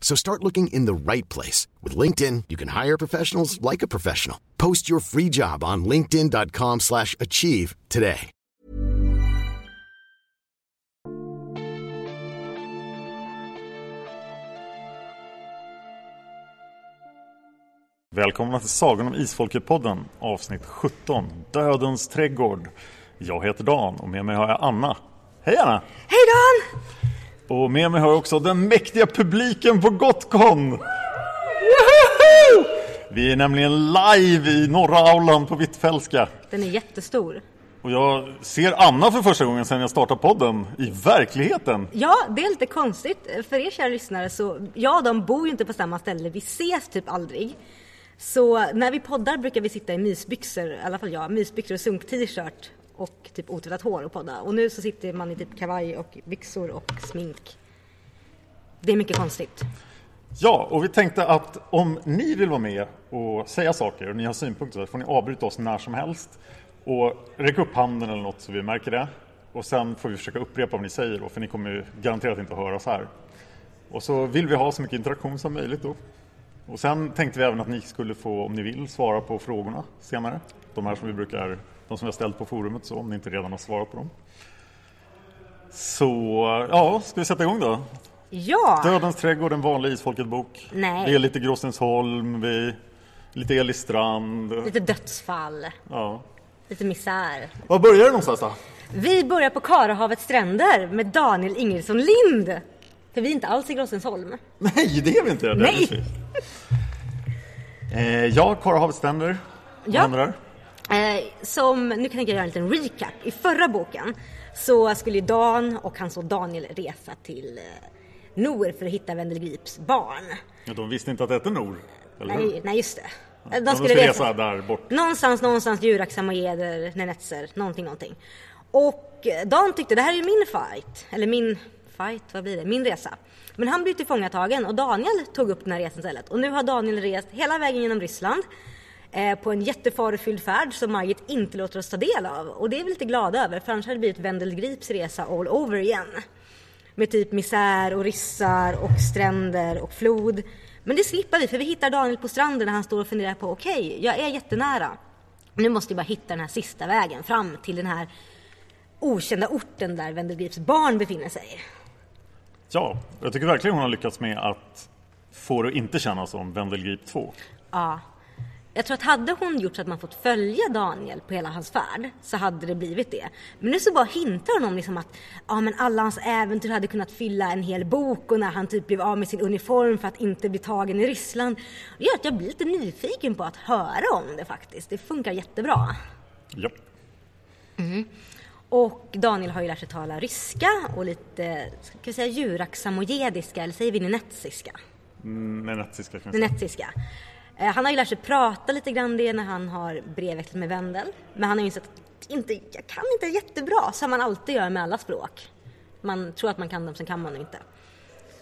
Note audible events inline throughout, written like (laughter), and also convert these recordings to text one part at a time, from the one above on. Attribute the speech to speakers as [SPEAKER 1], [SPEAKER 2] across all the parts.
[SPEAKER 1] So start looking in the right place. With LinkedIn, you can hire professionals like a professional. Post your free job on linkedin.com slash achieve today.
[SPEAKER 2] Välkomna till Sagan om Isfolket-podden avsnitt 17 Dödens trädgård. Jag heter Dan och med mig har jag Anna. Hej Anna!
[SPEAKER 3] Hej Dan!
[SPEAKER 2] Och med mig har jag också den mäktiga publiken på Gotcon! Vi är nämligen live i norra aulan på Hvitfeldtska.
[SPEAKER 3] Den är jättestor.
[SPEAKER 2] Och jag ser Anna för första gången sedan jag startade podden i verkligheten.
[SPEAKER 3] Ja, det är lite konstigt. För er kära lyssnare så, jag och de bor ju inte på samma ställe. Vi ses typ aldrig. Så när vi poddar brukar vi sitta i mysbyxor, i alla fall jag, mysbyxor och sunk-t-shirt och typ otvättat hår och podda. Och nu så sitter man i typ kavaj och byxor och smink. Det är mycket konstigt.
[SPEAKER 2] Ja, och vi tänkte att om ni vill vara med och säga saker och ni har synpunkter så får ni avbryta oss när som helst och räcka upp handen eller något så vi märker det. Och sen får vi försöka upprepa vad ni säger då, för ni kommer ju garanterat inte att höra oss här. Och så vill vi ha så mycket interaktion som möjligt då. Och sen tänkte vi även att ni skulle få, om ni vill, svara på frågorna senare. De här som vi brukar, de som vi har ställt på forumet så, om ni inte redan har svarat på dem. Så, ja, ska vi sätta igång då?
[SPEAKER 3] Ja!
[SPEAKER 2] Dödens trädgård, en vanlig Isfolket-bok.
[SPEAKER 3] Nej.
[SPEAKER 2] Vi är lite Gråstensholm, vi är lite Elistrand.
[SPEAKER 3] Lite dödsfall,
[SPEAKER 2] Ja.
[SPEAKER 3] lite misär.
[SPEAKER 2] Var börjar det någonstans då? (laughs)
[SPEAKER 3] Vi börjar på Karahavets stränder med Daniel Ingelsson Lind. För vi är inte alls i Gråstensholm.
[SPEAKER 2] Nej, det är vi inte. Det är
[SPEAKER 3] Nej.
[SPEAKER 2] precis. Eh, ja, Karahavets ständer. Vad
[SPEAKER 3] Ja.
[SPEAKER 2] händer där?
[SPEAKER 3] Eh, som, nu kan jag göra en liten recap. I förra boken så skulle ju Dan och hans son Daniel resa till eh, Nor för att hitta Wendelgrips barn.
[SPEAKER 2] Ja, de visste inte att det hette Nor. Eller hur?
[SPEAKER 3] Nej, nej just det. Eh,
[SPEAKER 2] De skulle resa där bort.
[SPEAKER 3] Någonstans, någonstans, Jurak, Samoyeder, Nenetser, någonting, någonting. Och eh, Dan tyckte det här är ju min fight, eller min fight, vad blir det, min resa. Men han blev tillfångatagen och Daniel tog upp den här resan istället. Och nu har Daniel rest hela vägen genom Ryssland eh, på en jättefarofylld färd som Margit inte låter oss ta del av. Och det är vi lite glada över, för annars hade det blivit Wendel Grips resa all over igen. Med typ misär och ryssar och stränder och flod. Men det slipper vi för vi hittar Daniel på stranden när han står och funderar på okej, jag är jättenära. Nu måste jag bara hitta den här sista vägen fram till den här okända orten där Wendelgrips barn befinner sig.
[SPEAKER 2] Ja, jag tycker verkligen hon har lyckats med att få det att inte kännas som Wendelgrip 2.
[SPEAKER 3] Ja. Jag tror att hade hon gjort så att man fått följa Daniel på hela hans färd så hade det blivit det. Men nu så bara hintar hon om liksom att ja, men alla hans äventyr hade kunnat fylla en hel bok och när han typ blev av med sin uniform för att inte bli tagen i Ryssland. Det gör att jag blir lite nyfiken på att höra om det faktiskt. Det funkar jättebra.
[SPEAKER 2] Ja.
[SPEAKER 3] Och Daniel har ju lärt sig tala ryska och lite, ska vi säga juraksamojediska eller säger vi nenetsiska?
[SPEAKER 2] Mm, Nenetiska kan jag säga.
[SPEAKER 3] Nenetziska. Eh, Han har ju lärt sig prata lite grann det när han har brevväxlat med Wendel. Men han har ju insett att inte, jag kan inte jättebra, som man alltid gör med alla språk. Man tror att man kan dem, sen kan man dem inte.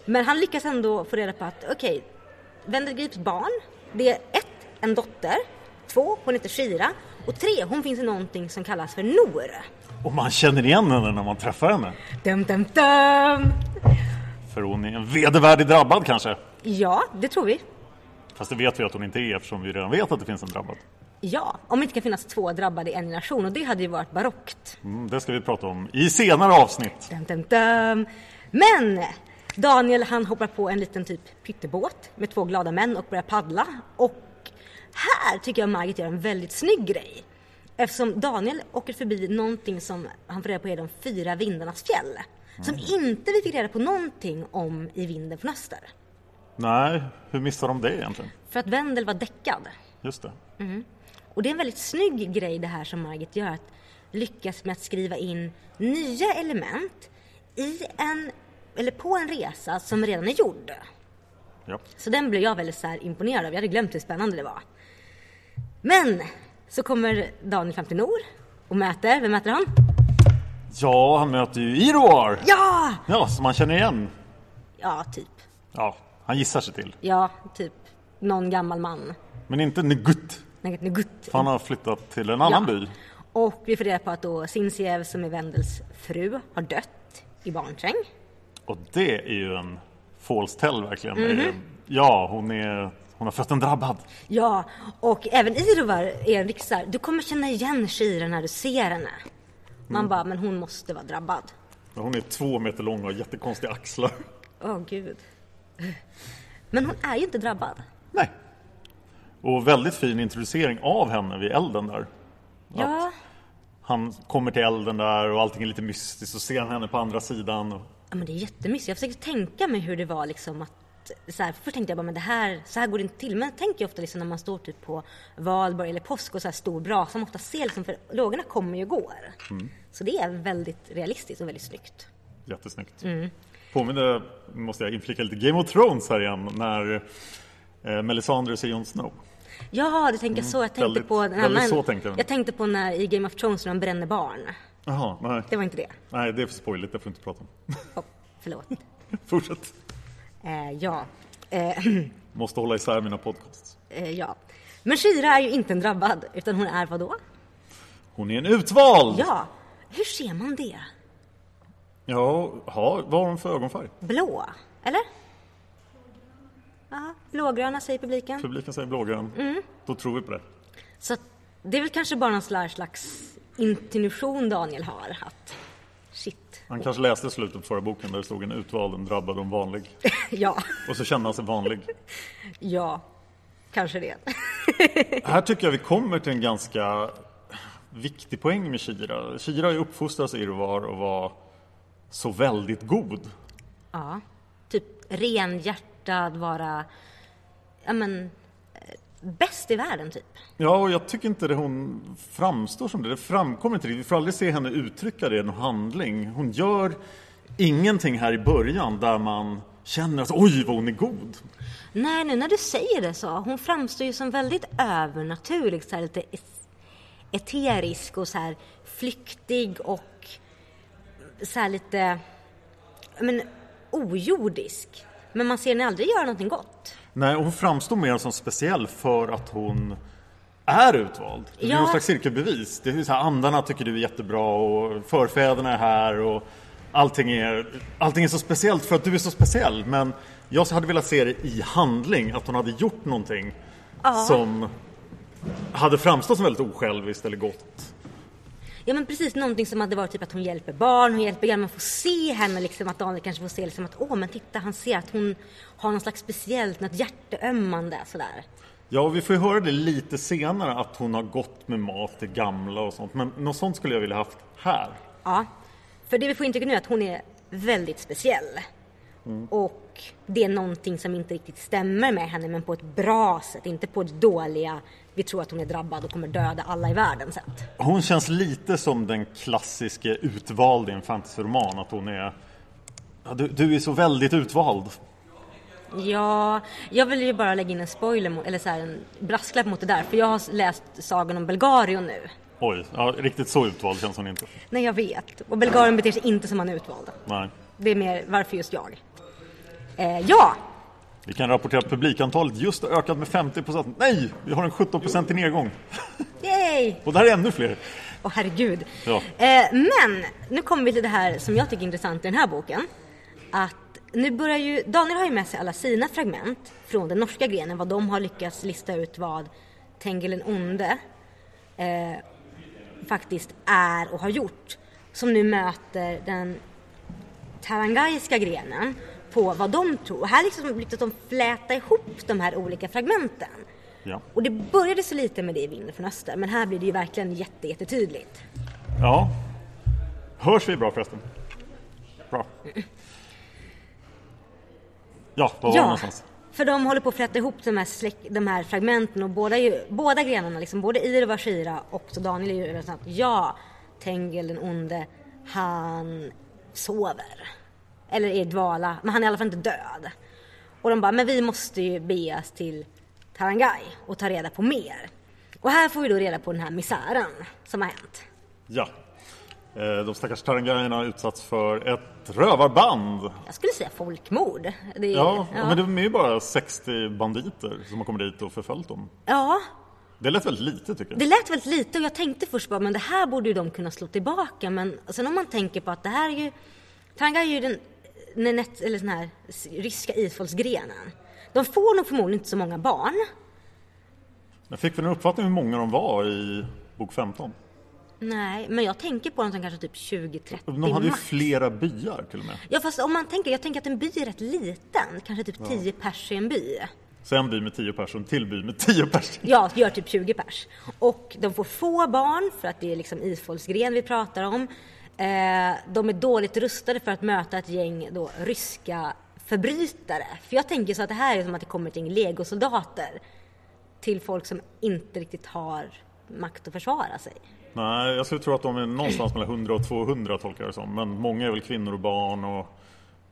[SPEAKER 3] Men han lyckas ändå få reda på att okej, Wendel Grips barn, det är ett, en dotter, två, hon heter Shira och tre, hon finns i någonting som kallas för Nor.
[SPEAKER 2] Och man känner igen henne när man träffar henne.
[SPEAKER 3] Dum, dum, dum.
[SPEAKER 2] För hon är en vedervärdig drabbad kanske.
[SPEAKER 3] Ja, det tror vi.
[SPEAKER 2] Fast det vet vi att hon inte är eftersom vi redan vet att det finns en drabbad.
[SPEAKER 3] Ja, om det inte kan finnas två drabbade i en generation och det hade ju varit barockt.
[SPEAKER 2] Mm, det ska vi prata om i senare avsnitt.
[SPEAKER 3] Dum, dum, dum. Men Daniel han hoppar på en liten typ pyttebåt med två glada män och börjar paddla. Och här tycker jag Margit gör en väldigt snygg grej. Eftersom Daniel åker förbi någonting som han får reda på är de fyra vindarnas fjäll. Som inte vi fick reda på någonting om i Vinden från öster.
[SPEAKER 2] Nej, hur missar de det egentligen?
[SPEAKER 3] För att Wendel var däckad.
[SPEAKER 2] Just det.
[SPEAKER 3] Och det är en väldigt snygg grej det här som Margit gör, att lyckas med att skriva in nya element i en, eller på en resa som redan är gjord.
[SPEAKER 2] Ja.
[SPEAKER 3] Så den blev jag väldigt så här imponerad av, jag hade glömt hur spännande det var. Men så kommer Daniel fram till Nor och möter, vem möter han?
[SPEAKER 2] ja, han möter ju Iroar!
[SPEAKER 3] Ja!
[SPEAKER 2] Ja, som man känner igen.
[SPEAKER 3] Ja, typ.
[SPEAKER 2] Ja, han gissar sig till.
[SPEAKER 3] Ja, typ någon gammal man.
[SPEAKER 2] Men inte Ngutt.
[SPEAKER 3] Nej, nu gutt.
[SPEAKER 2] För han har flyttat till en annan by.
[SPEAKER 3] Och vi får reda på att då Sinsiev som är Wendels fru har dött i barnsäng.
[SPEAKER 2] Och det är ju en false tell verkligen. Eh,
[SPEAKER 3] Mhm.
[SPEAKER 2] Ja, hon, är, hon har fött en drabbad.
[SPEAKER 3] Ja, och även Irovar är en riksar. Du kommer känna igen Shira när du ser henne. Man bara, men hon måste vara drabbad.
[SPEAKER 2] Men Hon är två meter lång och har jättekonstiga axlar.
[SPEAKER 3] Åh gud. Men hon är ju inte drabbad.
[SPEAKER 2] Nej. Och väldigt fin introducering av henne vid elden där.
[SPEAKER 3] Ja,
[SPEAKER 2] Han kommer till elden där och allting är lite mystiskt och ser han henne på andra sidan. Och...
[SPEAKER 3] ja men det är jättemysigt. Jag försöker tänka mig hur det var liksom att så här, först tänkte jag bara, men det här, så här går det inte till. Men jag tänker ofta liksom när man står typ på valborg eller påsk och så här stor brasa, man ofta ser liksom, för lågorna kommer ju och går. Så det är väldigt realistiskt och väldigt snyggt.
[SPEAKER 2] Jättesnyggt.
[SPEAKER 3] Mm.
[SPEAKER 2] Påminner, måste jag inflika lite, Game of Thrones här igen när eh, Melisandre ser Jon Snow.
[SPEAKER 3] Ja, du tänker så. Jag tänkte
[SPEAKER 2] Mm. väldigt-
[SPEAKER 3] på en
[SPEAKER 2] väldigt
[SPEAKER 3] annan.
[SPEAKER 2] så tänkte jag.
[SPEAKER 3] jag tänkte på när i Game of Thrones när de bränner barn.
[SPEAKER 2] Jaha, nej.
[SPEAKER 3] Det var inte det.
[SPEAKER 2] Nej, det är för spoiligt, det får vi inte prata om. (laughs)
[SPEAKER 3] Oh, förlåt.
[SPEAKER 2] Fortsätt.
[SPEAKER 3] Eh, ja. Eh, (clears throat)
[SPEAKER 2] Måste hålla isär mina podcasts.
[SPEAKER 3] eh, ja. Men Shira är ju inte en drabbad, utan hon är vad då?
[SPEAKER 2] Hon är en utvald!
[SPEAKER 3] Ja. Hur ser man det?
[SPEAKER 2] Ja, ha, vad har hon för ögonfärg?
[SPEAKER 3] Blå? Eller? Ja, blågröna säger publiken.
[SPEAKER 2] Publiken säger blågrön.
[SPEAKER 3] Mm.
[SPEAKER 2] Då tror vi på det.
[SPEAKER 3] Så att det är väl kanske bara någon slags, slags intuition Daniel har. Att shit. (laughs)
[SPEAKER 2] Han kanske läste slutet på förra boken där det stod en utvald, en drabbad och en vanlig.
[SPEAKER 3] ja,
[SPEAKER 2] Och så kände han sig vanlig.
[SPEAKER 3] ja, kanske det.
[SPEAKER 2] Här tycker jag vi kommer till en ganska viktig poäng med Kira. Kira är uppfostrad av Irvar och var så väldigt god.
[SPEAKER 3] Ja. Typ renhjärtad, vara ja, men, eh, bäst i världen typ.
[SPEAKER 2] Ja, och jag tycker inte det hon framstår som det. Det framkommer inte riktigt. Vi får aldrig se henne uttrycka det i någon handling. Hon gör ingenting här i början där man känner att oj vad hon är god.
[SPEAKER 3] Nej, nu när du säger det så. Hon framstår ju som väldigt övernaturlig, så här, lite es- eterisk och så här flyktig och så här lite ja, men, ojordisk. Men man ser henne aldrig göra någonting gott.
[SPEAKER 2] Nej, hon framstår mer som speciell för att hon är utvald. Det är
[SPEAKER 3] Ja.
[SPEAKER 2] någon slags cirkelbevis. Det är så här, andarna tycker du är jättebra och förfäderna är här och allting är, allting är så speciellt för att du är så speciell. Men jag hade velat se det i handling, att hon hade gjort någonting som hade framstått som väldigt osjälviskt eller gott.
[SPEAKER 3] Ja men precis, någonting som hade varit typ att hon hjälper barn, hon hjälper gamla, man får se henne liksom att Daniel kanske får se liksom att åh men titta han ser att hon har någon slags speciellt, något hjärteömmande sådär.
[SPEAKER 2] Ja, vi får ju höra det lite senare att hon har gått med mat till gamla och sånt. Men något sånt skulle jag vilja haft här.
[SPEAKER 3] Ja, för det vi får intrycket nu är att hon är väldigt speciell. Och det är någonting som inte riktigt stämmer med henne men på ett bra sätt, inte på ett dåliga, vi tror att hon är drabbad och kommer döda alla i världen sätt.
[SPEAKER 2] Hon känns lite som den klassiske utvald i en fantasyroman. Att hon är... Ja, du, du är så väldigt utvald.
[SPEAKER 3] Ja, jag vill ju bara lägga in en spoiler, mot, eller så här, en brasklapp mot det där för jag har läst sagan om Belgarion nu.
[SPEAKER 2] Oj, ja, riktigt så utvald känns hon inte.
[SPEAKER 3] Nej, jag vet. Och Belgarien beter sig inte som han är utvald.
[SPEAKER 2] Nej.
[SPEAKER 3] Det är mer varför just jag. Eh, ja,
[SPEAKER 2] Vi kan rapportera att publikantalet just har ökat med 50 Nej, vi har en 17 i nedgång.
[SPEAKER 3] yay!
[SPEAKER 2] Och det här är ännu fler.
[SPEAKER 3] Åh herregud.
[SPEAKER 2] Ja.
[SPEAKER 3] Eh, men nu kommer vi till det här som jag tycker är intressant i den här boken. Att nu börjar ju, Daniel har ju med sig alla sina fragment från den norska grenen, vad de har lyckats lista ut vad Tengil den onde eh, faktiskt är och har gjort. Som nu möter den tarangaiska grenen på vad de tror. Och här liksom lyckas de fläta ihop de här olika fragmenten.
[SPEAKER 2] Ja.
[SPEAKER 3] Och det började så lite med det i Vinden från Öster, men här blir det ju verkligen jätte, jättetydligt.
[SPEAKER 2] ja. Hörs vi bra förresten? Bra. Ja, var var vi någonstans?
[SPEAKER 3] för de håller på att fläta ihop de här, släck, de här fragmenten och båda, är ju, båda grenarna, liksom, både Ir och Vashira och så Daniel är ju redan sånt, ja, Tengil den onde, han sover. Eller är i dvala, men han är i alla fall inte död. Och de bara, men vi måste ju bege oss till Tarangai och ta reda på mer. Och här får vi då reda på den här misären som har hänt.
[SPEAKER 2] Ja. Eh, De stackars tarangajerna har utsatts för ett rövarband.
[SPEAKER 3] Jag skulle säga folkmord. Det är,
[SPEAKER 2] Ja,
[SPEAKER 3] ja.
[SPEAKER 2] men de är ju bara 60 banditer som har kommit dit och förföljt dem.
[SPEAKER 3] ja,
[SPEAKER 2] Det lät väldigt lite tycker jag.
[SPEAKER 3] Det lät väldigt lite och jag tänkte först bara, men det här borde ju de kunna slå tillbaka. Men sen om man tänker på att det här är ju... Tanga är ju den, nenet, eller den här s- ryska isfolksgrenen. De får nog förmodligen inte så många barn.
[SPEAKER 2] Jag fick väl en uppfattning hur många de var i bok 15.
[SPEAKER 3] Nej, men jag tänker på dem som kanske typ 20-30
[SPEAKER 2] De hade ju
[SPEAKER 3] max.
[SPEAKER 2] flera byar till och med.
[SPEAKER 3] Ja fast om man tänker, jag tänker att en by är rätt liten. Kanske typ 10 pers i en by.
[SPEAKER 2] Så en by med 10 personer, en till by med 10 personer.
[SPEAKER 3] Ja, gör typ 20 pers. Och de får få barn för att det är liksom isfolksgren vi pratar om. Eh, de är dåligt rustade för att möta ett gäng då, ryska förbrytare. För jag tänker så att det här är som att det kommer ett gäng legosoldater till folk som inte riktigt har makt att försvara sig.
[SPEAKER 2] Nej, jag skulle tro att de är någonstans mellan 100 och 200 tolkar jag det som. Men många är väl kvinnor och barn och,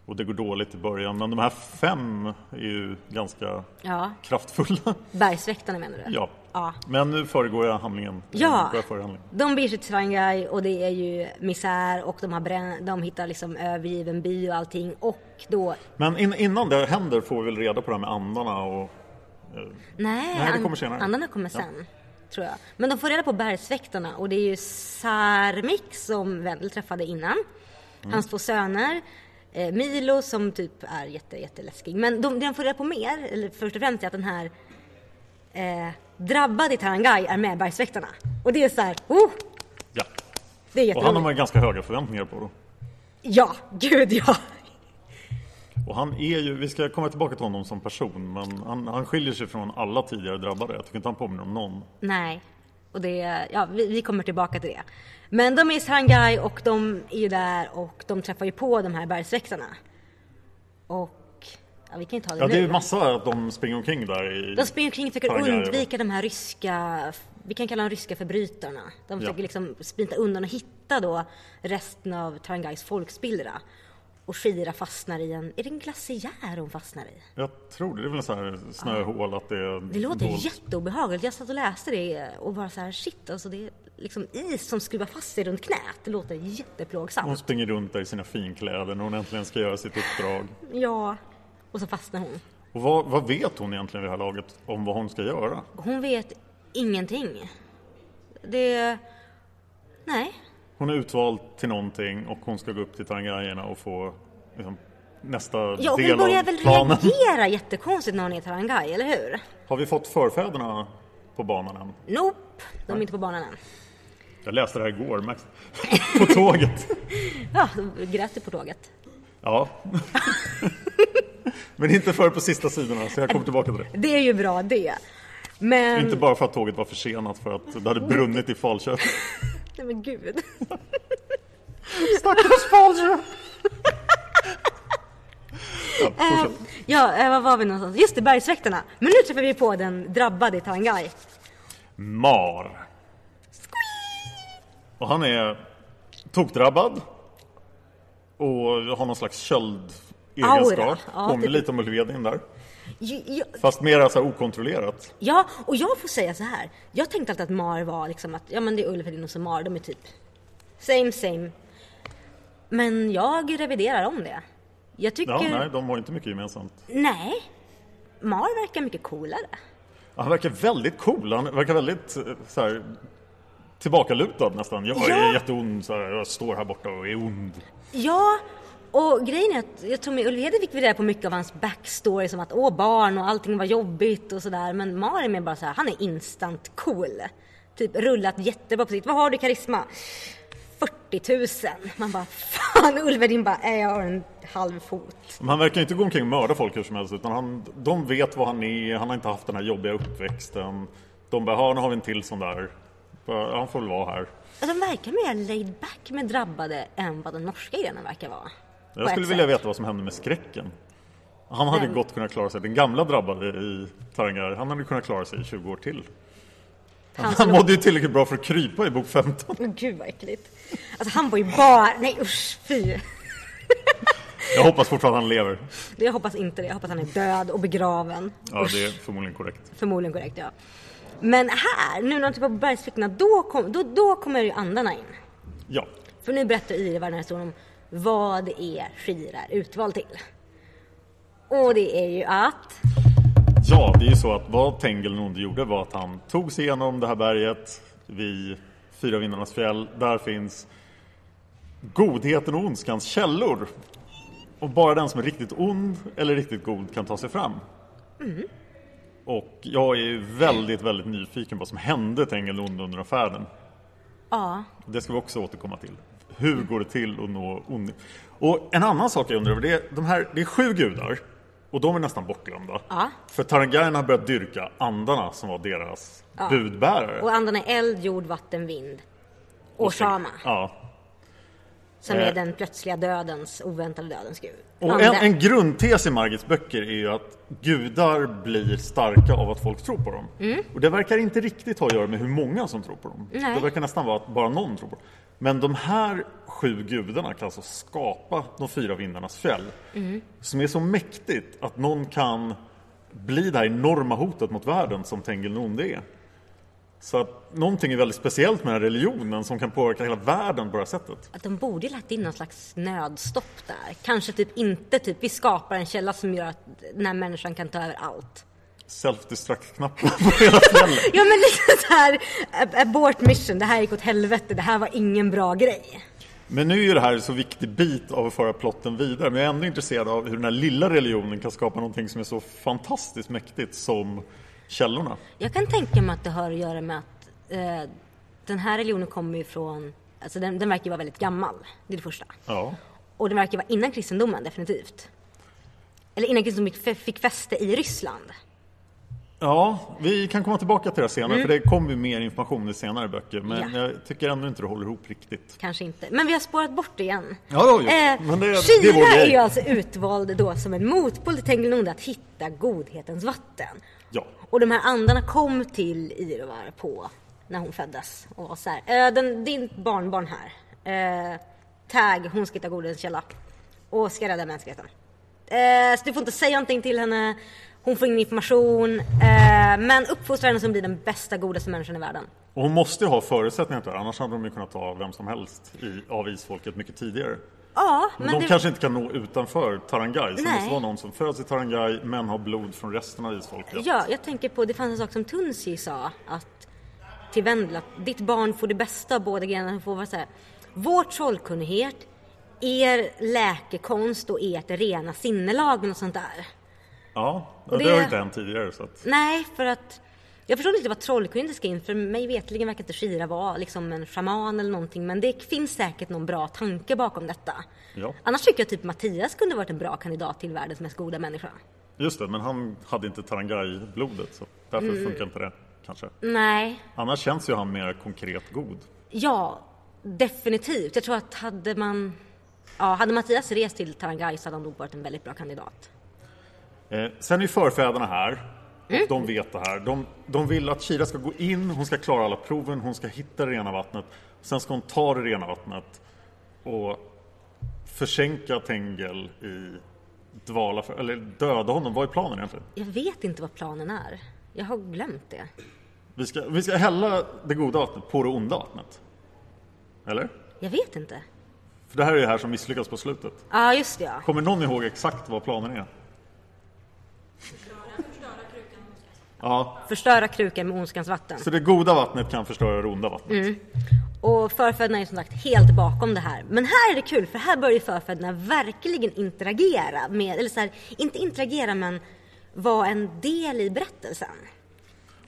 [SPEAKER 2] och det går dåligt i början. Men de här fem är ju ganska
[SPEAKER 3] Ja.
[SPEAKER 2] kraftfulla. (laughs)
[SPEAKER 3] Bergsväktarna menar du?
[SPEAKER 2] Ja.
[SPEAKER 3] ja.
[SPEAKER 2] Men nu föregår jag handlingen.
[SPEAKER 3] Ja.
[SPEAKER 2] Nu går jag före handlingen.
[SPEAKER 3] De beger sig till Shanghai och det är ju misär och de, har brän- de hittar liksom övergiven by och allting och då...
[SPEAKER 2] Men in, innan det händer får vi väl reda på det här med andarna och...
[SPEAKER 3] Nej,
[SPEAKER 2] Nej, det
[SPEAKER 3] an-
[SPEAKER 2] kommer senare.
[SPEAKER 3] andarna kommer
[SPEAKER 2] Ja.
[SPEAKER 3] sen. Tror jag. Men de får reda på bergsväktarna och det är ju Sarmik som Wendel träffade innan.
[SPEAKER 2] Mm.
[SPEAKER 3] Hans två söner. Eh, Milo som typ är jätte, jätteläskig. Men de, det de får reda på mer, eller först och främst är att den här eh, drabbade i Tarangai är med bergsväktarna. Och det är så här, oh!
[SPEAKER 2] Ja.
[SPEAKER 3] Det är
[SPEAKER 2] Och han har
[SPEAKER 3] jätteroligt.
[SPEAKER 2] man ganska höga förväntningar på då.
[SPEAKER 3] Ja, gud ja!
[SPEAKER 2] Och han är ju, vi ska komma tillbaka till honom som person, men han, han skiljer sig från alla tidigare drabbade. Jag tycker inte han påminner om någon.
[SPEAKER 3] Nej. Och det, ja, vi, vi kommer tillbaka till det. Men de är i Shanghai och de är ju där och de träffar ju på de här bergsväktarna. Och, ja vi kan ju ta det
[SPEAKER 2] Ja,
[SPEAKER 3] nu.
[SPEAKER 2] det är ju massa att de springer omkring där i...
[SPEAKER 3] De springer omkring och försöker
[SPEAKER 2] Shanghai,
[SPEAKER 3] undvika de här ryska, vi kan kalla dem ryska förbrytarna. De försöker
[SPEAKER 2] Ja.
[SPEAKER 3] liksom sprinta undan och hitta då resten av Tarangais folkspillra. Och Shira fastnar i en, är det en glaciär hon fastnar i?
[SPEAKER 2] Jag tror det, det är väl en sån här snöhål att det är...
[SPEAKER 3] Det låter
[SPEAKER 2] dolt.
[SPEAKER 3] jätteobehagligt. Jag satt och läste det och bara så här shit alltså det är liksom is som skruvar fast sig runt knät. Det låter
[SPEAKER 2] Hon
[SPEAKER 3] jätteplågsamt.
[SPEAKER 2] springer runt där i sina finkläder när hon äntligen ska göra sitt uppdrag.
[SPEAKER 3] Ja. Och så fastnar hon.
[SPEAKER 2] Och vad, vad vet hon egentligen vid det här laget om vad hon ska göra?
[SPEAKER 3] Hon vet ingenting. Det... Nej.
[SPEAKER 2] Hon är utvald till någonting och hon ska gå upp till Tarangajerna och få liksom, nästa
[SPEAKER 3] Ja, och
[SPEAKER 2] del
[SPEAKER 3] hon börjar
[SPEAKER 2] av
[SPEAKER 3] väl
[SPEAKER 2] planen.
[SPEAKER 3] reagera jättekonstigt när hon är i Tarangai, eller hur?
[SPEAKER 2] Har vi fått förfäderna på banan än?
[SPEAKER 3] Nope, de är inte på banan än.
[SPEAKER 2] Jag läste det här igår, Max. (laughs) På tåget.
[SPEAKER 3] Ja, de grät ju på tåget.
[SPEAKER 2] Ja. (laughs) Men inte förrän på sista sidorna, så jag kommer tillbaka till det.
[SPEAKER 3] Det är ju bra det. Men...
[SPEAKER 2] Inte bara för att tåget var försenat, för att det hade brunnit i Falköping.
[SPEAKER 3] Nej men gud. (laughs)
[SPEAKER 2] Stackars Falköping! Ja, fortsätt.
[SPEAKER 3] Ja, eh, var var vi någonstans? Just det, bergsväktarna. Men nu träffar vi på den drabbade i Tarangai.
[SPEAKER 2] Mar. Och han är tokdrabbad och har någon slags
[SPEAKER 3] Aura,
[SPEAKER 2] köldegenskap.
[SPEAKER 3] ja,
[SPEAKER 2] Påminner
[SPEAKER 3] typ.
[SPEAKER 2] lite om Ulvedin där.
[SPEAKER 3] Ju- ju-
[SPEAKER 2] Fast mer så här okontrollerat.
[SPEAKER 3] Ja, och jag får säga så här. Jag tänkte alltid att Mar var liksom att, ja men det är Ulfhedin och så Mar, de är typ same same. Men jag reviderar om det. Jag tycker...
[SPEAKER 2] Ja, nej,
[SPEAKER 3] nej.
[SPEAKER 2] de har inte mycket gemensamt.
[SPEAKER 3] Mar verkar mycket coolare.
[SPEAKER 2] Ja, Han verkar väldigt cool. Han verkar väldigt eh, så här, tillbakalutad nästan. Jag
[SPEAKER 3] Ja.
[SPEAKER 2] är jätteond, så här, jag står här borta och är ond.
[SPEAKER 3] Ja, och grejen är att jag tror med Ulf Hedin fick vi reda på mycket av hans backstory som att åh barn och allting var jobbigt och sådär. Men Marin är mer bara så här, han är instant cool. Typ rullat jättebra på sitt, vad har du i karisma? 40 000. Man bara fan Ulf Hedin bara, äh, jag har en halv fot.
[SPEAKER 2] Men han verkar ju inte gå omkring och mörda folk hur som helst utan han, de vet vad han är, han har inte haft den här jobbiga uppväxten. De bara, "Ja, nu har vi en till sån där. Bara, Han får väl vara här.
[SPEAKER 3] Och Alltså, de verkar mer laid back med drabbade än vad den norska grenen verkar vara. På
[SPEAKER 2] Jag
[SPEAKER 3] ett
[SPEAKER 2] skulle
[SPEAKER 3] sätt.
[SPEAKER 2] vilja veta vad som hände med skräcken. Han hade
[SPEAKER 3] Vem?
[SPEAKER 2] gott kunnat klara sig. Den gamla drabbade i Tarangar, han hade kunnat klara sig i 20 år till. Han,
[SPEAKER 3] skulle-
[SPEAKER 2] mådde ju tillräckligt bra för att krypa i bok 15.
[SPEAKER 3] Men gud vad äckligt. Alltså han var ju bara, nej usch fy.
[SPEAKER 2] Jag hoppas fortfarande han lever.
[SPEAKER 3] Jag hoppas inte det, jag hoppas han är död och begraven.
[SPEAKER 2] Ja, det är förmodligen korrekt.
[SPEAKER 3] Förmodligen korrekt ja. Men här, nu när de typ är på bergsfickorna, då, kom, då, då kommer ju andarna in.
[SPEAKER 2] Ja,
[SPEAKER 3] För nu berättar Ire den här historien om vad det är Shira är utvald till. Och det är ju att...
[SPEAKER 2] ja det är ju så att vad Tengil den onde gjorde var att han tog sig igenom det här berget vid Fyra vindarnas fjäll. Där finns godheten och ondskans källor. Och bara den som är riktigt ond eller riktigt god kan ta sig fram.
[SPEAKER 3] Mm.
[SPEAKER 2] Och jag är ju väldigt, väldigt nyfiken på vad som hände Tengil den onde under den färden.
[SPEAKER 3] Ja,
[SPEAKER 2] Det ska vi också återkomma till. Hur går det till att nå ond? Och en annan sak jag undrar över, det är, de här, det är sju gudar och de är nästan bortglömda.
[SPEAKER 3] Ja.
[SPEAKER 2] För Tarangayen har börjat dyrka andarna som var deras budbärare.
[SPEAKER 3] och andarna är eld, jord, vatten, vind. Och Shama,
[SPEAKER 2] Ja.
[SPEAKER 3] som
[SPEAKER 2] eh.
[SPEAKER 3] är den plötsliga dödens, oväntade dödens gud.
[SPEAKER 2] Och en,
[SPEAKER 3] Anden.
[SPEAKER 2] en grundtes i Margits böcker är ju att gudar blir starka av att folk tror på dem. Och det verkar inte riktigt ha att göra med hur många som tror på dem.
[SPEAKER 3] Nej.
[SPEAKER 2] Det verkar nästan vara att bara någon tror på dem. Men de här sju gudarna kan alltså skapa de fyra vindarnas fjäll. Som är så mäktigt att någon kan bli det här enorma hotet mot världen som Tengil Nonde är. Så att någonting är väldigt speciellt med den här religionen som kan påverka hela världen på det här sättet.
[SPEAKER 3] Att de borde ju lagt in någon slags nödstopp där. Kanske typ inte typ, vi skapar en källa som gör att den här människan kan ta över allt.
[SPEAKER 2] Self-destruct-knappen (laughs) på hela fjället.
[SPEAKER 3] Ja men lite så här ab- abort mission, det här gick åt helvete, det här var ingen bra grej.
[SPEAKER 2] Men nu är ju det här en så viktig bit av att föra plotten vidare, men jag är ändå intresserad av hur den här lilla religionen kan skapa någonting som är så fantastiskt mäktigt som källorna.
[SPEAKER 3] Jag kan tänka mig att det har att göra med att eh, den här religionen kommer ju från, alltså den, den verkar ju vara väldigt gammal, det är det första.
[SPEAKER 2] Ja.
[SPEAKER 3] Och den verkar ju vara innan kristendomen definitivt. Eller innan kristendomen fick, fick fäste i Ryssland.
[SPEAKER 2] Ja, vi kan komma tillbaka till det senare, för det kommer ju mer information i senare böcker, men
[SPEAKER 3] Mm. Ja.
[SPEAKER 2] jag tycker ändå inte det håller ihop riktigt.
[SPEAKER 3] Kanske inte. Men vi har spårat bort det igen. Eh,
[SPEAKER 2] Ja, det har vi gjort. Men det- det är
[SPEAKER 3] Kina
[SPEAKER 2] vår
[SPEAKER 3] är
[SPEAKER 2] grej.
[SPEAKER 3] ju alltså utvald då som en motpol till Tengilonde att hitta godhetens vatten.
[SPEAKER 2] Ja.
[SPEAKER 3] Och de här andarna kom till Irovar på när hon föddes och var så här, "Eh, den, din barnbarn här, eh, Tag, hon ska hitta godhetens källa och ska rädda mänskligheten. Eh, så du får inte säga någonting till henne, hon får ingen information, eh, men uppfostra henne som blir den bästa, godaste människan i världen.
[SPEAKER 2] Och hon måste ju ha förutsättningar till det, annars hade de ju kunnat ta vem som helst i, av isfolket mycket tidigare.
[SPEAKER 3] Ja,
[SPEAKER 2] Men,
[SPEAKER 3] men
[SPEAKER 2] de
[SPEAKER 3] det-
[SPEAKER 2] kanske inte kan nå utanför Tarangai, så det
[SPEAKER 3] Nej.
[SPEAKER 2] måste vara någon som föds i Tarangai men har blod från resten av isfolket.
[SPEAKER 3] Ja, jag tänker på, det fanns en sak som Tunsi sa att till Wendel, att ditt barn får det bästa av båda grenarna. Hon får vara så här, vår trollkunnighet, er läkekonst och ert rena sinnelag och sånt där.
[SPEAKER 2] Ja,
[SPEAKER 3] Och
[SPEAKER 2] det
[SPEAKER 3] det-
[SPEAKER 2] har ju inte hänt tidigare. Så att...
[SPEAKER 3] Nej, för att jag förstår inte vad trollkunnighet ska in, för mig vetligen verkar inte Shira vara liksom en shaman eller någonting, men det finns säkert någon bra tanke bakom detta.
[SPEAKER 2] Ja.
[SPEAKER 3] Annars tycker jag typ Mattias kunde varit en bra kandidat till världens mest goda människa.
[SPEAKER 2] Just det, men han hade inte Tarangai-blodet så därför funkar inte det kanske.
[SPEAKER 3] Nej,
[SPEAKER 2] Annars känns ju han mer konkret god.
[SPEAKER 3] Ja, definitivt. Jag tror att hade man... Ja, hade Mattias rest till Tarangai så hade han nog varit en väldigt bra kandidat.
[SPEAKER 2] Eh, sen är förfäderna här och de vet det här. De, de vill att Kira ska gå in, hon ska klara alla proven, hon ska hitta det rena vattnet. Sen ska hon ta det rena vattnet och försänka Tengel i dvala, för, eller döda honom. Vad är planen egentligen?
[SPEAKER 3] Jag vet inte vad planen är. Jag har glömt det.
[SPEAKER 2] Vi ska, vi ska hälla det goda vattnet på det onda vattnet. Eller?
[SPEAKER 3] Jag vet inte.
[SPEAKER 2] För det här är ju det här som misslyckas på slutet.
[SPEAKER 3] Ja, just det ja.
[SPEAKER 2] Kommer någon ihåg exakt vad planen är? Ja,
[SPEAKER 3] Förstöra krukan med ondskans vatten.
[SPEAKER 2] så det goda vattnet kan förstöra det onda vattnet.
[SPEAKER 3] Mm. Och förfäderna är som sagt helt bakom det här. Men här är det kul för här börjar ju förfäderna verkligen interagera med, eller så här, inte interagera men vara en del i berättelsen.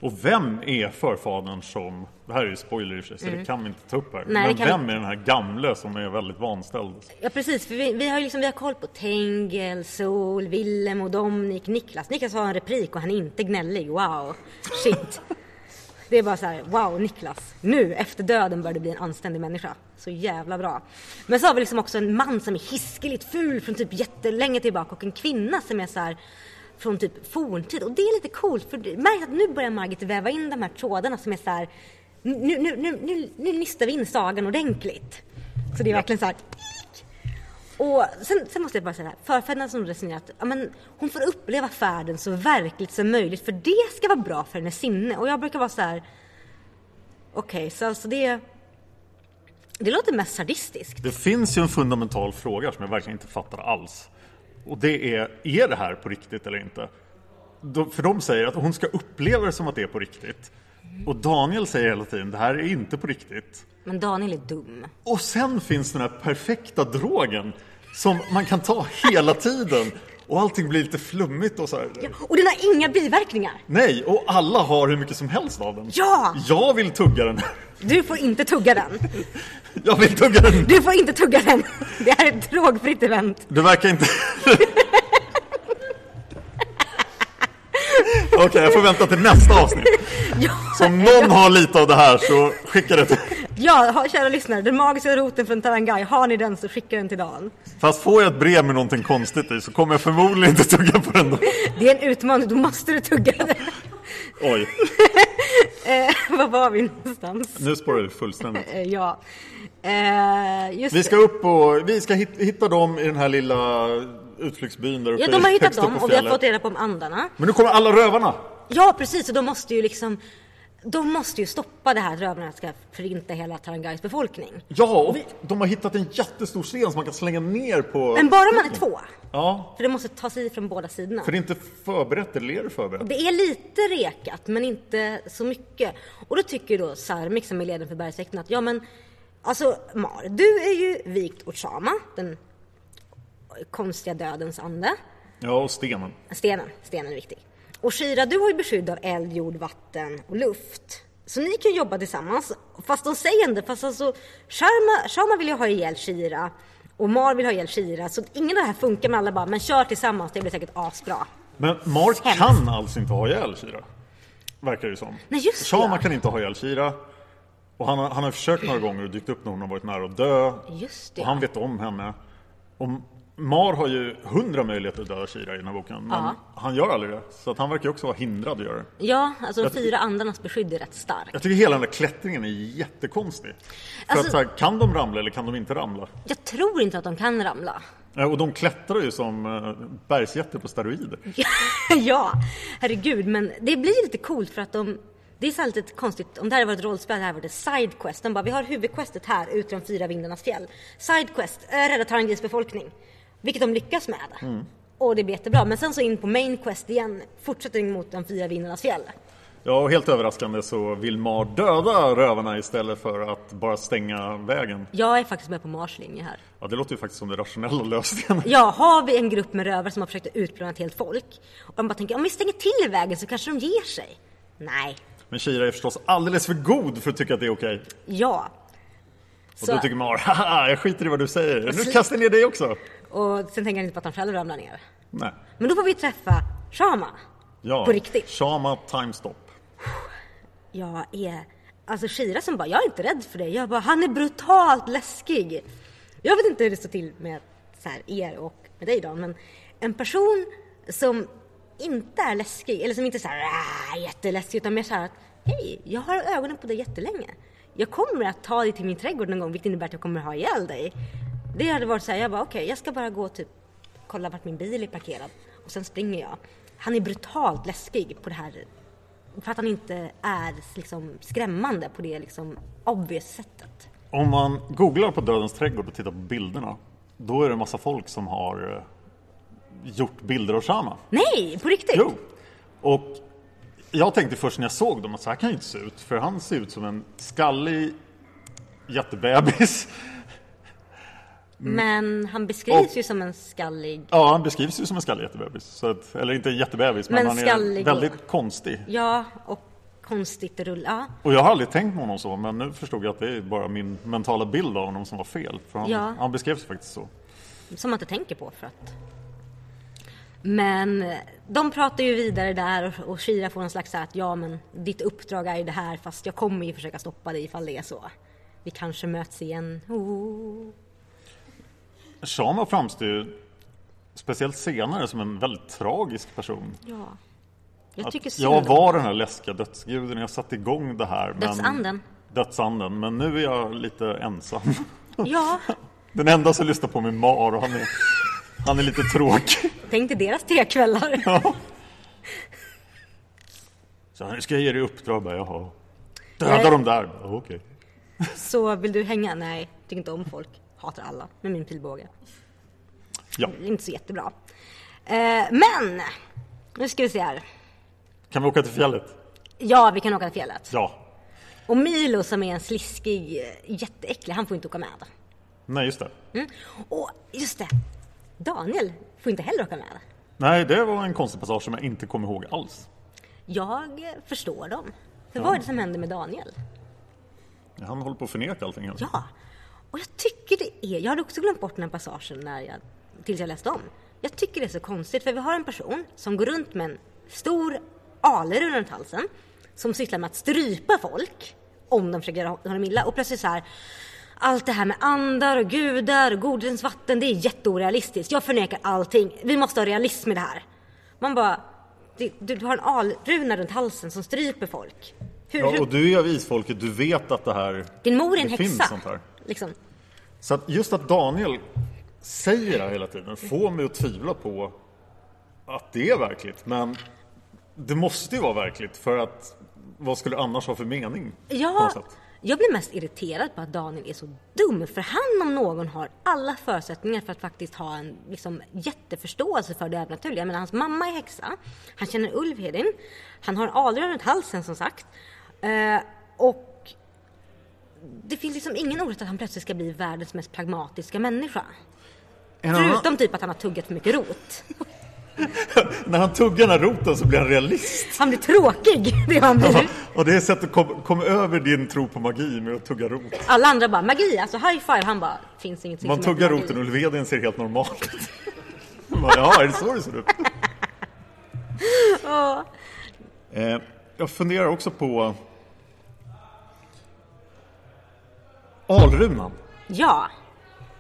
[SPEAKER 2] Och vem är förfadern som, det här är ju spoiler i och för sig så det kan vi inte ta upp här.
[SPEAKER 3] Mm. Nej, det
[SPEAKER 2] Men
[SPEAKER 3] kan vi-
[SPEAKER 2] vem är den här gamle som är väldigt vanställd?
[SPEAKER 3] Ja precis, för vi, vi har ju liksom, vi har koll på Tengel, Sol, Willem och Domnik, Niklas. Niklas har en replik och han är inte gnällig, wow. Shit. Det är bara så här, wow Niklas, nu efter döden börjar du bli en anständig människa. Så jävla bra. Men så har vi liksom också en man som är hiskeligt ful från typ jättelänge tillbaka och en kvinna som är så här från typ forntid. Och det är lite coolt för det- märk att nu börjar Margit väva in de här trådarna som är så här, nu, nu, nu, nu, nu listar vi in sagan ordentligt. Så det är verkligen så här, och sen, sen måste jag bara säga det här. Förfäderna som resonerar att ja, men, hon får uppleva färden så verkligt som möjligt för det ska vara bra för hennes sinne. Och jag brukar vara så här. Okej, så alltså det... Det låter mest sadistiskt.
[SPEAKER 2] Det finns ju en fundamental fråga som jag verkligen inte fattar alls. Och det är, är det här på riktigt eller inte? De, för de säger att hon ska uppleva det som att det är på riktigt. Och Daniel säger hela tiden, det här är inte på riktigt.
[SPEAKER 3] Men Daniel är dum.
[SPEAKER 2] Och sen finns den här perfekta drogen som man kan ta hela tiden och allting blir lite flummigt och så här.
[SPEAKER 3] Och den har inga biverkningar!
[SPEAKER 2] Nej, och alla har hur mycket som helst av den.
[SPEAKER 3] Ja!
[SPEAKER 2] Jag vill tugga den. (laughs)
[SPEAKER 3] Du får inte tugga den.
[SPEAKER 2] Jag vill tugga den.
[SPEAKER 3] Du får inte tugga den. (laughs) Det här är ett drogfritt event.
[SPEAKER 2] Du verkar inte... (laughs) Okej, jag får vänta till nästa avsnitt. Så om någon har lite av det här så skicka det till...
[SPEAKER 3] Ja, ha- kära lyssnare. Den magiska roten från Tarangai. Har ni den så skicka den till Dan.
[SPEAKER 2] Fast får jag ett brev med någonting konstigt i så kommer jag förmodligen inte tugga på den då.
[SPEAKER 3] Det är en utmaning. Då måste du tugga den. (laughs)
[SPEAKER 2] Oj,
[SPEAKER 3] Var var vi någonstans?
[SPEAKER 2] nu spårar du fullständigt.
[SPEAKER 3] Eh, Ja. Eh, just
[SPEAKER 2] Vi ska upp och vi ska hit- hitta dem i den här lilla utflyktsbyn där uppe
[SPEAKER 3] Ja, de har
[SPEAKER 2] i-
[SPEAKER 3] hittat
[SPEAKER 2] högst upp
[SPEAKER 3] dem
[SPEAKER 2] på
[SPEAKER 3] och vi har
[SPEAKER 2] fjället.
[SPEAKER 3] fått reda på om andarna.
[SPEAKER 2] Men nu kommer alla rövarna!
[SPEAKER 3] Ja, precis. Och de måste ju liksom... De måste ju stoppa det här att rövarna ska förinta hela Tarangais befolkning.
[SPEAKER 2] Ja, och de har hittat en jättestor sten som man kan slänga ner på...
[SPEAKER 3] Men bara om man är två.
[SPEAKER 2] Ja,
[SPEAKER 3] För det måste ta sig från båda sidorna.
[SPEAKER 2] för det är inte förberett, eller är det förberett?
[SPEAKER 3] Det är lite rekat, men inte så mycket. Och då tycker ju då Sarmik som är ledaren för bergsväkten att ja men alltså Mar, du är ju vikt åt Shama, den konstiga dödens ande.
[SPEAKER 2] Ja, och stenen.
[SPEAKER 3] Stenen, stenen är viktig. Och Shira, du har ju beskydd av eld, jord, vatten och luft. Så ni kan jobba tillsammans. Fast de säger inte, fast alltså Sharma, Sharma vill ju ha ihjäl Shira och Mar vill ha ihjäl Shira. Så ingen av det här funkar med alla bara, men kör tillsammans, det blir säkert asbra.
[SPEAKER 2] Men Mark
[SPEAKER 3] Hemskt.
[SPEAKER 2] kan alltså inte ha ihjäl Kira. Verkar det som.
[SPEAKER 3] Nej, just det,
[SPEAKER 2] Shama
[SPEAKER 3] ja.
[SPEAKER 2] kan inte ha ihjäl Kira. Och han har, han har försökt några gånger och dykt upp när hon har varit nära att dö.
[SPEAKER 3] Just det.
[SPEAKER 2] Och han vet om henne. Och Mar har ju hundra möjligheter att döda Kira i den här boken. Men
[SPEAKER 3] Ja.
[SPEAKER 2] han gör aldrig det. Så att han verkar ju också vara hindrad att göra det.
[SPEAKER 3] Ja, alltså de fyra andarnas beskydd är rätt starkt.
[SPEAKER 2] Jag tycker hela den där klättringen är jättekonstig. För
[SPEAKER 3] Alltså-
[SPEAKER 2] att, så här, kan de ramla eller kan de inte ramla?
[SPEAKER 3] Jag tror inte att de kan ramla.
[SPEAKER 2] Eh, Och de klättrar ju som eh, bergsjätter på steroider.
[SPEAKER 3] (laughs) ja, herregud. Men det blir lite coolt för att de... Det är så här lite konstigt. Om det här var ett rollspel, det här var det sidequest. De bara, vi har huvudquestet här ute i de fyra vindarnas fjäll. Sidequest, eh, rädda Tarangis befolkning. Vilket de lyckas med.
[SPEAKER 2] Mm.
[SPEAKER 3] Och det blir jättebra. Men sen så in på mainquest igen. Fortsätter mot de fyra vindarnas fjäll.
[SPEAKER 2] Ja, och helt överraskande så vill Mar döda rövarna istället för att bara stänga vägen.
[SPEAKER 3] Jag är faktiskt med på Mars linje här.
[SPEAKER 2] Ja, det låter ju faktiskt som den rationella
[SPEAKER 3] (laughs)
[SPEAKER 2] lösningen.
[SPEAKER 3] Ja, har vi en grupp med rövare som har försökt att utplåna ett helt folk. Och de bara tänker, om vi stänger till vägen så kanske de ger sig. Nej,
[SPEAKER 2] Men Kira är förstås alldeles för god för att tycka att det är okej.
[SPEAKER 3] ja.
[SPEAKER 2] Och
[SPEAKER 3] Så-
[SPEAKER 2] då tycker Mar, (laughs) haha, jag skiter i vad du säger. Nu kastar jag ner dig också.
[SPEAKER 3] Och sen tänker han inte på att han själv ramlar ner.
[SPEAKER 2] Nej.
[SPEAKER 3] Men då får vi träffa Shama.
[SPEAKER 2] Ja.
[SPEAKER 3] På riktigt.
[SPEAKER 2] Shama time stop.
[SPEAKER 3] Jag är... Alltså Shira som bara, jag är inte rädd för dig. Jag bara, han är brutalt läskig. Jag vet inte hur det står till med så här, er och med dig Dan, men en person som inte är läskig, eller som inte är så här "Ah, jätteläskig, utan mer så här att hej, jag har ögonen på dig jättelänge. Jag kommer att ta dig till min trädgård någon gång, vilket innebär att jag kommer att ha ihjäl dig. Det hade varit så här, jag bara okej, jag ska bara gå och typ kolla vart min bil är parkerad och sen springer jag. Han är brutalt läskig på det här för att han inte är liksom skrämmande på det liksom obvious sättet.
[SPEAKER 2] Om man googlar på Dödens trädgård och tittar på bilderna, då är det en massa folk som har eh, gjort bilder av Shama.
[SPEAKER 3] Nej, på riktigt!
[SPEAKER 2] Jo! Och Jag tänkte först när jag såg dem att så här kan ju inte se ut, för han ser ut som en skallig jättebebis. (laughs) Mm.
[SPEAKER 3] Men han beskrivs ju som en skallig.
[SPEAKER 2] Ja, han beskrivs ju som en skallig jättebebis. Så att, eller inte jättebebis, men,
[SPEAKER 3] Men
[SPEAKER 2] han är
[SPEAKER 3] skallig och-
[SPEAKER 2] väldigt konstig.
[SPEAKER 3] Ja, och konstigt rull. Ja,
[SPEAKER 2] Och jag har aldrig tänkt på honom så, men nu förstod jag att det är bara min mentala bild av honom som var fel. För han,
[SPEAKER 3] Ja.
[SPEAKER 2] han beskrevs faktiskt så.
[SPEAKER 3] som man inte tänker på för att. Men eh, de pratar ju vidare där och, och Shira får någon slags så här att ja men ditt uppdrag är ju det här fast jag kommer ju försöka stoppa dig ifall det är så. Vi kanske möts igen. Oh.
[SPEAKER 2] Shama framstår ju, speciellt senare, som en väldigt tragisk person.
[SPEAKER 3] Ja. Jag tycker
[SPEAKER 2] Att
[SPEAKER 3] synd
[SPEAKER 2] jag
[SPEAKER 3] om-
[SPEAKER 2] var den här läskiga dödsguden, jag satte igång det här. Men,
[SPEAKER 3] Dödsanden.
[SPEAKER 2] Dödsanden, men nu är jag lite ensam. (laughs)
[SPEAKER 3] Ja,
[SPEAKER 2] Den enda som lyssnar på min mar och han är, han är lite tråkig.
[SPEAKER 3] tänk dig deras tekvällar.
[SPEAKER 2] Ja. Så här, nu ska jag ge dig uppdrag, bara, jaha. Döda
[SPEAKER 3] Nej.
[SPEAKER 2] de där, Ja, okej.
[SPEAKER 3] Så vill du hänga? Nej, tycker inte om folk. Hatar alla med min pilbåge.
[SPEAKER 2] Ja.
[SPEAKER 3] Inte så jättebra. Eh, men! Nu ska vi se här.
[SPEAKER 2] Kan vi åka till fjället?
[SPEAKER 3] Ja, vi kan åka till fjället.
[SPEAKER 2] Ja.
[SPEAKER 3] Och Milo som är en sliskig, eh, jätteäcklig, han får inte åka med.
[SPEAKER 2] Nej, just det.
[SPEAKER 3] Mm. Och just det! Daniel får inte heller åka med.
[SPEAKER 2] Nej, det var en konstig passage som jag inte kommer ihåg alls.
[SPEAKER 3] Jag eh, förstår dem. För vad är det som händer med Daniel?
[SPEAKER 2] Han håller på att förneka allting. Alltså.
[SPEAKER 3] Ja, och jag tycker det är... Jag hade också glömt bort den här passagen när jag, tills jag läste om. Jag tycker det är så konstigt för vi har en person som går runt med en stor aler runt halsen som sysslar med att strypa folk om de försöker göra honom illa och plötsligt så här allt det här med andar och gudar och godens vatten det är jätteorealistiskt. Jag förnekar allting. Vi måste ha realism i det här. Man bara, du, du, du har en alruna runt halsen som stryper folk. Hur,
[SPEAKER 2] Ja,
[SPEAKER 3] hur,
[SPEAKER 2] och du är av isfolket, du vet att det här...
[SPEAKER 3] din mor är en
[SPEAKER 2] det finns
[SPEAKER 3] häxa.
[SPEAKER 2] sånt här.
[SPEAKER 3] Liksom.
[SPEAKER 2] Så att just att Daniel säger det här hela tiden får mig att tvivla på att det är verkligt. Men det måste ju vara verkligt för att vad skulle det annars ha för mening? på
[SPEAKER 3] Ja,
[SPEAKER 2] något sätt?
[SPEAKER 3] jag blir mest irriterad på att Daniel är så dum för han om någon har alla förutsättningar för att faktiskt ha en liksom, jätteförståelse för det övernaturliga. Jag menar, hans mamma är häxa, han känner Ulvhedin, han har en alrön runt halsen som sagt. Eh, och det finns liksom ingen orsak att han plötsligt ska bli världens mest pragmatiska människa.
[SPEAKER 2] En annan-
[SPEAKER 3] Förutom typ att han har tuggat för mycket rot.
[SPEAKER 2] När han tuggar den här roten så blir han realist.
[SPEAKER 3] Han blir tråkig, (laughs) det är vad han blir.
[SPEAKER 2] Och det är sättet att komma kom över din tro på magi med att tugga rot.
[SPEAKER 3] Alla andra bara magi, alltså high five. Han bara, finns ingenting
[SPEAKER 2] Man
[SPEAKER 3] som heter
[SPEAKER 2] tuggar
[SPEAKER 3] magi."
[SPEAKER 2] roten och Ulvedien ser helt normal ut. (laughs) Man bara, ja, är det så det ser ut? Eh, Jag funderar också på Alrunan.
[SPEAKER 3] Ja,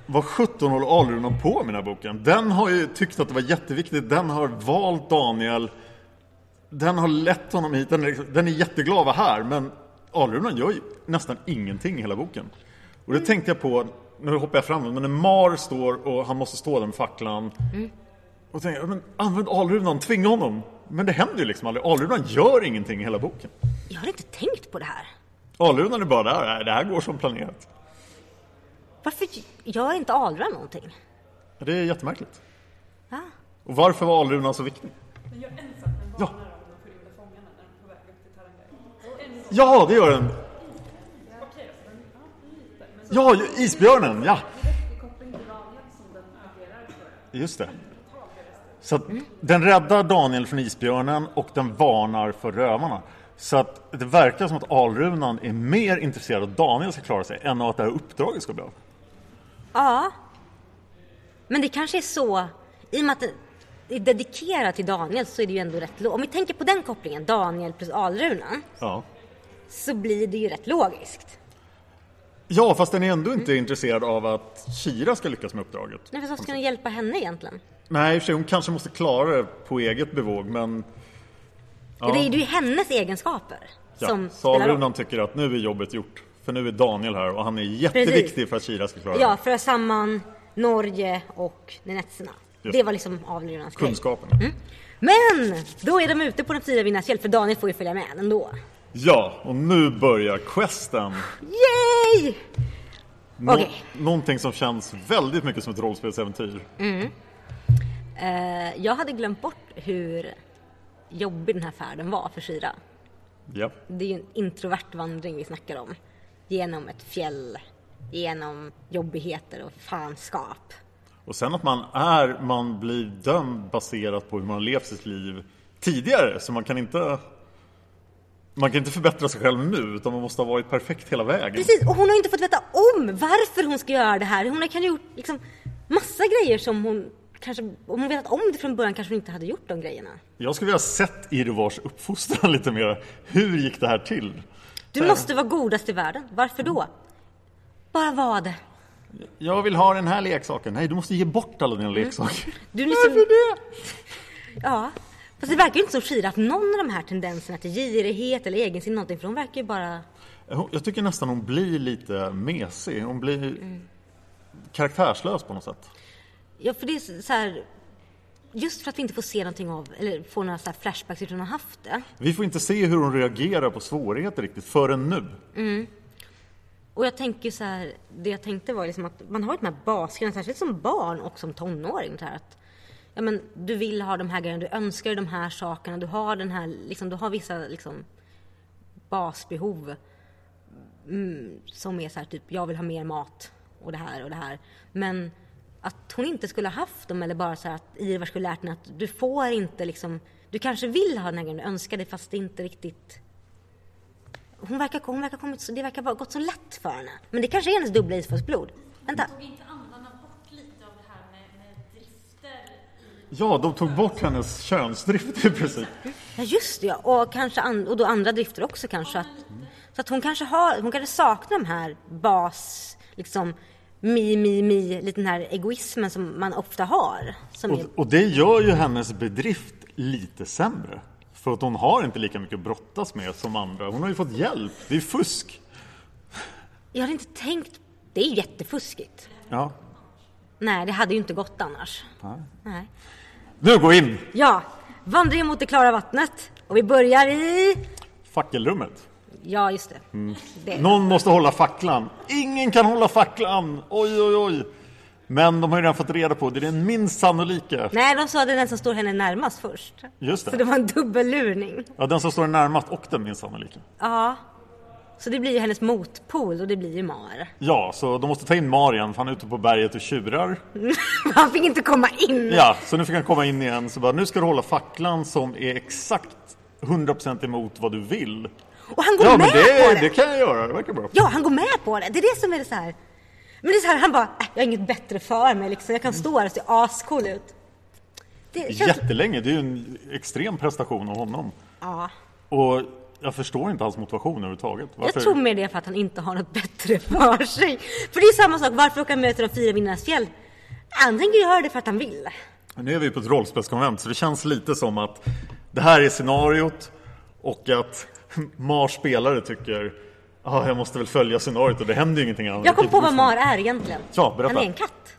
[SPEAKER 2] Vad sjutton håller Alrunan på med den här boken? Den har ju tyckt att det var jätteviktigt. Den har valt Daniel. Den har lett honom hit. Den är, liksom- den är jätteglad att vara här, men Alrunan gör ju nästan ingenting i hela boken. Och det tänkte jag på, nu hoppar jag framåt, men när Mar står och han måste stå där med facklan. Och tänkte jag, men använd Alrunan, tvinga honom. Men det händer ju liksom aldrig. Alrunan gör ingenting i hela boken.
[SPEAKER 3] jag har inte tänkt på det här.
[SPEAKER 2] Alrunan är bara där, "Nej, det här går som planerat.
[SPEAKER 3] Varför gör inte Alra någonting?
[SPEAKER 2] Det är jättemärkligt.
[SPEAKER 3] Ja.
[SPEAKER 2] Och varför var Alrunan så viktig? Ja. Ja, det gör den. Ja, ju- isbjörnen, ja. Just det. Så att den räddar Daniel från isbjörnen och den varnar för rövarna. Så att det verkar som att Alrunan är mer intresserad av att Daniel ska klara sig än av att det här uppdraget ska bli av.
[SPEAKER 3] ja. Men det kanske är så, i och med att det är dedikerat till Daniel så är det ju ändå rätt lo- Om vi tänker på den kopplingen, Daniel plus Alrunan,
[SPEAKER 2] Ja.
[SPEAKER 3] så blir det ju rätt logiskt.
[SPEAKER 2] Ja, fast den är ändå inte intresserad av att Kira ska lyckas med uppdraget.
[SPEAKER 3] Nej, för vad ska den hjälpa henne egentligen?
[SPEAKER 2] Nej, i och för sig, hon kanske måste klara det på eget bevåg, men
[SPEAKER 3] Det är ju hennes egenskaper
[SPEAKER 2] ja,
[SPEAKER 3] som spelar roll.
[SPEAKER 2] Salrunan tycker att nu är jobbet gjort. För nu är Daniel här och han är jätteviktig
[SPEAKER 3] Precis.
[SPEAKER 2] för att Kira ska klara
[SPEAKER 3] Ja,
[SPEAKER 2] det.
[SPEAKER 3] föra samman Norge och Nenetserna.
[SPEAKER 2] Just.
[SPEAKER 3] Det var liksom Alrunans grej.
[SPEAKER 2] Kunskapen.
[SPEAKER 3] Men! Då är de ute på de fyra vinnarnas hjälp, för Daniel får ju följa med ändå.
[SPEAKER 2] Ja, och nu börjar questen.
[SPEAKER 3] Yay!
[SPEAKER 2] Nå-
[SPEAKER 3] Okej.
[SPEAKER 2] Någonting som känns väldigt mycket som ett
[SPEAKER 3] Mm.
[SPEAKER 2] rollspelsäventyr.
[SPEAKER 3] Eh, Jag hade glömt bort hur jobbig den här färden var för Shira.
[SPEAKER 2] Ja.
[SPEAKER 3] Det är ju en introvert vandring vi snackar om. Genom ett fjäll, genom jobbigheter och fanskap.
[SPEAKER 2] Och sen att man är, man blir dömd baserat på hur man har levt sitt liv tidigare. Så man kan inte man kan inte förbättra sig själv nu utan man måste ha varit perfekt hela vägen.
[SPEAKER 3] Precis, och hon har inte fått veta om varför hon ska göra det här. Hon kan ha gjort liksom massa grejer som hon kanske, om hon vetat om det från början kanske hon inte hade gjort de grejerna.
[SPEAKER 2] Jag skulle vilja ha sett Irvars uppfostran (laughs) lite mer. Hur gick det här till?
[SPEAKER 3] Du måste vara godast i världen. Varför då? Bara var det.
[SPEAKER 2] Jag vill ha den här leksaken. Nej, du måste ge bort alla dina leksaker.
[SPEAKER 3] Du är liksom... Ja. Fast det verkar ju inte som Shira att någon av de här tendenserna till girighet eller egensinne någonting för hon verkar ju bara...
[SPEAKER 2] Hon- Jag tycker nästan hon blir lite mesig. Hon blir karaktärslös på något sätt.
[SPEAKER 3] Ja, för det är så här... Just för att vi inte får se någonting av, eller får några så här flashbacks utan att ha haft det.
[SPEAKER 2] Vi får inte se hur hon reagerar på svårigheter riktigt förrän nu.
[SPEAKER 3] Och jag tänker så här, det jag tänkte var liksom att man har ju de här basgrejerna, särskilt som barn och som tonåring. Så här att, ja, men, du vill ha de här grejerna, du önskar dig de här sakerna, du har, den här, liksom, du har vissa liksom, basbehov. Mm, som är så här, typ, jag vill ha mer mat och det här och det här. Men att hon inte skulle ha haft dem eller bara så här att Ivar skulle lärt henne att du får inte liksom, du kanske vill ha den här grejen du önskar dig fast det inte riktigt hon verkar, hon verkar kommit så, det verkar ha gått så lätt för henne. Men det kanske är hennes dubbla isfårsblod. Vänta.
[SPEAKER 4] Tog inte andarna bort lite av det här med, med drifter i...
[SPEAKER 2] Ja, de tog bort hennes könsdrift i princip.
[SPEAKER 3] Ja just det ja. Och, kanske an, och då andra drifter också kanske. Att, så att hon kanske har, hon kanske saknar de här bas, liksom mi, mi, mi, lite den här egoismen som man ofta har. Som är,
[SPEAKER 2] Och, och det gör ju hennes bedrift lite sämre. För att hon har inte lika mycket att brottas med som andra. Hon har ju fått hjälp. Det är fusk.
[SPEAKER 3] jag hade inte tänkt, det är jättefuskigt.
[SPEAKER 2] Ja.
[SPEAKER 3] Nej, det hade ju inte gått annars. Nej.
[SPEAKER 2] Nu går vi in!
[SPEAKER 3] Ja, vandringen mot det klara vattnet. Och vi börjar i...
[SPEAKER 2] Fackelrummet.
[SPEAKER 3] Ja, just det.
[SPEAKER 2] Mm.
[SPEAKER 3] det.
[SPEAKER 2] Någon måste hålla facklan. Ingen kan hålla facklan! Oj, oj, oj! Men de har ju redan fått reda på, det är den minst sannolika.
[SPEAKER 3] Nej, de sa att det är den som står henne närmast först.
[SPEAKER 2] Just det.
[SPEAKER 3] Så det var en dubbellurning.
[SPEAKER 2] Ja, den som står närmast och den minst sannolika.
[SPEAKER 3] Ja. Så det blir ju hennes motpol och det blir ju Mar.
[SPEAKER 2] Ja, så de måste ta in Marian, för han är ute på berget och tjurar.
[SPEAKER 3] (laughs) Mm. Han fick inte komma in!
[SPEAKER 2] Ja, så nu fick han komma in igen. Så bara, nu ska du hålla facklan som är exakt 100% emot vad du vill.
[SPEAKER 3] Och han går
[SPEAKER 2] Ja, men
[SPEAKER 3] med på
[SPEAKER 2] det,
[SPEAKER 3] det!
[SPEAKER 2] det kan jag göra. Det verkar bra.
[SPEAKER 3] Ja, han går med på det! Det är det som är det så här. Men det är så här, han bara, äh, jag har inget bättre för mig liksom. Jag
[SPEAKER 2] Mm.
[SPEAKER 3] kan stå här och se ascool ut. Det känns...
[SPEAKER 2] Jättelänge. Det är ju en extrem prestation av honom.
[SPEAKER 3] Ja.
[SPEAKER 2] Och jag förstår inte hans motivation överhuvudtaget. Varför?
[SPEAKER 3] Jag tror mer det är för att han inte har något bättre (laughs) för sig. För det är samma sak, varför åker han med till de fyra vinnarnas fjäll? Han tänker göra det för att han vill.
[SPEAKER 2] Nu är vi på ett rollspelskonvent, så det känns lite som att det här är scenariot och att (laughs) Mars spelare tycker ah, jag måste väl följa scenariot och det händer ju ingenting annat.
[SPEAKER 3] Jag kom
[SPEAKER 2] kan
[SPEAKER 3] på
[SPEAKER 2] inte
[SPEAKER 3] vad
[SPEAKER 2] bli (laughs)
[SPEAKER 3] Mar är egentligen.
[SPEAKER 2] Ja, berätta.
[SPEAKER 3] Han är en katt.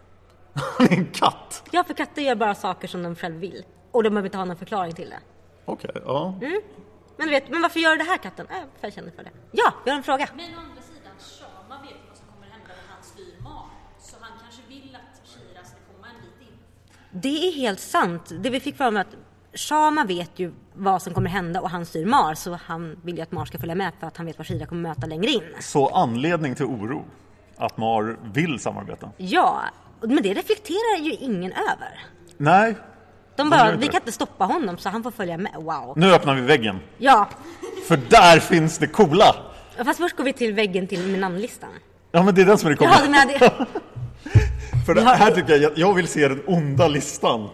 [SPEAKER 2] Han är en katt!
[SPEAKER 3] Ja, för katter gör bara saker som de själv vill. Och de behöver inte ha någon förklaring till det.
[SPEAKER 2] Okej, ja.
[SPEAKER 3] Mm. Men du vet, men varför gör du det här katten? Äh, för jag känner för det. Ja, jag har en fråga.
[SPEAKER 4] Men å andra sidan, Shama vet ju vad som kommer hända när han styr Mar. Så han kanske vill att Shira ska komma en bit in.
[SPEAKER 3] Det är helt sant. Det vi fick fram är att Shama vet ju vad som kommer hända och han styr Mar så han vill ju att Mar ska följa med för att han vet vad Shira kommer möta längre in.
[SPEAKER 2] Så anledning till oro? Att Mar vill samarbeta?
[SPEAKER 3] Ja, men det reflekterar ju ingen över.
[SPEAKER 2] Nej,
[SPEAKER 3] De
[SPEAKER 2] gör
[SPEAKER 3] bara,
[SPEAKER 2] inte
[SPEAKER 3] vi
[SPEAKER 2] det.
[SPEAKER 3] kan inte stoppa honom så han får följa med. Wow.
[SPEAKER 2] nu öppnar vi väggen.
[SPEAKER 3] Ja,
[SPEAKER 2] För där finns det coola!
[SPEAKER 3] fast först går vi till väggen till med namnlistan.
[SPEAKER 2] Ja men det är den som är det coola.
[SPEAKER 3] Ja, du menar det.
[SPEAKER 2] För det här tycker jag, jag vill se den onda listan.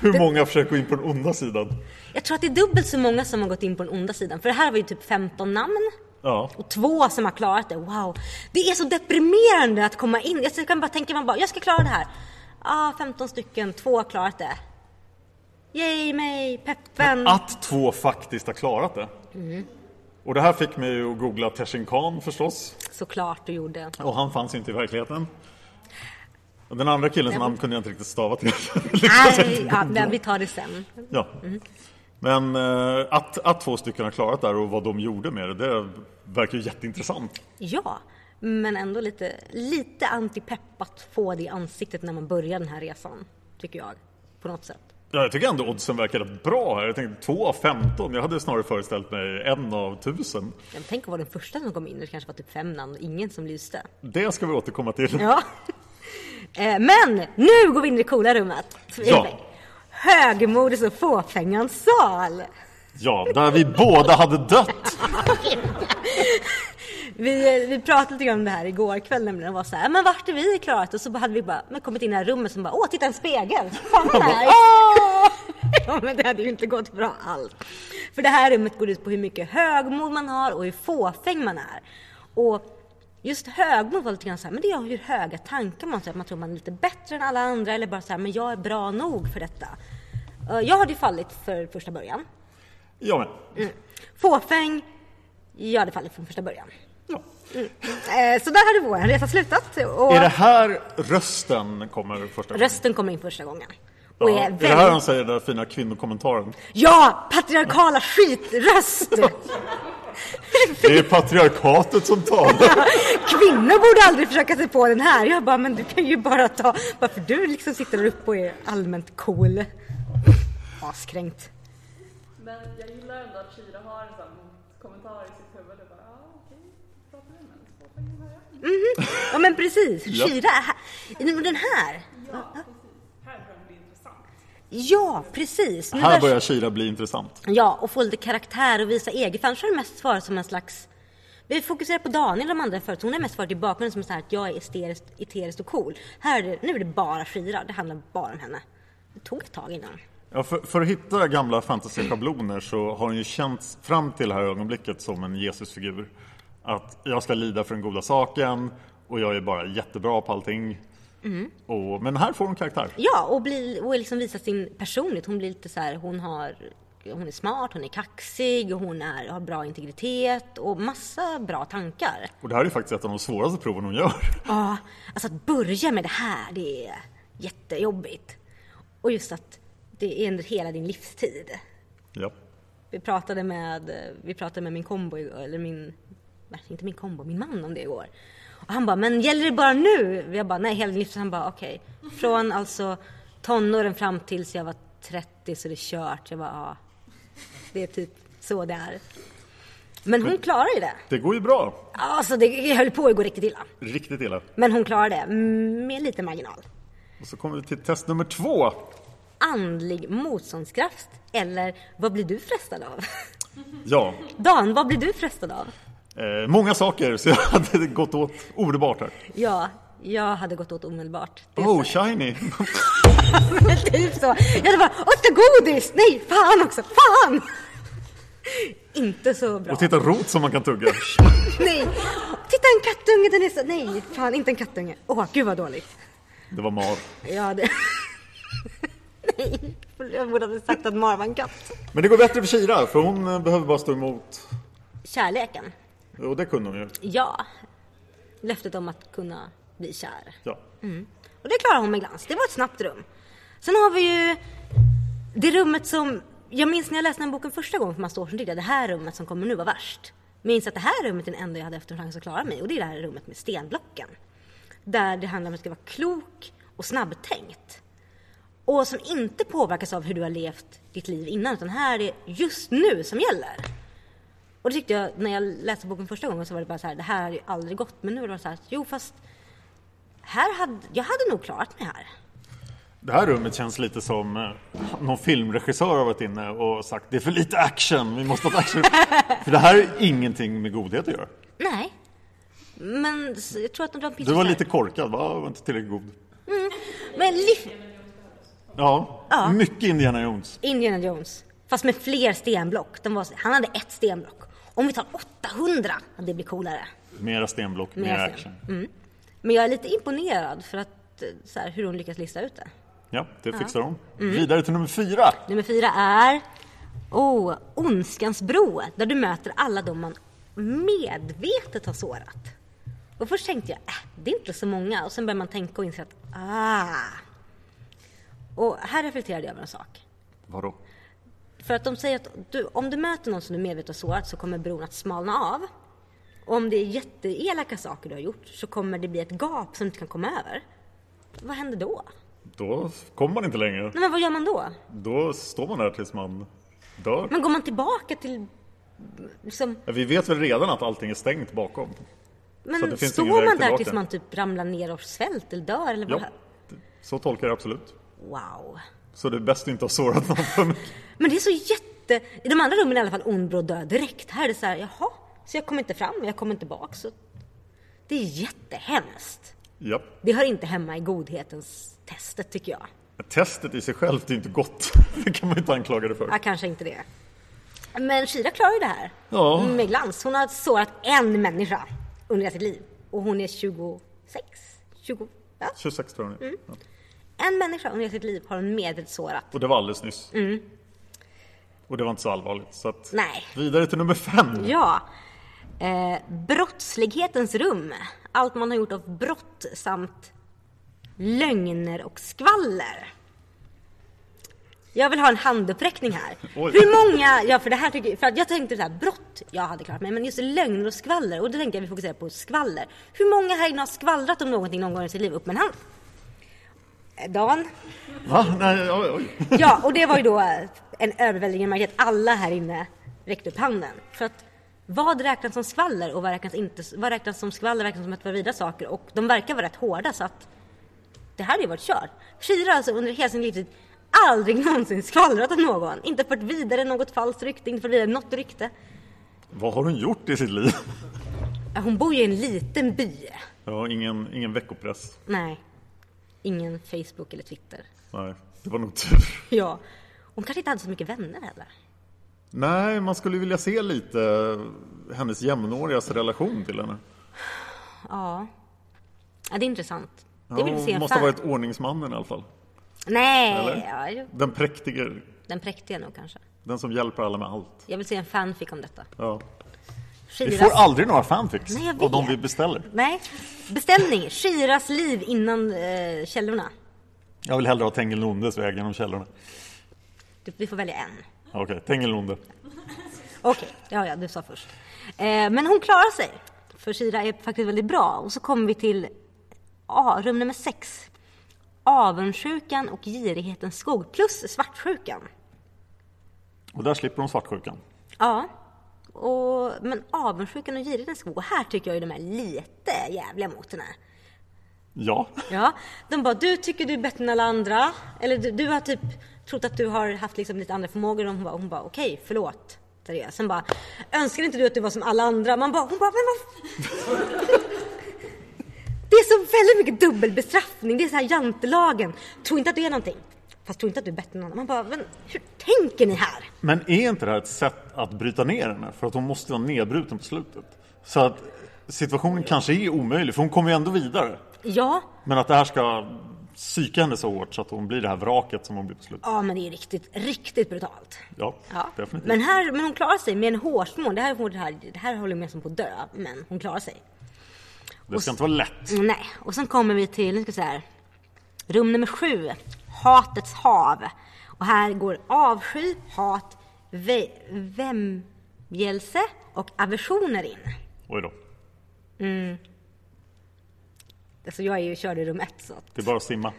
[SPEAKER 2] Hur många försöker gå in på den onda sidan?
[SPEAKER 3] Jag tror att det är dubbelt så många som har gått in på den onda sidan. För det här var ju typ 15 namn.
[SPEAKER 2] Ja.
[SPEAKER 3] Och två som har klarat det. Wow! Det är så deprimerande att komma in. Jag kan bara tänka man bara, jag ska klara det här. ah, 15 stycken, två har klarat det. Yay mig, peppen.
[SPEAKER 2] Att två faktiskt har klarat det. Och det här fick mig ju att googla Teshin Khan förstås.
[SPEAKER 3] Såklart du gjorde.
[SPEAKER 2] Och han fanns ju inte i verkligheten. Och den andra killens namn kunde jag inte riktigt stava till. (laughs) Lyckas jag
[SPEAKER 3] Nej,
[SPEAKER 2] inte
[SPEAKER 3] ja,
[SPEAKER 2] googla.
[SPEAKER 3] men vi tar det sen.
[SPEAKER 2] ja. Men eh, att, att två stycken har klarat det här och vad de gjorde med det, det verkar ju jätteintressant.
[SPEAKER 3] Ja, men ändå lite, lite antipepp att få det i ansiktet när man börjar den här resan. Tycker jag. På något sätt.
[SPEAKER 2] Ja, jag tycker ändå oddsen verkar rätt bra här. Jag tänkte 2 av 15. Jag hade snarare föreställt mig en av 1000.
[SPEAKER 3] Ja, men tänk att vara den första som kom in. Det kanske var typ fem namn och ingen som lyste.
[SPEAKER 2] Det ska vi återkomma (laughs) till.
[SPEAKER 3] Ja. Eh, Men nu går vi in i det coola rummet.
[SPEAKER 2] Ja.
[SPEAKER 3] Högmodets och fåfängans sal.
[SPEAKER 2] Ja, där vi båda hade dött.
[SPEAKER 3] Vi, eh, vi pratade lite grann om det här igår kväll nämligen och var så här, men vart är vi klarat? Och så hade vi bara men kommit in i det här rummet som bara, åh titta en spegel! Fan vad nice! (laughs) Ja men det hade ju inte gått bra alls. För det här rummet går ut på hur mycket högmod man har och hur fåfäng man är. Och just högmod var lite grann så här, men det är hur höga tankar man har, så att man tror man är lite bättre än alla andra eller bara så här, men jag är bra nog för detta. Eh, Jag hade ju fallit för första början.
[SPEAKER 2] Ja, men.
[SPEAKER 3] Fåfäng, jag hade fallit från första början.
[SPEAKER 2] Ja.
[SPEAKER 3] Eh, Så där hade vår resa slutat. Och
[SPEAKER 2] Är det här rösten kommer första gången?
[SPEAKER 3] Rösten kommer in första gången.
[SPEAKER 2] Ja.
[SPEAKER 3] Och
[SPEAKER 2] Är
[SPEAKER 3] är
[SPEAKER 2] det här de
[SPEAKER 3] väldigt...
[SPEAKER 2] säger den där fina kvinnokommentaren?
[SPEAKER 3] Ja! Patriarkala skitröst! (laughs)
[SPEAKER 2] Det är patriarkatet som
[SPEAKER 3] (laughs)
[SPEAKER 2] talar.
[SPEAKER 3] Kvinnor borde aldrig försöka sig på den här. Jag bara, men du kan ju bara ta... Varför du liksom sitter där uppe och är allmänt cool? Askränkt.
[SPEAKER 5] Men jag gillar ändå att Shira har en sån kommentar i sitt huvud. Det bara, ah, okej, bra problem. Så får jag göra.
[SPEAKER 3] Ja men precis,
[SPEAKER 2] Ja.
[SPEAKER 3] Shira är här. Nej, men Den här!
[SPEAKER 5] Här börjar det bli intressant.
[SPEAKER 3] Ja, precis. Nu
[SPEAKER 2] här
[SPEAKER 3] där-
[SPEAKER 2] börjar Kira bli intressant.
[SPEAKER 3] Ja, och få lite karaktär och visa eget. För annars har det mest varit som en slags... Vi fokuserar på Daniel och de andra förut. Hon har mest varit i bakgrunden som så här att jag är eteriskt, eteriskt och cool. Här är det, nu är det bara Shira. Det handlar bara om henne. Det tog ett tag innan.
[SPEAKER 2] Ja, för, för att hitta gamla fantasy-schabloner så har hon ju känts fram till det här ögonblicket som en Jesusfigur. Att jag ska lida för den goda saken och jag är bara jättebra på allting.
[SPEAKER 3] Mm.
[SPEAKER 2] Och, men här får hon karaktär.
[SPEAKER 3] Ja, och, bli, och liksom visa sin personlighet. Hon blir lite så här, hon har... Hon är smart, hon är kaxig, och hon är, har bra integritet och massa bra tankar.
[SPEAKER 2] Och det här är faktiskt ett av de svåraste proven hon gör. (laughs)
[SPEAKER 3] Ja, alltså att börja med det här, det är jättejobbigt. Och just att det är under hela din livstid.
[SPEAKER 2] Ja.
[SPEAKER 3] Vi pratade med, vi pratade med min kombo, igår, eller min, nej, inte min kombo, min man om det igår. Och han bara, men gäller det bara nu? Jag bara, nej hela livet. Han bara, okej. Från alltså tonåren fram tills jag var 30 så det är kört. Jag bara, ja. Det är typ så det är. Men hon klarar ju det.
[SPEAKER 2] Det går ju bra.
[SPEAKER 3] Alltså det jag höll på att gå riktigt illa.
[SPEAKER 2] Riktigt illa.
[SPEAKER 3] Men hon klarar det mm, med lite marginal.
[SPEAKER 2] Och så kommer vi till test nummer två.
[SPEAKER 3] Andlig motståndskraft eller vad blir du frestad av?
[SPEAKER 2] Ja,
[SPEAKER 3] Dan, vad blir du frestad av?
[SPEAKER 2] eh, många saker så jag hade gått åt omedelbart här.
[SPEAKER 3] Ja, jag hade gått åt omedelbart. Det är
[SPEAKER 2] Oh,
[SPEAKER 3] så.
[SPEAKER 2] shiny!
[SPEAKER 3] Men (laughs) typ så. Jag hade bara, åt det godis! Nej, fan också, fan! Inte så bra.
[SPEAKER 2] Och titta rot som man kan tugga.
[SPEAKER 3] Nej, titta en kattunge, den är så, nej, fan inte en kattunge. Åh, gud vad dåligt.
[SPEAKER 2] Det var mar.
[SPEAKER 3] Ja, det... (laughs) Nej, jag borde ha sagt att Mar var en katt.
[SPEAKER 2] Men det går bättre för Kira, för hon eh, behöver bara stå emot.
[SPEAKER 3] Kärleken,
[SPEAKER 2] Och det kunde hon ju.
[SPEAKER 3] ja. Löftet om att kunna bli kär.
[SPEAKER 2] Ja.
[SPEAKER 3] Mm. Och det klarar hon med glans. Det var ett snabbt rum. Sen har vi ju det rummet som... Jag minns när jag läste den här boken första gången för massa år sedan tyckte jag det här rummet som kommer nu var värst. Men jag minns att det här rummet är det enda jag hade haft en chans att klara mig och det är det här rummet med stenblocken. Där det handlar om att du ska vara klok och snabbtänkt. Och som inte påverkas av hur du har levt ditt liv innan utan här är just nu som gäller. Och det tyckte jag när jag läste boken första gången så var det bara så här, det här hade ju aldrig gått. Men nu var det så här, jo fast här hade, jag hade nog klarat mig här.
[SPEAKER 2] Det här rummet känns lite som eh, någon filmregissör har varit inne och sagt det är för lite action, vi måste ha ett
[SPEAKER 3] (laughs)
[SPEAKER 2] action. för det här är ingenting med godhet att göra.
[SPEAKER 3] Nej. Men s- jag tror att de la en pitch
[SPEAKER 2] Du var
[SPEAKER 3] där.
[SPEAKER 2] lite korkad, va? Var inte tillräckligt god.
[SPEAKER 3] Men liv...
[SPEAKER 2] Ja,
[SPEAKER 3] Ja.
[SPEAKER 2] mycket Indiana Jones.
[SPEAKER 3] Indiana Jones. Fast med fler stenblock. De var, så- han hade ett stenblock. Om vi tar 800, ja, det blir coolare.
[SPEAKER 2] Mera stenblock, mer
[SPEAKER 3] Mera Mm. sten.
[SPEAKER 2] action.
[SPEAKER 3] Men jag är lite imponerad för att eh, så här, hur hon lyckas lista ut det.
[SPEAKER 2] Ja, det fixar hon.
[SPEAKER 3] Mm.
[SPEAKER 2] Vidare till nummer fyra.
[SPEAKER 3] Nummer fyra är oh, Ondskans bro, där du möter alla de man medvetet har sårat. Och först tänkte jag, äh, det är inte så många. Och sen börjar man tänka och inse att, ah. Och här reflekterade jag över en sak.
[SPEAKER 2] Vadå?
[SPEAKER 3] För att de säger att du, om du möter någon som du medvetet har sårat så kommer bron att smalna av. Och om det är jätteelaka saker du har gjort så kommer det bli ett gap som du inte kan komma över. Vad händer då?
[SPEAKER 2] Då kommer man inte längre.
[SPEAKER 3] Nej, men vad gör man då?
[SPEAKER 2] Då står man där tills man dör.
[SPEAKER 3] Men går man tillbaka till... Liksom,
[SPEAKER 2] Ja, Vi vet väl redan att allting är stängt bakom. Så det
[SPEAKER 3] men
[SPEAKER 2] finns
[SPEAKER 3] står
[SPEAKER 2] ingen väg
[SPEAKER 3] man där
[SPEAKER 2] tillbaka.
[SPEAKER 3] tills man typ ramlar ner och svälter eller dör eller vad?
[SPEAKER 2] Ja, så tolkar jag absolut.
[SPEAKER 3] Wow.
[SPEAKER 2] Så det är bäst att inte ha sårat någon för mycket.
[SPEAKER 3] Men det är så jätte... I de andra rummen är i alla fall ond bråd död direkt. Här är det så här, jaha, så jag kommer inte fram, jag kommer inte bak. Så... Det är jättehemskt.
[SPEAKER 2] Ja.
[SPEAKER 3] Det hör inte hemma i godhetens testet tycker jag.
[SPEAKER 2] Testet i sig självt är inte gott. (laughs) Det kan man inte anklaga det för.
[SPEAKER 3] Ja, kanske inte det. Men Shira klarar ju det här.
[SPEAKER 2] Ja.
[SPEAKER 3] Med glans. Hon har sårat en människa under hela sitt liv. Och hon är 26. 20. Ja.
[SPEAKER 2] 26 tror jag
[SPEAKER 3] Mm.
[SPEAKER 2] nu. Ja.
[SPEAKER 3] En människa under hela sitt liv har hon medvetet sårat.
[SPEAKER 2] Och det var alldeles nyss. Och det var inte så allvarligt. Så att
[SPEAKER 3] Mm. Nej.
[SPEAKER 2] vidare till nummer fem.
[SPEAKER 3] Ja. Eh, brottslighetens rum. Allt man har gjort av brott samt lögner och skvaller. Jag vill ha en handuppräckning här.
[SPEAKER 2] Oj.
[SPEAKER 3] Hur många, ja för det här tycker för att jag tänkte så här brott, jag hade klart mig, men just lögner och skvaller och då tänkte jag vi fokuserar på skvaller. Hur många här inne har skvallrat om någonting någon gång i sitt liv? Upp med en hand. Eh, Dan?
[SPEAKER 2] Va? Nej, oj, oj.
[SPEAKER 3] Ja, och det var ju då en överväldigande majoritet. Alla här inne räckte upp handen. För att vad räknas som skvaller och vad räknas, inte, vad räknas som skvaller räknas som att vara vida saker och de verkar vara rätt hårda så att det här hade ju varit kört. Shira har alltså under hela sin livstid aldrig någonsin skvallrat om någon. Inte fört vidare något falskt rykte, inte fört vidare något rykte.
[SPEAKER 2] Vad har hon gjort i sitt liv?
[SPEAKER 3] Ja, Hon bor ju i en liten by.
[SPEAKER 2] Ja, ingen, ingen veckopress.
[SPEAKER 3] Nej, ingen Facebook eller Twitter.
[SPEAKER 2] Nej, det var nog tur.
[SPEAKER 3] Ja, hon kanske inte hade så mycket vänner heller.
[SPEAKER 2] Nej, man skulle ju vilja se lite hennes jämnårigas relation till henne.
[SPEAKER 3] Ja. ja, det är intressant.
[SPEAKER 2] Ja,
[SPEAKER 3] det vill vi se
[SPEAKER 2] hon
[SPEAKER 3] en
[SPEAKER 2] måste ha
[SPEAKER 3] fan.
[SPEAKER 2] varit ordningsmannen i alla fall.
[SPEAKER 3] Nej,
[SPEAKER 2] Eller?
[SPEAKER 3] ja, jo.
[SPEAKER 2] Den präktige,
[SPEAKER 3] den präktiga nog kanske.
[SPEAKER 2] den som hjälper alla med allt.
[SPEAKER 3] Jag vill se en fanfic om detta.
[SPEAKER 2] Ja. Vi
[SPEAKER 3] Shiras...
[SPEAKER 2] får aldrig några fanfics
[SPEAKER 3] Nej, jag vet.
[SPEAKER 2] av de vi beställer.
[SPEAKER 3] Nej, beställning. Shiras liv innan eh, källorna.
[SPEAKER 2] Jag vill hellre ha Tengil Nondes väg genom källorna.
[SPEAKER 3] Du, vi får välja en.
[SPEAKER 2] Okej, Tengil Nonde.
[SPEAKER 3] Okej, ja, ja, du sa först. Eh, men hon klarar sig. För Shira är faktiskt väldigt bra. Och så kommer vi till ah, rum nummer sex. Avundsjukan och girighetens skog plus svartsjukan.
[SPEAKER 2] Och där slipper hon svartsjukan.
[SPEAKER 3] Ja. Och, men avundsjukan och girigheten ska gå. Här tycker jag ju de är lite jävliga mot henne.
[SPEAKER 2] Ja,
[SPEAKER 3] Ja, de bara du tycker du är bättre än alla andra. Eller du, du har typ trott att du har haft liksom lite andra förmågor. Och hon bara, hon bara okej, förlåt. Therese. Sen bara, önskar inte du att du var som alla andra? Man bara, hon bara, men vad... (laughs) Det är så väldigt mycket dubbelbestraffning. Det är så här jantelagen. Tro inte att du är någonting. Fast tro inte att du är bättre än någon annan. Man bara, men hur tänker ni här?
[SPEAKER 2] men är inte det här ett sätt att bryta ner henne? För att hon måste vara nedbruten på slutet. Så att situationen kanske är omöjlig, för hon kommer ju ändå vidare.
[SPEAKER 3] Ja,
[SPEAKER 2] Men att det här ska psyka henne så hårt så att hon blir det här vraket som hon blir på slutet.
[SPEAKER 3] Ja men det är ju riktigt, riktigt brutalt.
[SPEAKER 2] Ja,
[SPEAKER 3] Ja.
[SPEAKER 2] definitivt.
[SPEAKER 3] Men, här, men hon klarar sig med en hårsmån. Det här, hår- det här, det här håller med som på att dö, men hon klarar sig.
[SPEAKER 2] Det ska inte vara lätt.
[SPEAKER 3] Nej, och sen kommer vi till, nu ska vi se här. Rum nummer sju, Hatets hav. Och här går avsky, hat, ve, vämjelse och aversioner in.
[SPEAKER 2] Oj då.
[SPEAKER 3] Alltså jag är ju körd i rum ett så att
[SPEAKER 2] Det är bara att simma.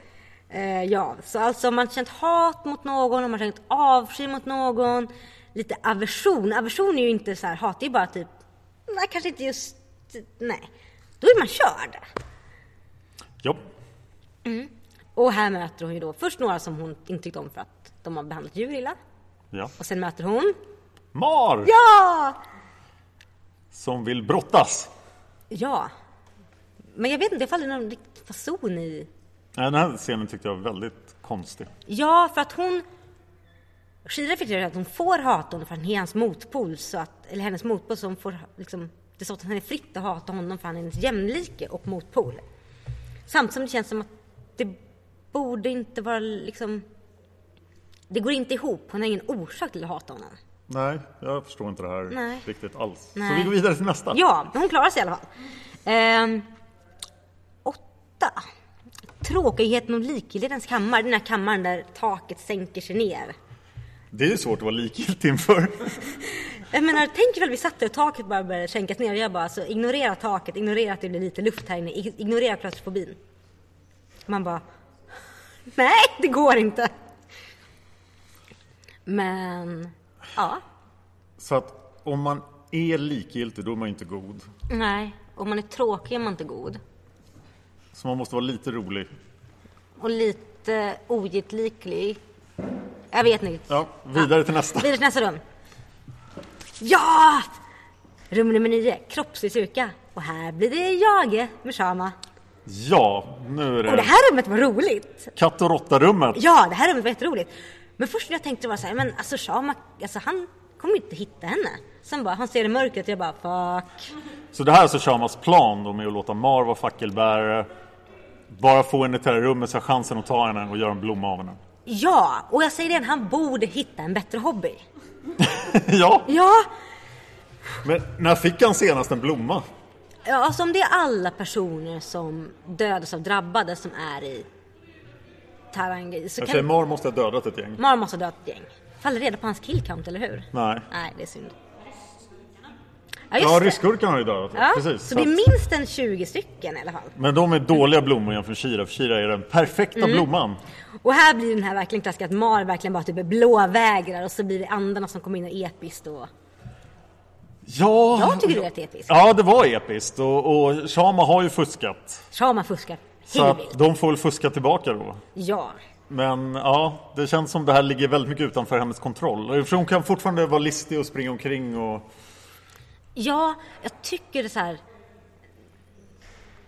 [SPEAKER 3] Eh, ja, så alltså om man känt hat mot någon, om man känt avsky mot någon, lite aversion. Aversion är ju inte så här hat, det är bara typ, nej kanske inte just, nej. Då är man körd.
[SPEAKER 2] Ja,
[SPEAKER 3] Och här möter hon ju då först några som hon inte tyckte om för att de har behandlat djur illa.
[SPEAKER 2] ja.
[SPEAKER 3] Och sen möter hon,
[SPEAKER 2] Mar!
[SPEAKER 3] ja!
[SPEAKER 2] Som vill brottas.
[SPEAKER 3] Ja. Men jag vet inte, det faller någon riktig fason i
[SPEAKER 2] Nej, Den här scenen tyckte jag var väldigt konstig.
[SPEAKER 3] Ja, för att hon... Shira reflekterar att hon får hata honom för att han är hans motpol. Så att, eller hennes motpol som får liksom... Det är så att han är fritt att hata honom för han är hennes jämlike och motpol. Samtidigt som det känns som att det borde inte vara liksom... Det går inte ihop. Hon har ingen orsak till att hata honom.
[SPEAKER 2] Nej, jag förstår inte det här
[SPEAKER 3] Nej.
[SPEAKER 2] riktigt alls. Så
[SPEAKER 3] Nej.
[SPEAKER 2] vi går vidare till nästa.
[SPEAKER 3] Ja, men hon klarar sig i alla fall. Ehm, åtta. Tråkigheten och likgiltighetens kammare. Den här kammaren där taket sänker sig ner.
[SPEAKER 2] Det är ju svårt att vara likgiltig inför. (laughs)
[SPEAKER 3] Jag menar, tänk ifall vi satt där och taket bara började sänkas ner och jag bara alltså, ignorera taket, ignorera att det blir lite luft här inne, ig- ignorera klaustrofobin. Man bara, Nej, det går inte. Men, ja.
[SPEAKER 2] Så att om man är likgiltig, då är man ju inte god.
[SPEAKER 3] Nej, om man är tråkig är man inte god.
[SPEAKER 2] Så man måste vara lite rolig.
[SPEAKER 3] Och lite ogetliklig. Jag vet inte.
[SPEAKER 2] Ja, vidare till nästa.
[SPEAKER 3] Vidare till nästa rum. Ja! Rum nummer nio, kroppslig styrka. Och här blir det jag med Shama.
[SPEAKER 2] Ja, nu är
[SPEAKER 3] Och det
[SPEAKER 2] det
[SPEAKER 3] här rummet var roligt.
[SPEAKER 2] katt och råtta-rummet.
[SPEAKER 3] Ja, det här rummet var jätteroligt. Men först när jag tänkte var så här, men alltså Shama, alltså han kommer inte hitta henne. Sen bara, han ser i mörkret och jag bara, fuck.
[SPEAKER 2] Så det här är alltså Shamas plan då med att låta Mar vara fackelbärare. Bara få henne till det här rummet så har jag chansen att ta henne och göra en blomma av (laughs) henne.
[SPEAKER 3] Ja, och jag säger det, han borde hitta en bättre hobby.
[SPEAKER 2] ja,
[SPEAKER 3] Ja,
[SPEAKER 2] men när fick han senast en blomma?
[SPEAKER 3] Ja, alltså om det är alla personer som dödas av drabbade som är i Tarangi så
[SPEAKER 2] Jag säger,
[SPEAKER 3] kan
[SPEAKER 2] Mar måste ha dödat ett gäng.
[SPEAKER 3] Mar måste ha dödat ett gäng. Faller reda på hans killcount, eller hur?
[SPEAKER 2] Nej.
[SPEAKER 3] Nej, det är synd. Ja, just
[SPEAKER 2] Ja,
[SPEAKER 3] det.
[SPEAKER 2] ryssgurkan har ju dödat
[SPEAKER 3] Ja,
[SPEAKER 2] ett. Precis.
[SPEAKER 3] så det är
[SPEAKER 2] att-
[SPEAKER 3] minst en 20 stycken i alla fall.
[SPEAKER 2] Men de är dåliga blommor jämfört med Shira, för Shira är den perfekta
[SPEAKER 3] Mm.
[SPEAKER 2] blomman.
[SPEAKER 3] Och här blir den här verkligen klassiska att Mar verkligen bara typ blåvägrar och så blir det andarna som kommer in och episkt och...
[SPEAKER 2] Ja,
[SPEAKER 3] Jag tycker det är rätt episkt.
[SPEAKER 2] ja det var episkt och, och Shama har ju fuskat.
[SPEAKER 3] Shama fuskar
[SPEAKER 2] Så
[SPEAKER 3] hej
[SPEAKER 2] att
[SPEAKER 3] vilt.
[SPEAKER 2] de får väl fuska tillbaka då.
[SPEAKER 3] Ja.
[SPEAKER 2] Men ja, det känns som det här ligger väldigt mycket utanför hennes kontroll. För hon kan fortfarande vara listig och springa omkring och...
[SPEAKER 3] Ja, jag tycker det är så här.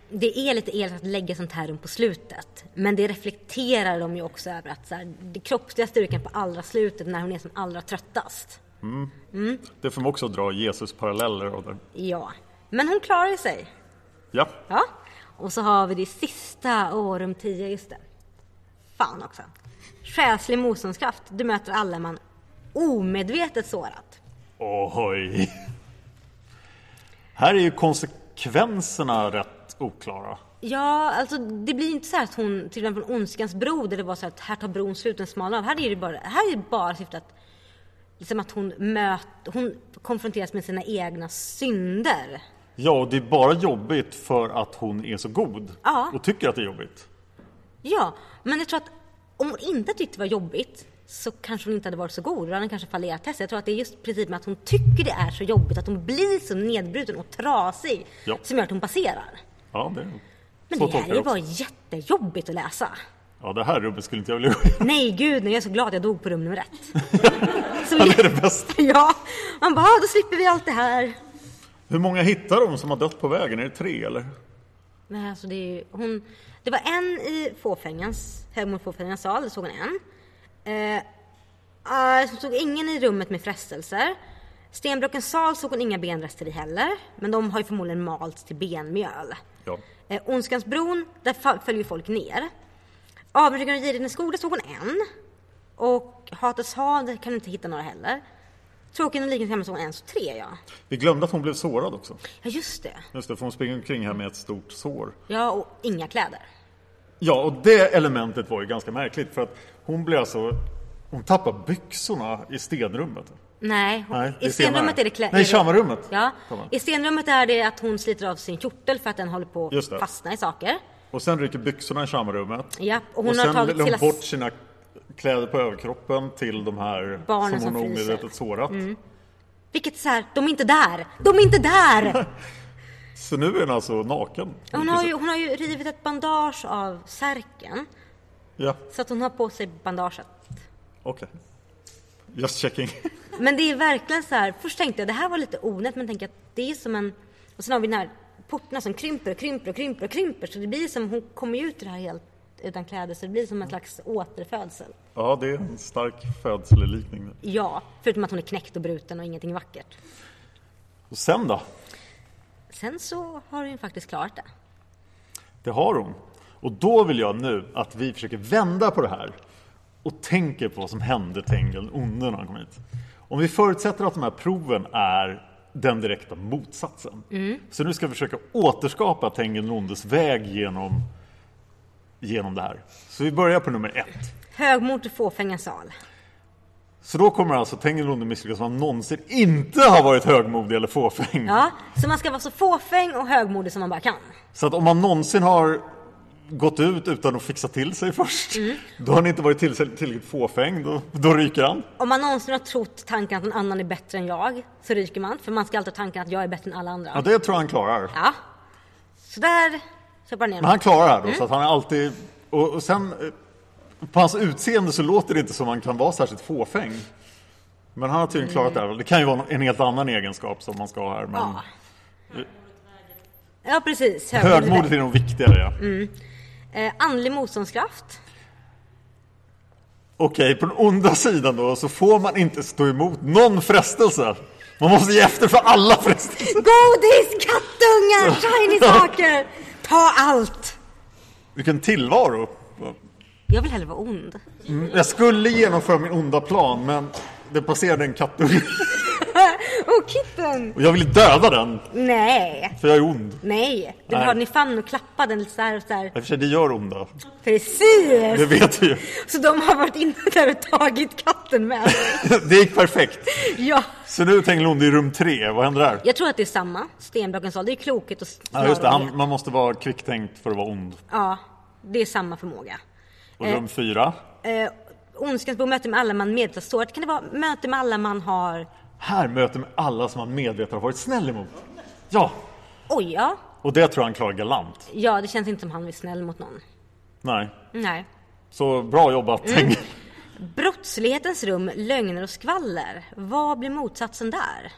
[SPEAKER 3] Det är lite elakt att lägga sånt här rum på slutet. Men det reflekterar de ju också över att så här, det kroppsliga styrkan på allra slutet när hon är som allra tröttast.
[SPEAKER 2] Det får man också dra Jesus-paralleller av där.
[SPEAKER 3] Ja, men hon klarar sig.
[SPEAKER 2] Ja,
[SPEAKER 3] Ja. Och så har vi det sista, åh rum 10, just det. Fan också. Själslig motståndskraft. Du möter alla man omedvetet sårat.
[SPEAKER 2] oj. Här är ju konsekvenserna rätt oklara.
[SPEAKER 3] Ja, alltså det blir inte så här att hon, till exempel från Ondskans bro, där det var så att här tar bron slut, den smalnar av. Här är det bara, här är det bara syftet att, liksom att hon, möt, hon konfronteras med sina egna synder.
[SPEAKER 2] Ja, och det är bara jobbigt för att hon är så god
[SPEAKER 3] Ja.
[SPEAKER 2] och tycker att det är jobbigt.
[SPEAKER 3] Ja, men jag tror att om hon inte tyckte det var jobbigt så kanske hon inte hade varit så god. Då hade hon kanske fallerat testet. Jag tror att det är just principen att hon tycker det är så jobbigt, att hon blir så nedbruten och trasig
[SPEAKER 2] Ja.
[SPEAKER 3] som gör att hon passerar.
[SPEAKER 2] Ja, det är
[SPEAKER 3] Men
[SPEAKER 2] så
[SPEAKER 3] det
[SPEAKER 2] tolkar
[SPEAKER 3] här är ju
[SPEAKER 2] jag
[SPEAKER 3] bara
[SPEAKER 2] också.
[SPEAKER 3] jättejobbigt att läsa.
[SPEAKER 2] Ja, det här rubbet skulle inte jag vilja gå (laughs) igenom.
[SPEAKER 3] Nej gud, nej, jag är så glad jag dog på rum nummer ett.
[SPEAKER 2] (laughs)
[SPEAKER 3] Så
[SPEAKER 2] Det är det bästa.
[SPEAKER 3] (laughs) Ja, man bara, "Ah, då slipper vi allt det här.
[SPEAKER 2] Hur många hittar de som har dött på vägen? Är det tre eller?
[SPEAKER 3] Men alltså det är ju, hon, det var en i fåfängens, Helmut fåfängens sal, där såg hon en. Eh, eh, så såg ingen i rummet med frestelser. Stenbrockens sal såg hon inga benrester i heller, men de har ju förmodligen malts till benmjöl.
[SPEAKER 2] Ja.
[SPEAKER 3] Eh, Ondskans bron, där fa- föll ju folk ner. Avundsjukan och girighetens skog, där såg hon en. Och Hatets hav, där kan du inte hitta några heller. Tråkigen och liknande såg hon en, så tre ja.
[SPEAKER 2] Vi glömde att hon blev sårad också.
[SPEAKER 3] Ja just det.
[SPEAKER 2] Just det, för hon springer omkring här med ett stort sår.
[SPEAKER 3] Ja, och inga kläder.
[SPEAKER 2] Ja, och det elementet var ju ganska märkligt för att hon blev alltså... Hon tappar byxorna i stenrummet.
[SPEAKER 3] Nej, hon-
[SPEAKER 2] Nej, det är
[SPEAKER 3] i stenrummet
[SPEAKER 2] senare.
[SPEAKER 3] är det kläder.
[SPEAKER 2] Nej, i shamanrummet.
[SPEAKER 3] Ja,
[SPEAKER 2] Kommer.
[SPEAKER 3] i stenrummet är det att hon sliter av sin kjortel för att den håller på
[SPEAKER 2] Just det.
[SPEAKER 3] att fastna i saker.
[SPEAKER 2] Och sen rycker byxorna i shamanrummet.
[SPEAKER 3] Ja, och hon har
[SPEAKER 2] sen
[SPEAKER 3] tagit
[SPEAKER 2] la hon
[SPEAKER 3] hela-
[SPEAKER 2] bort sina kläder på överkroppen till de här
[SPEAKER 3] Barnen
[SPEAKER 2] som hon
[SPEAKER 3] som fryser. Mm.
[SPEAKER 2] omedvetet sårat.
[SPEAKER 3] Vilket så här, de är inte där! De är
[SPEAKER 2] (laughs)
[SPEAKER 3] inte där!
[SPEAKER 2] Så nu är hon alltså naken.
[SPEAKER 3] Hon har ju, hon har ju rivit ett bandage av särken
[SPEAKER 2] Ja,
[SPEAKER 3] så att hon har på sig bandaget.
[SPEAKER 2] okej. Just checking. (laughs)
[SPEAKER 3] Men det är verkligen så här, först tänkte jag det här var lite onödigt men tänkte att det är som en... Och sen har vi den här portarna som krymper och krymper och krymper och krymper så det blir som, hon kommer ju ut ur det här helt utan kläder så det blir som en slags återfödsel.
[SPEAKER 2] Ja, det är en stark födselliknande.
[SPEAKER 3] Ja, förutom att hon är knäckt och bruten och ingenting är vackert.
[SPEAKER 2] Och sen då?
[SPEAKER 3] Sen så har hon ju faktiskt klarat det.
[SPEAKER 2] Det har hon. Och då vill jag nu att vi försöker vända på det här och tänker på vad som hände Tengil onde när han kom hit. Om vi förutsätter att de här proven är den direkta motsatsen. Så nu ska vi försöka återskapa Tengil ondes väg genom, genom det här. Så vi börjar på nummer ett.
[SPEAKER 3] Högmod i fåfänga sal.
[SPEAKER 2] Så då kommer alltså Tengil onde misslyckas som han någonsin inte har varit högmodig eller fåfäng.
[SPEAKER 3] Ja, så man ska vara så fåfäng och högmodig som man bara kan.
[SPEAKER 2] Så att om man någonsin har gått ut utan att fixa till sig först. Då har han inte varit till, tillräckligt fåfäng, då, då ryker han.
[SPEAKER 3] Om man någonsin har trott tanken att någon annan är bättre än jag så ryker man. För man ska alltid ha tanken att jag är bättre än alla andra.
[SPEAKER 2] Ja, det tror jag han klarar.
[SPEAKER 3] Ja. Så där köper jag ner
[SPEAKER 2] Men
[SPEAKER 3] mig.
[SPEAKER 2] han klarar det här då, så att han är alltid... Och, och sen, eh, på hans utseende så låter det inte som han kan vara särskilt fåfäng. Men han har tydligen klarat det här. Det kan ju vara en helt annan egenskap som man ska ha här. Men
[SPEAKER 3] Ja. Ja precis.
[SPEAKER 2] högmodet är nog viktigare. Ja.
[SPEAKER 3] Eh, andlig motståndskraft.
[SPEAKER 2] Okej, på den onda sidan då så får man inte stå emot någon frestelse. Man måste ge efter för alla frestelser.
[SPEAKER 3] Godis, kattungar,
[SPEAKER 2] (laughs)
[SPEAKER 3] shiny saker. Ta allt.
[SPEAKER 2] Vilken tillvaro.
[SPEAKER 3] Jag vill hellre vara
[SPEAKER 2] (laughs)
[SPEAKER 3] ond.
[SPEAKER 2] Mm, Jag skulle genomföra min onda plan men det passerade en kattunge.
[SPEAKER 3] Åh, kitten!
[SPEAKER 2] Och jag ville döda den,
[SPEAKER 3] Nej,
[SPEAKER 2] för jag är ond.
[SPEAKER 3] nej. Du vill
[SPEAKER 2] Nej.
[SPEAKER 3] ha den i famnen och klappa den lite så här och så här.
[SPEAKER 2] I och för sig, det gör onda. Det
[SPEAKER 3] Precis!
[SPEAKER 2] vet vi ju.
[SPEAKER 3] Så de har varit inne där och tagit katten med sig.
[SPEAKER 2] Det gick perfekt.
[SPEAKER 3] Ja.
[SPEAKER 2] Så nu tänker Lund i rum tre, vad händer där?
[SPEAKER 3] Jag tror att det är samma, stenblockens ålder. Det är klokhet och
[SPEAKER 2] Ja, just det, han,
[SPEAKER 3] snarare.
[SPEAKER 2] man måste vara kvicktänkt för att vara ond.
[SPEAKER 3] Ja, det är samma förmåga.
[SPEAKER 2] Och rum fyra?
[SPEAKER 3] Eh, ondskans bo möte med alla man medvetet sårat. Kan det vara möte med alla man har...
[SPEAKER 2] Här möter man alla som man medvetet har varit snäll emot. Ja,
[SPEAKER 3] Oj, ja.
[SPEAKER 2] och det tror jag han klarar galant.
[SPEAKER 3] Ja, det känns inte som han är snäll mot någon.
[SPEAKER 2] Nej,
[SPEAKER 3] Nej.
[SPEAKER 2] så bra jobbat.
[SPEAKER 3] Mm.
[SPEAKER 2] tänker jag.
[SPEAKER 3] Brottslighetens rum, lögner och skvaller. Vad blir motsatsen där?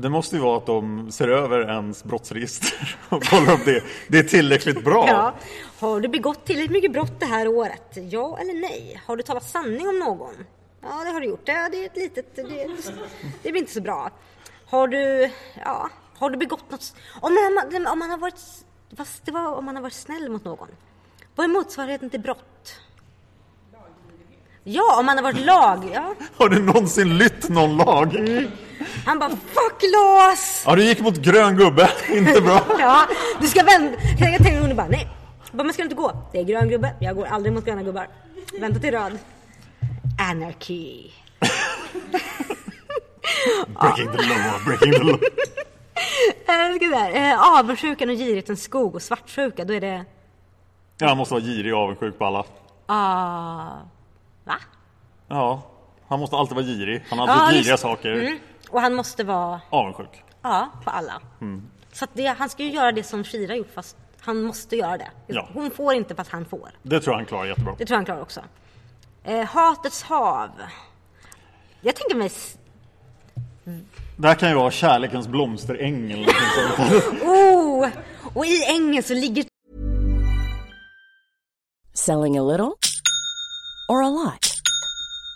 [SPEAKER 2] Det måste ju vara att de ser över ens brottsregister och kollar om det, det är tillräckligt bra.
[SPEAKER 3] Ja. Har du begått tillräckligt mycket brott det här året? Ja eller nej? Har du talat sanning om någon? Ja, det har du gjort. Ja, det är ett litet... Det, det blir inte så bra. Har du... Ja, har du begått något... Om man, om man har varit... Fast det var om man har varit snäll mot någon. Vad är motsvarigheten till brott? Ja, om man har varit lag. Ja.
[SPEAKER 2] Har du någonsin lytt någon lag?
[SPEAKER 3] Han bara fuck LAS!
[SPEAKER 2] Ja, du gick mot grön gubbe, (laughs) inte bra.
[SPEAKER 3] Ja, du ska vända. Jag tänkte hon bara nej. Jag Bara, men ska du inte gå? Det är grön gubbe. Jag går aldrig mot gröna gubbar. Vänta till röd. Anarchy.
[SPEAKER 2] Breaking the law, breaking the law.
[SPEAKER 3] Eh, ska vi där. Eh, avundsjukan och girighetens skog och svartsjuka. Då är det...
[SPEAKER 2] Ja, han måste vara girig och avundsjuk på alla.
[SPEAKER 3] Ah, va?
[SPEAKER 2] Ja, han måste alltid vara girig. Han har
[SPEAKER 3] Ja,
[SPEAKER 2] alltid
[SPEAKER 3] just-
[SPEAKER 2] giriga saker.
[SPEAKER 3] Mm. Och han måste vara
[SPEAKER 2] Avundsjuk.
[SPEAKER 3] ja, på alla. Så att det, han ska ju göra det som Shira gjort fast han måste göra det.
[SPEAKER 2] Ja.
[SPEAKER 3] Hon får inte fast han får.
[SPEAKER 2] Det tror jag han klarar jättebra.
[SPEAKER 3] Det tror jag han klarar också. Eh, hatets hav. Jag tänker mig s-
[SPEAKER 2] Det här kan ju vara kärlekens blomsteräng eller någonting sånt.
[SPEAKER 3] Oh! Och i ängen så ligger
[SPEAKER 6] Selling a little or a lot?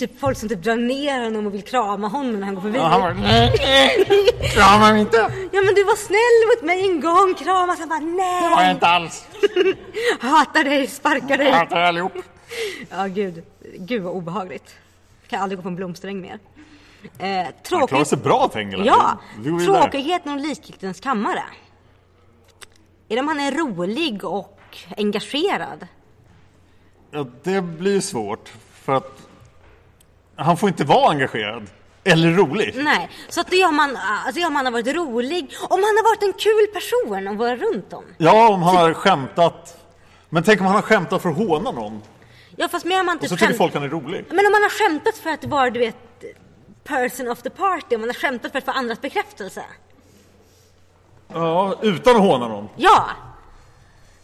[SPEAKER 3] typ folk som typ drar ner honom och vill krama honom när han går förbi.
[SPEAKER 2] Ja, han bara, nej, nej, kramar mig inte.
[SPEAKER 3] Ja men du var snäll mot mig en gång, kramas. Han bara nej.
[SPEAKER 2] Det var jag inte alls.
[SPEAKER 3] Hatar dig, sparkar
[SPEAKER 2] Jag
[SPEAKER 3] dig.
[SPEAKER 2] hatar er allihop.
[SPEAKER 3] Ja gud, gud vad obehagligt. Kan aldrig gå på en blomsteräng mer. Eh,
[SPEAKER 2] Han klarar
[SPEAKER 3] tråkigt.
[SPEAKER 2] sig bra Tengil.
[SPEAKER 3] Ja,
[SPEAKER 2] Vi går vidare.
[SPEAKER 3] tråkigheten och likgiltighetens kammare. Är det om han är rolig och engagerad?
[SPEAKER 2] Ja, det blir svårt för att han får inte vara engagerad eller rolig.
[SPEAKER 3] Nej, så att det är om han, alltså det är om han har varit rolig, om han har varit en kul person att vara runt om.
[SPEAKER 2] Ja, om han har skämtat. Men tänk om han har skämtat för att håna någon
[SPEAKER 3] Ja, fast mer om han typ
[SPEAKER 2] och så tycker
[SPEAKER 3] skämt-
[SPEAKER 2] folk han är rolig.
[SPEAKER 3] Men om man har skämtat för att vara, du vet, person of the party, om man har skämtat för att få andras bekräftelse.
[SPEAKER 2] Ja, utan att håna någon.
[SPEAKER 3] Ja!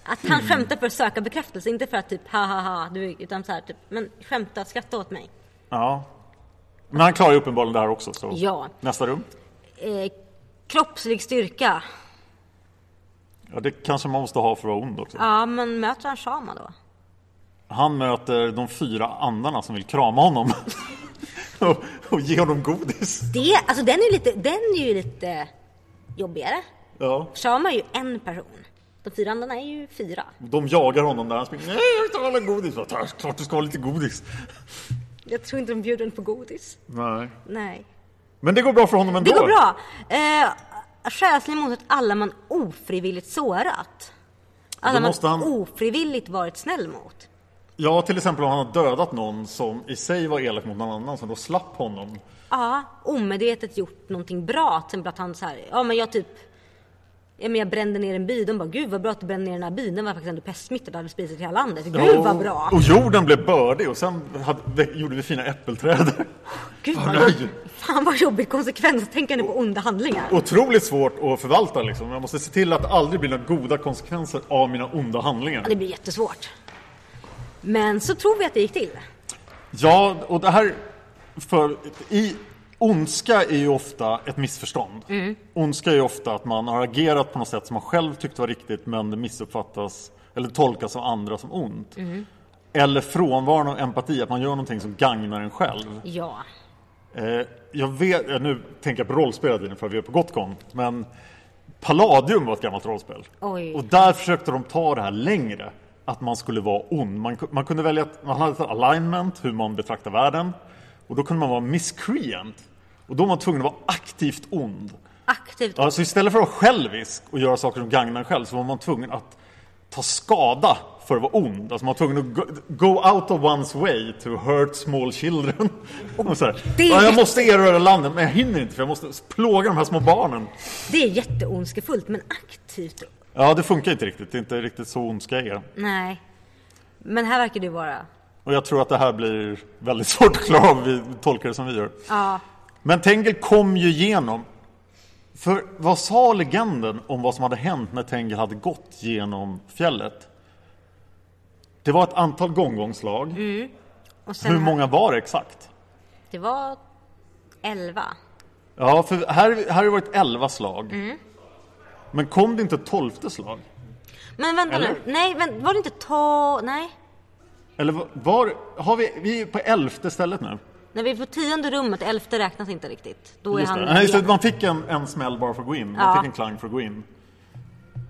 [SPEAKER 3] Att han skämtar för att söka bekräftelse, inte för att typ ha ha ha, du, vet, utan så här typ, men skämta, skratta åt mig.
[SPEAKER 2] Ja. Men han klarar ju uppenbarligen det här också. Så.
[SPEAKER 3] Ja.
[SPEAKER 2] Nästa rum.
[SPEAKER 3] Eh, kroppslig styrka.
[SPEAKER 2] Ja, det kanske man måste ha för att vara ond också.
[SPEAKER 3] Ja, men möter han Shama då?
[SPEAKER 2] Han möter de fyra andarna som vill krama honom. (laughs) och, och ge honom godis.
[SPEAKER 3] Det, alltså den är ju lite, den är ju lite jobbigare.
[SPEAKER 2] Ja.
[SPEAKER 3] Shama är ju en person. De fyra andarna är ju fyra.
[SPEAKER 2] De jagar honom där han springer. Nej, jag vill inte ha någon godis. Bara, "Ta- Klart du ska ha lite godis.
[SPEAKER 3] Jag tror inte de bjuder honom på godis.
[SPEAKER 2] Nej.
[SPEAKER 3] Nej.
[SPEAKER 2] Men det går bra för honom ändå.
[SPEAKER 3] Det går bra. Eh, Själslig mot att alla man ofrivilligt sårat. Alla man
[SPEAKER 2] måste han-
[SPEAKER 3] ofrivilligt varit snäll mot.
[SPEAKER 2] Ja, till exempel om han har dödat någon som i sig var elak mot någon annan som då slapp honom.
[SPEAKER 3] Ja, omedvetet gjort någonting bra. Till exempel att han så här, ja men jag typ, ja men jag brände ner en by. De bara, gud vad bra att du brände ner den här byn. Den var faktiskt ändå pestsmittad och hade spridit i hela landet. Gud vad bra.
[SPEAKER 2] Och jorden blev bördig och sen hade, gjorde vi fina äppelträd. (laughs)
[SPEAKER 3] Gud
[SPEAKER 2] vad
[SPEAKER 3] vad
[SPEAKER 2] nöjd.
[SPEAKER 3] jobbigt. Fan vad jobbigt konsekvenstänkande på onda handlingar.
[SPEAKER 2] Otroligt svårt att förvalta liksom. Jag måste se till att det aldrig blir några goda konsekvenser av mina onda handlingar.
[SPEAKER 3] Ja, det blir jättesvårt. Men så tror vi att det gick till.
[SPEAKER 2] Ja, och det här... För i, ondska är ju ofta ett missförstånd.
[SPEAKER 3] Mm.
[SPEAKER 2] Ondska är ju ofta att man har agerat på något sätt som man själv tyckte var riktigt men det missuppfattas eller tolkas av andra som ont.
[SPEAKER 3] Mm.
[SPEAKER 2] Eller frånvaron av empati, att man gör någonting som gagnar en själv.
[SPEAKER 3] Ja.
[SPEAKER 2] Eh, jag vet, eh, nu tänker jag på rollspel hela tiden för att vi är på Gotcon, men Palladium var ett gammalt rollspel.
[SPEAKER 3] Oj.
[SPEAKER 2] Och där försökte de ta det här längre, att man skulle vara ond. Man, ku- man kunde välja, att- man hade ett alignment, hur man betraktar världen, och då kunde man vara miscreant. Och då var man tvungen att vara aktivt ond.
[SPEAKER 3] Aktivt.
[SPEAKER 2] Alltså istället för att vara självisk och göra saker som gagnar en själv så var man tvungen att ta skada för att vara ond. Alltså man var tvungen att go, go out of one's way to hurt small children. Och (laughs) så här,
[SPEAKER 3] det-
[SPEAKER 2] ja, jag måste erövra landet men jag hinner inte för jag måste plåga de här små barnen.
[SPEAKER 3] Det är jätteondskefullt men aktivt.
[SPEAKER 2] Ja, det funkar inte riktigt. Det är inte riktigt så ondska är.
[SPEAKER 3] Nej. Men här verkar det vara...
[SPEAKER 2] Och jag tror att det här blir väldigt (laughs) svårt att klara om vi tolkar det som vi gör.
[SPEAKER 3] Ja.
[SPEAKER 2] Men Tengil kom ju igenom. För vad sa legenden om vad som hade hänt när Tengil hade gått genom fjället? Det var ett antal gånggångslag.
[SPEAKER 3] Mm. Och sen
[SPEAKER 2] Hur många var det exakt?
[SPEAKER 3] Det var 11.
[SPEAKER 2] Ja, för här, här har det varit elva slag.
[SPEAKER 3] Mm.
[SPEAKER 2] Men kom det inte ett tolfte slag?
[SPEAKER 3] Men vänta
[SPEAKER 2] Eller?
[SPEAKER 3] nu. Nej, vänt, var det inte ta... Nej.
[SPEAKER 2] Eller var- var, har vi, vi är på elfte stället nu.
[SPEAKER 3] När vi är på tionde rummet, elfte räknas inte riktigt. Då är
[SPEAKER 2] Just
[SPEAKER 3] han...
[SPEAKER 2] det. Nej, just det, man fick en, en smäll bara för att gå in. Man
[SPEAKER 3] Ja.
[SPEAKER 2] fick en klang för att gå in.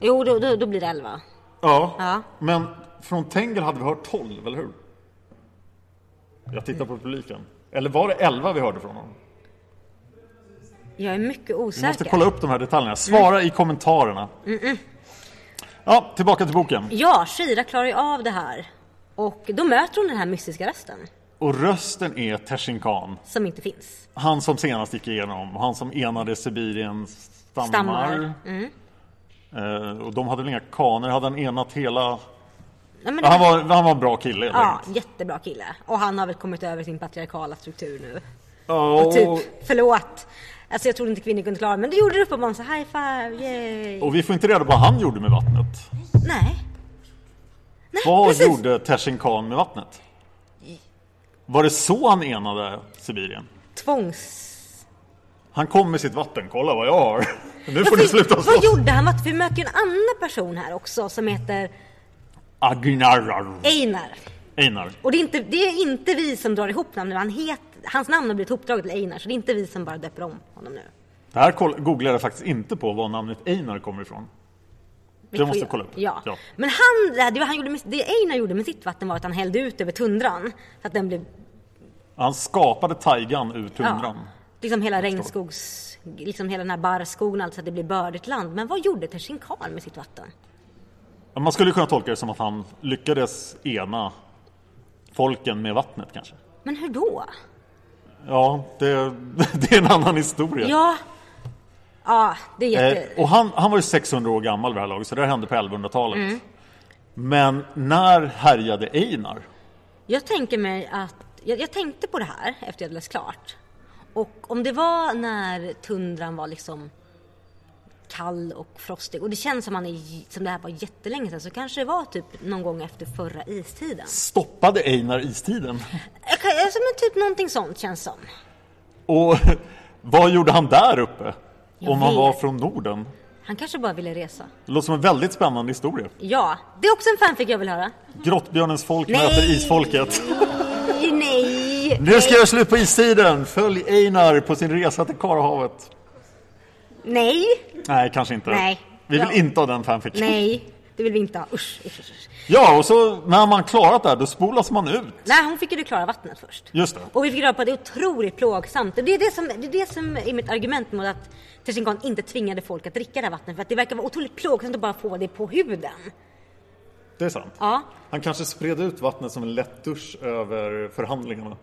[SPEAKER 3] Jo, då, då, då blir det 11.
[SPEAKER 2] Ja.
[SPEAKER 3] Ja.
[SPEAKER 2] men från Tengel hade vi hört 12, eller hur? Jag tittar på publiken. Eller var det 11 vi hörde från honom?
[SPEAKER 3] Jag är mycket
[SPEAKER 2] Vi måste
[SPEAKER 3] osäker.
[SPEAKER 2] kolla upp de här detaljerna. Svara i kommentarerna.
[SPEAKER 3] Mm,
[SPEAKER 2] Ja, tillbaka till boken.
[SPEAKER 3] Ja, Shira klarar ju av det här. Och då möter hon den här mystiska rösten.
[SPEAKER 2] Och rösten är Teshin Khan.
[SPEAKER 3] Som inte finns.
[SPEAKER 2] Han som senast gick igenom. Han som enade Sibiriens stammar.
[SPEAKER 3] Stammar. Mm.
[SPEAKER 2] Eh, och de hade väl inga kaner? Hade han enat hela...
[SPEAKER 3] Nej, men det-
[SPEAKER 2] Han var, han var en bra kille. helt
[SPEAKER 3] Ja,
[SPEAKER 2] enkelt.
[SPEAKER 3] jättebra kille. Och han har väl kommit över sin patriarkala struktur nu.
[SPEAKER 2] Ja,
[SPEAKER 3] Och typ, förlåt. Alltså jag trodde inte kvinnor kunde klara det, men det gjorde det uppenbarligen så high five, yay.
[SPEAKER 2] och vi får inte reda på vad han gjorde med vattnet.
[SPEAKER 3] Nej. (laughs) Nej,
[SPEAKER 2] Vad
[SPEAKER 3] precis.
[SPEAKER 2] gjorde Teshin Khan med vattnet? Var det så han enade Sibirien?
[SPEAKER 3] Tvångs...
[SPEAKER 2] Han kom med sitt vatten, kolla vad jag har. (laughs) Nu får ni sluta
[SPEAKER 3] Vad
[SPEAKER 2] slåss.
[SPEAKER 3] gjorde han? Matt? Vi möter ju en annan person här också som heter
[SPEAKER 2] Agnarar.
[SPEAKER 3] Einar.
[SPEAKER 2] Einar.
[SPEAKER 3] Och det är inte, det är inte vi som drar ihop namnen, han het, hans namn har blivit hopdraget till Einar, så det är inte vi som bara döper om honom nu.
[SPEAKER 2] Det här koll- googlade jag faktiskt inte på var namnet Einar kommer ifrån.
[SPEAKER 3] Vi
[SPEAKER 2] Det
[SPEAKER 3] får
[SPEAKER 2] måste
[SPEAKER 3] ju-
[SPEAKER 2] jag kolla upp.
[SPEAKER 3] Ja.
[SPEAKER 2] Ja.
[SPEAKER 3] Men han, det, han gjorde med, det Einar gjorde med sitt vatten var att han hällde ut över tundran så att den blev
[SPEAKER 2] Han skapade taigan ur tundran.
[SPEAKER 3] Liksom hela regnskogs... Liksom hela den här barrskogen, alltså att det blir bördigt land. Men vad gjorde Tersinkan med sitt vatten?
[SPEAKER 2] Ja. Man skulle kunna tolka det som att han lyckades ena folken med vattnet kanske.
[SPEAKER 3] Men hur då?
[SPEAKER 2] Ja, det, (laughs) det är en annan historia.
[SPEAKER 3] Ja... Ja, det är jätte...
[SPEAKER 2] Eh, och han, han var ju 600 år gammal vid det här laget, så det här hände på 1100-talet.
[SPEAKER 3] Mm.
[SPEAKER 2] Men när härjade Einar?
[SPEAKER 3] Jag tänker mig att, jag, jag tänkte på det här efter jag hade läst klart. Och om det var när tundran var liksom kall och frostig och det känns som, man är, j- som det här var jättelänge sedan så kanske det var typ någon gång efter förra istiden.
[SPEAKER 2] Stoppade Einar istiden?
[SPEAKER 3] Jag kan- Alltså men typ någonting sånt känns som.
[SPEAKER 2] Och (laughs) vad gjorde han där uppe?
[SPEAKER 3] Jag
[SPEAKER 2] om han
[SPEAKER 3] vet.
[SPEAKER 2] var från Norden?
[SPEAKER 3] Han kanske bara ville resa.
[SPEAKER 2] Det låter som en väldigt spännande historia.
[SPEAKER 3] Ja, det är också en fanfic jag vill höra.
[SPEAKER 2] Grottbjörnens folk
[SPEAKER 3] Nej.
[SPEAKER 2] möter isfolket.
[SPEAKER 3] Nej, nej!
[SPEAKER 2] Nu ska jag slut på istiden! Följ Einar på sin resa till Karahavet.
[SPEAKER 3] Nej!
[SPEAKER 2] Nej, kanske inte.
[SPEAKER 3] Nej.
[SPEAKER 2] Vi vill
[SPEAKER 3] Ja.
[SPEAKER 2] inte ha den fanfiction.
[SPEAKER 3] Nej! Det vill vi inte ha. Usch, usch, usch. usch.
[SPEAKER 2] Ja, och så när man klarat det här, då spolas man ut.
[SPEAKER 3] Nej, hon fick ju det klara vattnet först.
[SPEAKER 2] Just det.
[SPEAKER 3] Och vi fick reda på att det är otroligt plågsamt. Det är det som, det är, det som är mitt argument mot att Tersinkan inte tvingade folk att dricka det här vattnet. För att det verkar vara otroligt plågsamt att bara få det på huden.
[SPEAKER 2] Det är sant.
[SPEAKER 3] Ja.
[SPEAKER 2] Han kanske spred ut vattnet som en lätt dusch över förhandlingarna.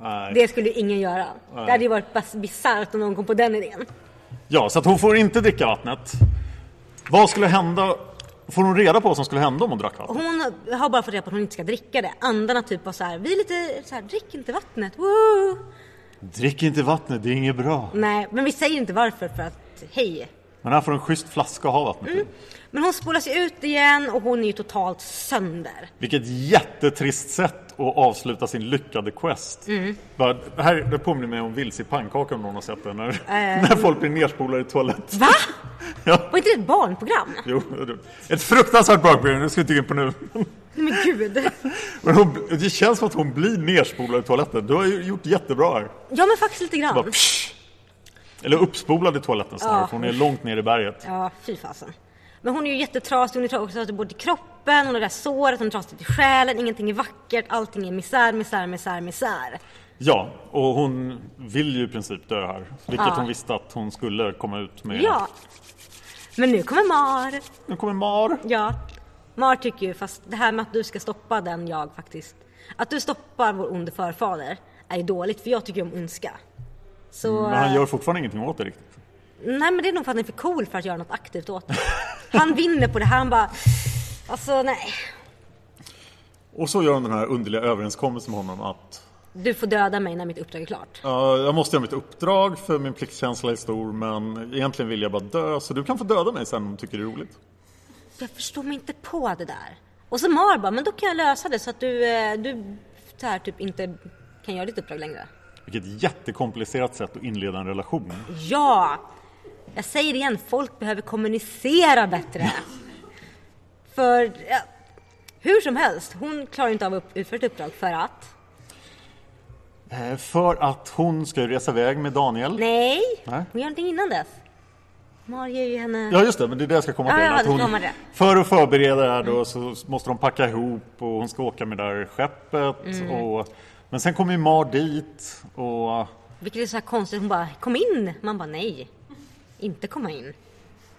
[SPEAKER 2] Nej.
[SPEAKER 3] Det skulle ju ingen göra. Det hade ju varit bas- bisarrt om någon kom på den idén.
[SPEAKER 2] Ja, så att hon får inte dricka vattnet. Vad skulle hända? Får hon reda på vad som skulle hända om hon drack vattnet?
[SPEAKER 3] Hon har bara fått reda på att hon inte ska dricka det. Andarna typ var så här, vi är lite så här, drick inte vattnet, woo!
[SPEAKER 2] Drick inte vattnet, det är inget bra.
[SPEAKER 3] Nej, men vi säger inte varför för att, hej.
[SPEAKER 2] Men här får du en schysst flaska att ha vattnet i.
[SPEAKER 3] Men hon spolas ju ut igen och hon är ju totalt sönder.
[SPEAKER 2] Vilket jättetrist sätt att avsluta sin lyckade quest. Bara, det här det påminner mig om vilse i pannkaka om någon har sett det. När, när folk blir nerspolade i toalett.
[SPEAKER 3] Va?
[SPEAKER 2] Ja,
[SPEAKER 3] Var inte det ett barnprogram?
[SPEAKER 2] jo, ett fruktansvärt bra program, det ska jag inte gå in på nu.
[SPEAKER 3] Men gud.
[SPEAKER 2] Men hon, det känns som att hon blir nerspolad i toaletten. Du har ju gjort jättebra här.
[SPEAKER 3] Ja men faktiskt lite grann.
[SPEAKER 2] Bara, psh. Eller uppspolad i toaletten snarare,
[SPEAKER 3] Ja.
[SPEAKER 2] för hon är långt ner i berget.
[SPEAKER 3] Ja, fy fasen. Men hon är ju jättetrasig, hon är trasig både i kroppen, hon har det där såret, hon är trasig i själen, ingenting är vackert, allting är misär, misär, misär, misär.
[SPEAKER 2] Ja, och hon vill ju i princip dö här. Vilket hon visste att hon skulle komma ut med.
[SPEAKER 3] Ja. Men nu kommer Mar.
[SPEAKER 2] Nu kommer Mar.
[SPEAKER 3] Ja. Mar tycker ju, fast det här med att du ska stoppa den jag faktiskt... Att du stoppar vår onde förfader är ju dåligt, för jag tycker ju om ondska. Så...
[SPEAKER 2] Mm, Men han gör fortfarande ingenting åt det riktigt.
[SPEAKER 3] Nej men det är nog för att han är för cool för att göra något aktivt åt det. Han vinner på det här, han bara... Alltså nej.
[SPEAKER 2] Och så gör hon den här underliga överenskommelsen med honom att
[SPEAKER 3] Du får döda mig när mitt uppdrag är klart.
[SPEAKER 2] ja, jag måste göra mitt uppdrag för min pliktkänsla är stor men egentligen vill jag bara dö så du kan få döda mig sen om du tycker det är roligt.
[SPEAKER 3] Jag förstår mig inte på det där. Och så Mar bara, men då kan jag lösa det så att du, eh, du så här, typ inte kan göra ditt uppdrag längre.
[SPEAKER 2] Vilket jättekomplicerat sätt att inleda en relation.
[SPEAKER 3] Ja! Jag säger det igen, folk behöver kommunicera bättre. För ja, hur som helst, hon klarar inte av att utföra ett uppdrag för att...
[SPEAKER 2] Eh, För att hon ska ju resa iväg med Daniel.
[SPEAKER 3] Nej!
[SPEAKER 2] Nej.
[SPEAKER 3] Hon gör någonting innan dess. Mar ger ju henne...
[SPEAKER 2] Ja just det, men det är det jag ska komma
[SPEAKER 3] Ja,
[SPEAKER 2] till.
[SPEAKER 3] ja,
[SPEAKER 2] att
[SPEAKER 3] det
[SPEAKER 2] hon,
[SPEAKER 3] kommer det.
[SPEAKER 2] för att förbereda det här då så måste de packa ihop och hon ska åka med det här skeppet. Och, men sen kommer ju Mar dit och
[SPEAKER 3] Vilket är så här konstigt, hon bara kom in! Man bara nej. Inte komma in.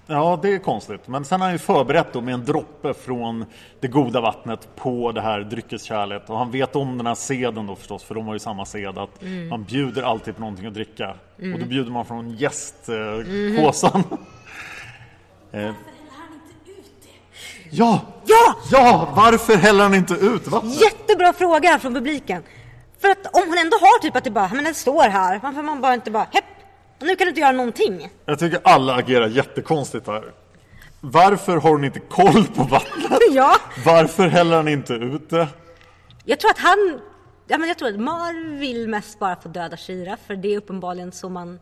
[SPEAKER 2] Ja, det är konstigt. Men sen har han ju förberett då med en droppe från det goda vattnet på det här dryckeskärlet. Och han vet om den här seden då förstås, för de har ju samma sed att man bjuder alltid på någonting att dricka. Och då bjuder man från gästpåsen. eh, ja!
[SPEAKER 3] Ja!
[SPEAKER 2] ja! Varför häller han inte ut vattnet?
[SPEAKER 3] Jättebra fråga från publiken. För att om hon ändå har typ att det bara, men den står här, varför får man bara inte bara, hepp, nu kan du inte göra någonting. (laughs)
[SPEAKER 2] Jag tycker alla agerar jättekonstigt här. Varför har hon inte koll på
[SPEAKER 3] (laughs)
[SPEAKER 2] vattnet?
[SPEAKER 3] Ja.
[SPEAKER 2] Varför häller han inte ut det?
[SPEAKER 3] Jag tror att han, ja men jag tror att Mar vill mest bara få döda Shira för det är uppenbarligen så man,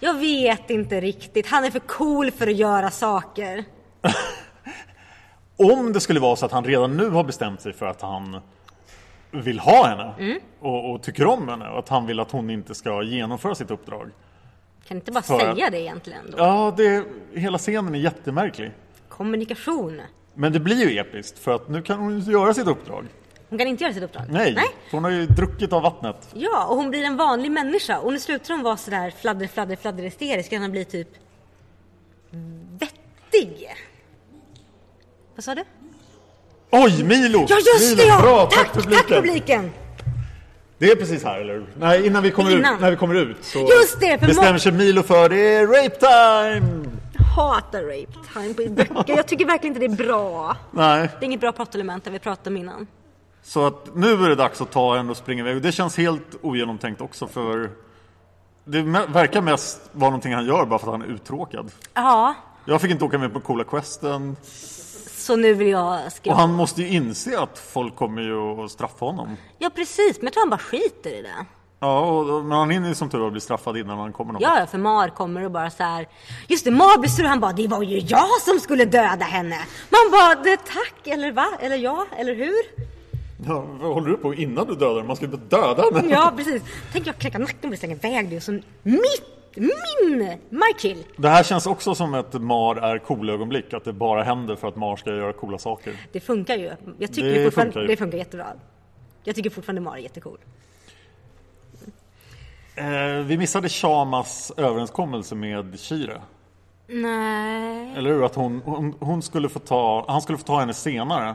[SPEAKER 3] jag vet inte riktigt, han är för cool för att göra saker.
[SPEAKER 2] Om det skulle vara så att han redan nu har bestämt sig för att han vill ha henne och, och tycker om henne och att han vill att hon inte ska genomföra sitt uppdrag.
[SPEAKER 3] Kan inte bara
[SPEAKER 2] För-
[SPEAKER 3] säga det egentligen då?
[SPEAKER 2] Ja, det, hela scenen är jättemärklig.
[SPEAKER 3] Kommunikation.
[SPEAKER 2] Men det blir ju episkt för att nu kan hon ju göra sitt uppdrag.
[SPEAKER 3] Hon kan inte göra sitt uppdrag.
[SPEAKER 2] Nej,
[SPEAKER 3] Nej.
[SPEAKER 2] för hon har ju druckit av vattnet.
[SPEAKER 3] Ja, och hon blir en vanlig människa. Och nu slutar hon vara sådär fladder, fladder, fladder hysterisk. Utan hon blir typ vettig. Vad sa du?
[SPEAKER 2] Oj, Milo!
[SPEAKER 3] Ja, just
[SPEAKER 2] Milo.
[SPEAKER 3] det! Ja.
[SPEAKER 2] Bra,
[SPEAKER 3] tack, tack publiken!
[SPEAKER 2] Det är precis här, eller hur? Nej, innan vi kommer
[SPEAKER 3] Innan.
[SPEAKER 2] ut, när vi kommer ut så
[SPEAKER 3] Just det, för
[SPEAKER 2] bestämmer
[SPEAKER 3] må-
[SPEAKER 2] sig Milo för det är rape time!
[SPEAKER 3] Hatar rape time på böcker. Jag tycker verkligen inte det är bra.
[SPEAKER 2] Nej,
[SPEAKER 3] Det är inget bra pratelement där vi pratade om innan.
[SPEAKER 2] så att nu är det dags att ta henne och springa iväg. Och Det känns helt ogenomtänkt också för det me- verkar mest vara någonting han gör bara för att han är uttråkad.
[SPEAKER 3] Ja,
[SPEAKER 2] Jag fick inte åka med på coola questen
[SPEAKER 3] så nu vill jag skriva.
[SPEAKER 2] och han måste ju inse att folk kommer ju att straffa honom.
[SPEAKER 3] Ja, precis. Men jag tror han bara skiter i det.
[SPEAKER 2] Ja, och, och- men han hinner ju som tur är bli straffad innan han kommer någon.
[SPEAKER 3] Ja, ja, för Mar kommer och bara så här. Just det, Mar blir sur. Han bara, det var ju jag som skulle döda henne. Man bara, det tack, eller va? Eller ja, eller hur?
[SPEAKER 2] Ja, vad håller du på innan du dödar Man ska ju döda henne!
[SPEAKER 3] Ja, precis. Tänk jag knäcka nacken och bli slängd iväg dig och så mitt, min, my kill.
[SPEAKER 2] Det här känns också som ett Mar är cool-ögonblick, att det bara händer för att Mar ska göra coola saker.
[SPEAKER 3] Det funkar ju. Jag tycker
[SPEAKER 2] Det
[SPEAKER 3] det fortfarande,
[SPEAKER 2] funkar ju.
[SPEAKER 3] det funkar jättebra. Jag tycker fortfarande Mar är jättecool.
[SPEAKER 2] Eh, vi missade Shamas överenskommelse med Shire.
[SPEAKER 3] Nej.
[SPEAKER 2] Eller hur? Att hon, hon, hon skulle få ta, han skulle få ta henne senare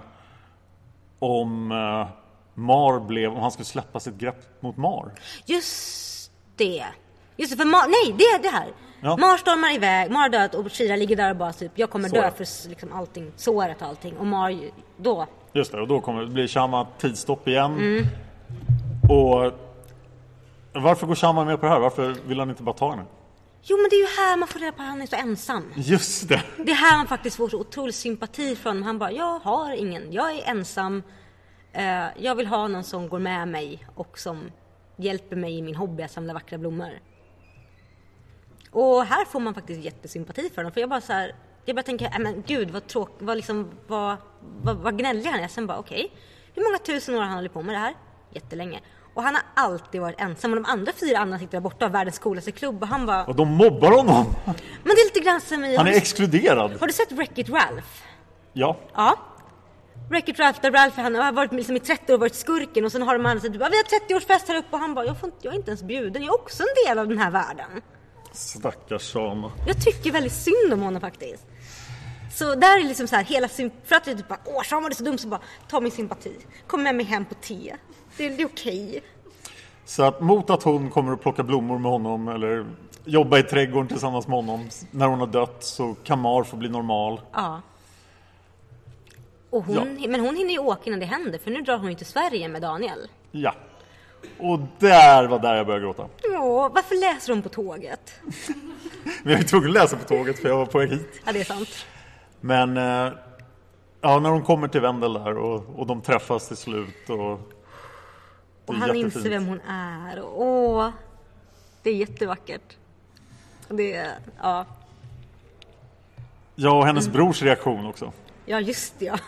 [SPEAKER 2] om eh, Mar blev, om han skulle släppa sitt grepp mot Mar.
[SPEAKER 3] Just det. Just det, för Mar, nej det är det här.
[SPEAKER 2] Ja.
[SPEAKER 3] Mar stormar iväg, Mar har dött och Shira ligger där och bara typ jag kommer dö
[SPEAKER 2] Såret.
[SPEAKER 3] för s- liksom allting, såret och allting. Och Mar ju- då,
[SPEAKER 2] Just det, och då kommer, blir Shama tidsstopp igen. Och varför går Shama med på det här? Varför vill han inte bara ta henne?
[SPEAKER 3] jo men det är ju här man får reda på att han är så ensam.
[SPEAKER 2] Just det!
[SPEAKER 3] Det är här man faktiskt får så otrolig sympati från honom. Han bara, jag har ingen, jag är ensam. Eh, jag vill ha någon som går med mig och som hjälper mig i min hobby att samla vackra blommor. Och här får man faktiskt jättesympati för honom. För jag bara så här, jag bara tänker, "Nej, men gud vad tråkigt, vad liksom, vad, vad, vad gnällig han är. Sen bara okej, hur många tusen år har han hållit på med det här? Jättelänge. Och han har alltid varit ensam och de andra fyra andra sitter där borta, världens coolaste klubb och han bara,
[SPEAKER 2] Och de mobbar honom!
[SPEAKER 3] men det är lite grann som i, har
[SPEAKER 2] Han är
[SPEAKER 3] du,
[SPEAKER 2] exkluderad!
[SPEAKER 3] har du sett Wreck-It Ralph?
[SPEAKER 2] Ja.
[SPEAKER 3] Ja. Wreck-It Ralph där Ralph han har varit liksom i 30 år varit skurken och sen har de andra sagt typ, "Ah, vi har 30-årsfest här uppe och han bara jag, får inte, jag är inte ens bjuden, jag är också en del av den här världen.
[SPEAKER 2] Stackars Shama.
[SPEAKER 3] Jag tycker väldigt synd om honom faktiskt. Så där är liksom så här hela sym- för att jag typ bara åh Sean var det så dum så bara ta min sympati, kom med mig hem på te, det, det är okej.
[SPEAKER 2] Så att mot att hon kommer att plocka blommor med honom eller jobba i trädgården tillsammans med honom när hon har dött så kan Mar få bli normal.
[SPEAKER 3] Ja. Och hon, Men hon hinner ju åka innan det händer för nu drar hon ju till Sverige med Daniel.
[SPEAKER 2] Ja. Och där var där jag började gråta.
[SPEAKER 3] Ja, varför läser hon på tåget?
[SPEAKER 2] Men jag var tvungen att läsa på tåget för jag var på väg hit.
[SPEAKER 3] Ja det är sant.
[SPEAKER 2] Men eh, ja, när de kommer till Wendel där och, och de träffas till slut och det
[SPEAKER 3] Och
[SPEAKER 2] är
[SPEAKER 3] han
[SPEAKER 2] jättefint.
[SPEAKER 3] inser vem hon är. Och, åh, det är jättevackert. Och Det är, ja.
[SPEAKER 2] Ja, och
[SPEAKER 3] Mm.
[SPEAKER 2] hennes brors reaktion också.
[SPEAKER 3] ja, just det ja.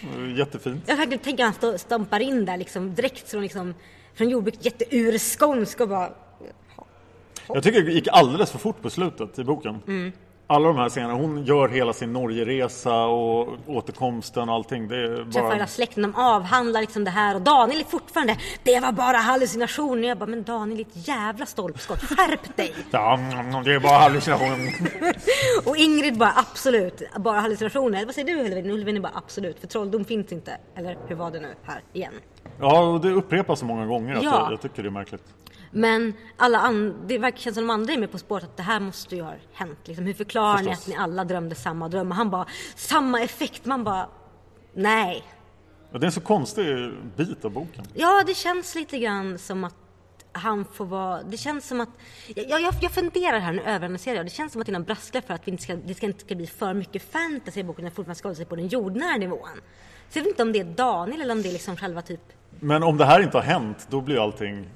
[SPEAKER 2] Det var Jättefint.
[SPEAKER 3] Jag verkligen tänker att han stå- stampar in där liksom direkt från, liksom, från jordbruket, jätteurskånsk och bara
[SPEAKER 2] Jag tycker det gick alldeles för fort på slutet i boken.
[SPEAKER 3] Mm.
[SPEAKER 2] Alla de här scenerna, hon gör hela sin Norgeresa och återkomsten och allting. Det är
[SPEAKER 3] träffar
[SPEAKER 2] bara...
[SPEAKER 3] hela släkten, de avhandlar liksom det här och Daniel är fortfarande, det var bara hallucinationer. Jag bara, men Daniel ditt jävla stolpskott,
[SPEAKER 2] (laughs)
[SPEAKER 3] skärp dig!
[SPEAKER 2] Ja, mm, mm, det är bara hallucinationer.
[SPEAKER 3] Och Ingrid bara, absolut, bara hallucinationer. Vad säger du Hölvin? Hölvin är bara, absolut, för trolldom finns inte. Eller hur var det nu här igen?
[SPEAKER 2] Ja, och det upprepas så många gånger att
[SPEAKER 3] Ja.
[SPEAKER 2] jag, jag tycker det är märkligt.
[SPEAKER 3] Men alla an- det verkar kännas som de andra är med På spåret att det här måste ju ha hänt. Liksom, hur förklarar ni
[SPEAKER 2] Förstås.
[SPEAKER 3] att ni alla drömde samma dröm? Och han bara, samma effekt. Man bara, nej.
[SPEAKER 2] Och det är en så konstig bit av boken.
[SPEAKER 3] Ja, det känns lite grann som att han får vara... Det känns som att... Jag, jag, jag funderar här, nu överanalyserar jag. Det känns som att det är någon brasklapp för att vi inte ska, det ska inte ska bli för mycket fantasy i boken. Den fortfarande ska hålla sig på den jordnära nivån. Så jag vet inte om det är Daniel eller om det är liksom själva typ...
[SPEAKER 2] Men om det här inte har hänt, då blir allting...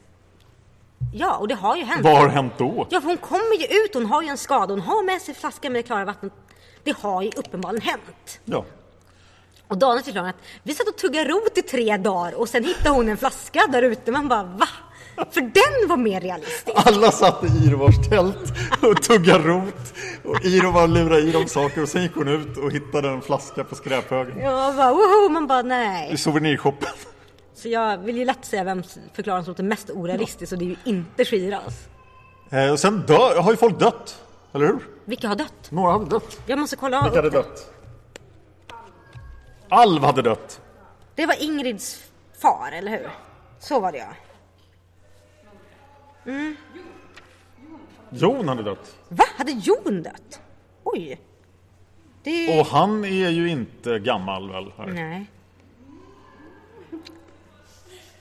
[SPEAKER 3] Ja, och det har ju hänt.
[SPEAKER 2] Vad har hänt då?
[SPEAKER 3] Ja, för hon kommer ju ut, hon har ju en skada, hon har med sig flaskan med det klara vattnet. Det har ju uppenbarligen hänt.
[SPEAKER 2] Ja.
[SPEAKER 3] Och Daniel förklarar att vi satt och tuggade rot i tre dagar och sen hittade hon en flaska där ute. Man bara va? För den var mer realistisk.
[SPEAKER 2] Alla satt i Irovars tält och tuggade rot och Irovar lurade i dem saker och sen gick hon ut och hittade en flaska på skräphögen.
[SPEAKER 3] Ja, bara, woho! Man bara nej.
[SPEAKER 2] I souvenirshoppen.
[SPEAKER 3] Så jag vill ju lätt säga vem förklaringen som låter mest orealistisk och det är ju inte Shiraz.
[SPEAKER 2] Eh, och sen dö, har ju folk dött, eller hur?
[SPEAKER 3] Vilka har dött?
[SPEAKER 2] Några hade dött.
[SPEAKER 3] Jag måste kolla
[SPEAKER 2] Vilka
[SPEAKER 3] upp.
[SPEAKER 2] hade dött? Alv hade dött.
[SPEAKER 3] Det var Ingrids far, eller hur? Så var det ja.
[SPEAKER 2] Jon hade dött.
[SPEAKER 3] Va? Hade Jon dött? Oj. Det...
[SPEAKER 2] Och han är ju inte gammal väl? Här.
[SPEAKER 3] Nej.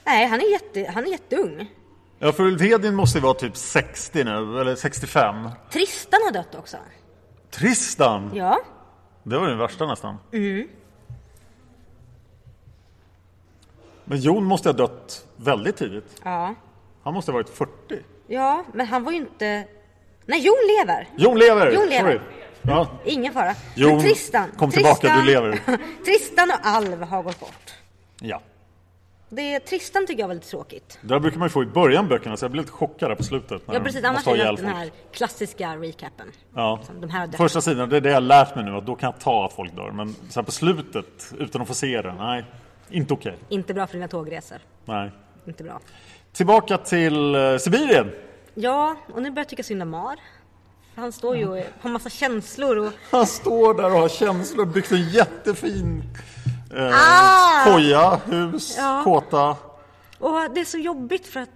[SPEAKER 3] Nej, han är, jätte, han är jätteung.
[SPEAKER 2] Ja, för Ulfhedin måste ju vara typ 60 nu, eller 65.
[SPEAKER 3] Tristan har dött också.
[SPEAKER 2] Tristan!
[SPEAKER 3] Ja.
[SPEAKER 2] Det var ju den värsta nästan.
[SPEAKER 3] Mm.
[SPEAKER 2] Men Jon måste ha dött väldigt tidigt.
[SPEAKER 3] Ja.
[SPEAKER 2] Han måste ha varit 40.
[SPEAKER 3] Ja, men han var ju inte... Nej, Jon lever.
[SPEAKER 2] Jon lever!
[SPEAKER 3] Jon lever.
[SPEAKER 2] Sorry. Ja.
[SPEAKER 3] Ingen fara.
[SPEAKER 2] Jon,
[SPEAKER 3] Men Tristan.
[SPEAKER 2] kom
[SPEAKER 3] Tristan,
[SPEAKER 2] tillbaka, du lever.
[SPEAKER 3] (laughs) Tristan och Alv har gått bort.
[SPEAKER 2] ja.
[SPEAKER 3] Det, Tristan tycker jag var lite tråkigt.
[SPEAKER 2] Det där brukar man ju få i början av böckerna, så jag blev lite chockad här på slutet. När
[SPEAKER 3] Ja, precis.
[SPEAKER 2] de
[SPEAKER 3] Annars
[SPEAKER 2] måste
[SPEAKER 3] är
[SPEAKER 2] ha
[SPEAKER 3] det
[SPEAKER 2] ihjäl
[SPEAKER 3] den
[SPEAKER 2] folk.
[SPEAKER 3] här klassiska recapen.
[SPEAKER 2] Ja.
[SPEAKER 3] Som de här har dött.
[SPEAKER 2] Första sidan, det är det jag har lärt mig nu, att då kan jag ta att folk dör. Men sen på slutet, utan att få se det, nej. Inte okej.
[SPEAKER 3] Inte bra för dina tågresor.
[SPEAKER 2] Nej.
[SPEAKER 3] Inte bra.
[SPEAKER 2] Tillbaka till eh, Sibirien.
[SPEAKER 3] Ja, och nu börjar jag tycka synd om Mar. För Han står ju och har massa känslor och...
[SPEAKER 2] Han står där och har känslor, byggt en jättefin eh,
[SPEAKER 3] Ah!
[SPEAKER 2] koja, hus,
[SPEAKER 3] Ja.
[SPEAKER 2] kåta.
[SPEAKER 3] Och det är så jobbigt för att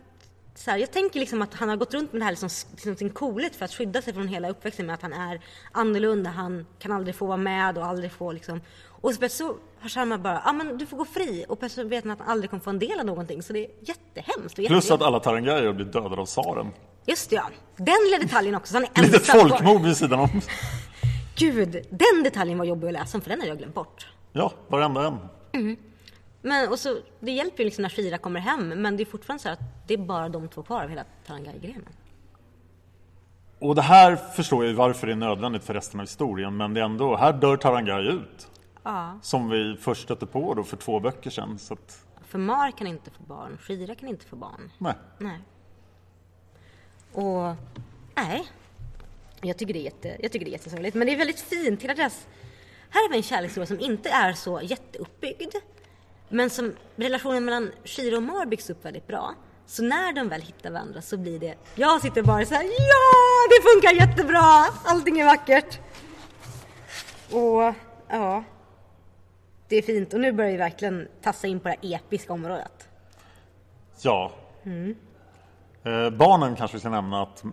[SPEAKER 3] så här, jag tänker liksom att han har gått runt med det här liksom, liksom sin coolhet för att skydda sig från hela uppväxten med att han är annorlunda, han kan aldrig få vara med och aldrig få liksom. Och så plötsligt så har Sharma bara, ja ah, men du får gå fri och plötsligt vet han att han aldrig kommer få en del av någonting så det är jättehemskt. Och
[SPEAKER 2] Plus
[SPEAKER 3] jättejobbigt.
[SPEAKER 2] att alla Tarangayer blir dödade av tsaren.
[SPEAKER 3] Just det, ja, den lilla detaljen också. så Han
[SPEAKER 2] (laughs)
[SPEAKER 3] är
[SPEAKER 2] Litet
[SPEAKER 3] ensam kvar.
[SPEAKER 2] folkmord vid sidan om.
[SPEAKER 3] Gud, den detaljen var jobbig att läsa om för den har jag glömt bort.
[SPEAKER 2] Ja, varenda en.
[SPEAKER 3] Men och så, det hjälper ju liksom när Shira kommer hem men det är fortfarande så här att det är bara de två kvar av hela Tarangai-grenen.
[SPEAKER 2] Och det här förstår jag ju varför det är nödvändigt för resten av historien, men det är ändå, här dör Tarangai ut. Som vi först stötte på då för två böcker sedan. Så att,
[SPEAKER 3] För Mar kan inte få barn, Shira kan inte få barn.
[SPEAKER 2] nej.
[SPEAKER 3] Nej. Och nej. Jag tycker det är, jätte, jag tycker det är jättesorgligt. Men det är väldigt fint. Hela deras, här har vi en kärlekshistoria som inte är så jätteuppbyggd. Men som relationen mellan Shira och Mar byggs upp väldigt bra. Så när de väl hittar varandra så blir det... Jag sitter bara så här, ja det funkar jättebra! Allting är vackert. Och ja. Det är fint och nu börjar vi verkligen tassa in på det här episka området.
[SPEAKER 2] Ja.
[SPEAKER 3] Mm.
[SPEAKER 2] Eh, barnen kanske vi ska nämna att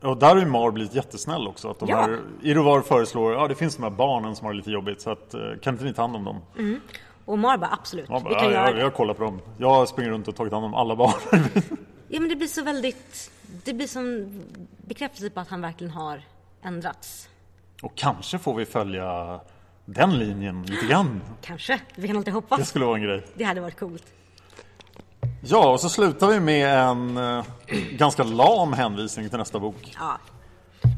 [SPEAKER 2] och där har ju Mar blivit jättesnäll också. Att de
[SPEAKER 3] Ja.
[SPEAKER 2] här, Irovar föreslår ja, det finns de här barnen som har det lite jobbigt så att, eh, kan inte ni ta hand om dem?
[SPEAKER 3] Och Mar bara absolut,
[SPEAKER 2] Jag, bara,
[SPEAKER 3] Mm, vi kan
[SPEAKER 2] ja,
[SPEAKER 3] göra
[SPEAKER 2] jag,
[SPEAKER 3] det.
[SPEAKER 2] jag kollar på dem. Jag springer runt och tagit hand om alla barn. (laughs)
[SPEAKER 3] Ja men det blir så väldigt, det blir som bekräftelse på att han verkligen har ändrats.
[SPEAKER 2] och kanske får vi följa den linjen lite grann.
[SPEAKER 3] Kanske, vi kan alltid
[SPEAKER 2] Det
[SPEAKER 3] hoppas.
[SPEAKER 2] skulle vara en grej.
[SPEAKER 3] Det hade varit coolt.
[SPEAKER 2] Ja, och så slutar vi med en eh, ganska lam hänvisning till nästa bok.
[SPEAKER 3] Ja.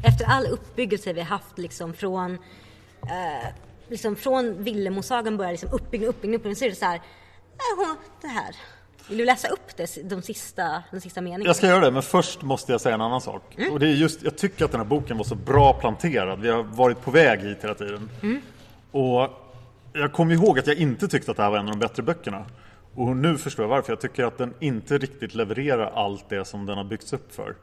[SPEAKER 3] Efter all uppbyggelse vi har haft liksom från, eh, liksom från Villemosagan börjar liksom uppbyggnad, uppbyggnad, uppbyggnad. Så är det så här, eh, hon- det här. Vill du läsa upp det, de sista, de sista meningarna?
[SPEAKER 2] Jag ska göra det, men först måste jag säga en annan sak. Och det är just, jag tycker att den här boken var så bra planterad. Vi har varit på väg hit hela tiden. Och jag kommer ihåg att jag inte tyckte att det här var en av de bättre böckerna. Och nu förstår jag varför. Jag tycker att den inte riktigt levererar allt det som den har byggts upp för.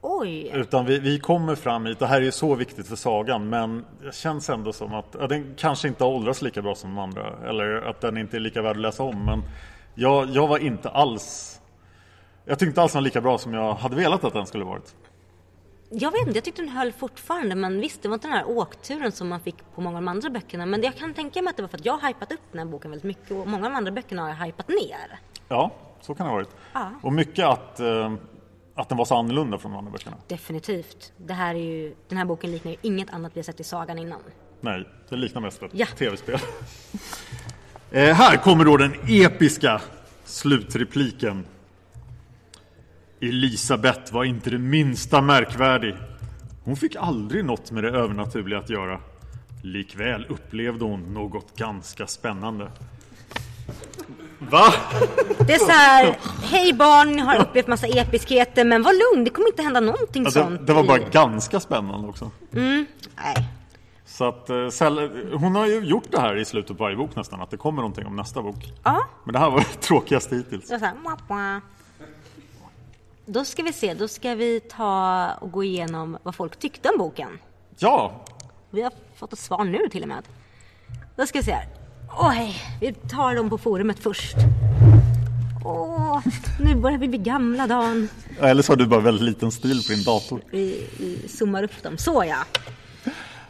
[SPEAKER 3] Oj!
[SPEAKER 2] Utan vi, vi kommer fram hit, det här är ju så viktigt för sagan, men det känns ändå som att ja, den kanske inte har åldrats lika bra som de andra, eller att den inte är lika värd att läsa om, men jag, jag var inte alls jag tyckte inte alls den var lika bra som jag hade velat att den skulle varit.
[SPEAKER 3] Jag vet inte, jag tyckte den höll fortfarande men visst det var inte den här åkturen som man fick på många av de andra böckerna men jag kan tänka mig att det var för att jag har hypat upp den här boken väldigt mycket och många av de andra böckerna har jag hypat ner.
[SPEAKER 2] Ja, så kan det ha varit.
[SPEAKER 3] Ja.
[SPEAKER 2] Och mycket att, eh, att den var så annorlunda från de andra böckerna.
[SPEAKER 3] Definitivt. Det här är ju, den här boken liknar ju inget annat vi har sett i sagan innan.
[SPEAKER 2] Nej, det liknar mest ett
[SPEAKER 3] Ja.
[SPEAKER 2] tv-spel. (laughs) eh, här kommer då den episka slutrepliken. Elisabeth var inte det minsta märkvärdig. Hon fick aldrig något med det övernaturliga att göra. Likväl upplevde hon något ganska spännande. Va?
[SPEAKER 3] Det är så här, hej barn, ni har upplevt massa episkheter men var lugn, det kommer inte hända någonting
[SPEAKER 2] Alltså,
[SPEAKER 3] sånt.
[SPEAKER 2] det var
[SPEAKER 3] i-
[SPEAKER 2] bara ganska spännande också.
[SPEAKER 3] Nej.
[SPEAKER 2] Så att, eh, Sel- hon har ju gjort det här i slutet på varje bok nästan, att det kommer någonting om nästa bok.
[SPEAKER 3] Ja.
[SPEAKER 2] Men det här var (laughs) det tråkigaste hittills.
[SPEAKER 3] Det var så här, mwah, mwah. Då ska vi se, då ska vi ta och gå igenom vad folk tyckte om boken.
[SPEAKER 2] Ja,
[SPEAKER 3] Vi har fått ett svar nu till och med. Då ska vi se här. Oj, vi tar dem på forumet först. Åh, nu börjar vi bli gamla Dan.
[SPEAKER 2] eller så har du bara väldigt liten stil på din dator.
[SPEAKER 3] Vi, vi zoomar upp dem, så ja.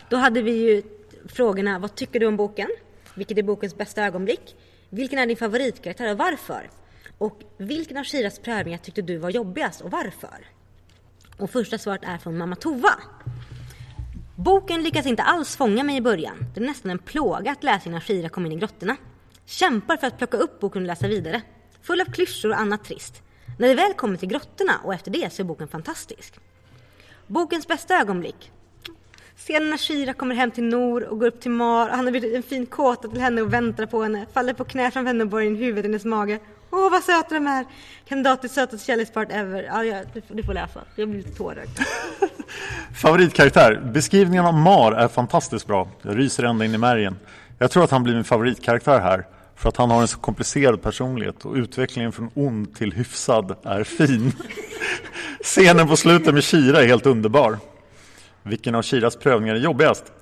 [SPEAKER 3] Då hade vi ju frågorna, vad tycker du om boken? Vilket är bokens bästa ögonblick? Vilken är din favoritkaraktär och varför? Och vilken av Shiras prövningar tyckte du var jobbigast och varför? Och första svaret är från mamma Tova. Boken lyckas inte alls fånga mig i början. Det är nästan en plåga att läsa innan Shira kom in i grottorna. Kämpar för att plocka upp boken och läsa vidare. Full av klyschor och annat trist. När det väl kommer till grottorna och efter det så är boken fantastisk. Bokens bästa ögonblick. Scenen när Shira kommer hem till Nor och går upp till Mar och han har blivit en fin kåta till henne och väntar på henne. Faller på knä framför henne och borrar in huvudet i hennes mage. Åh vad söta de är! Kandidat till sötaste kärlekspart ever. Ja, ja, du, får- du får läsa. Jag blir lite tårögd.
[SPEAKER 2] Favoritkaraktär. Beskrivningen av Mar är fantastiskt bra. Jag ryser ända in i märgen. Jag tror att han blir min favoritkaraktär här. För att han har en så komplicerad personlighet och utvecklingen från ond till hyfsad är fin. (laughs) Scenen på slutet med Kira är helt underbar. Vilken av Kiras prövningar är jobbigast?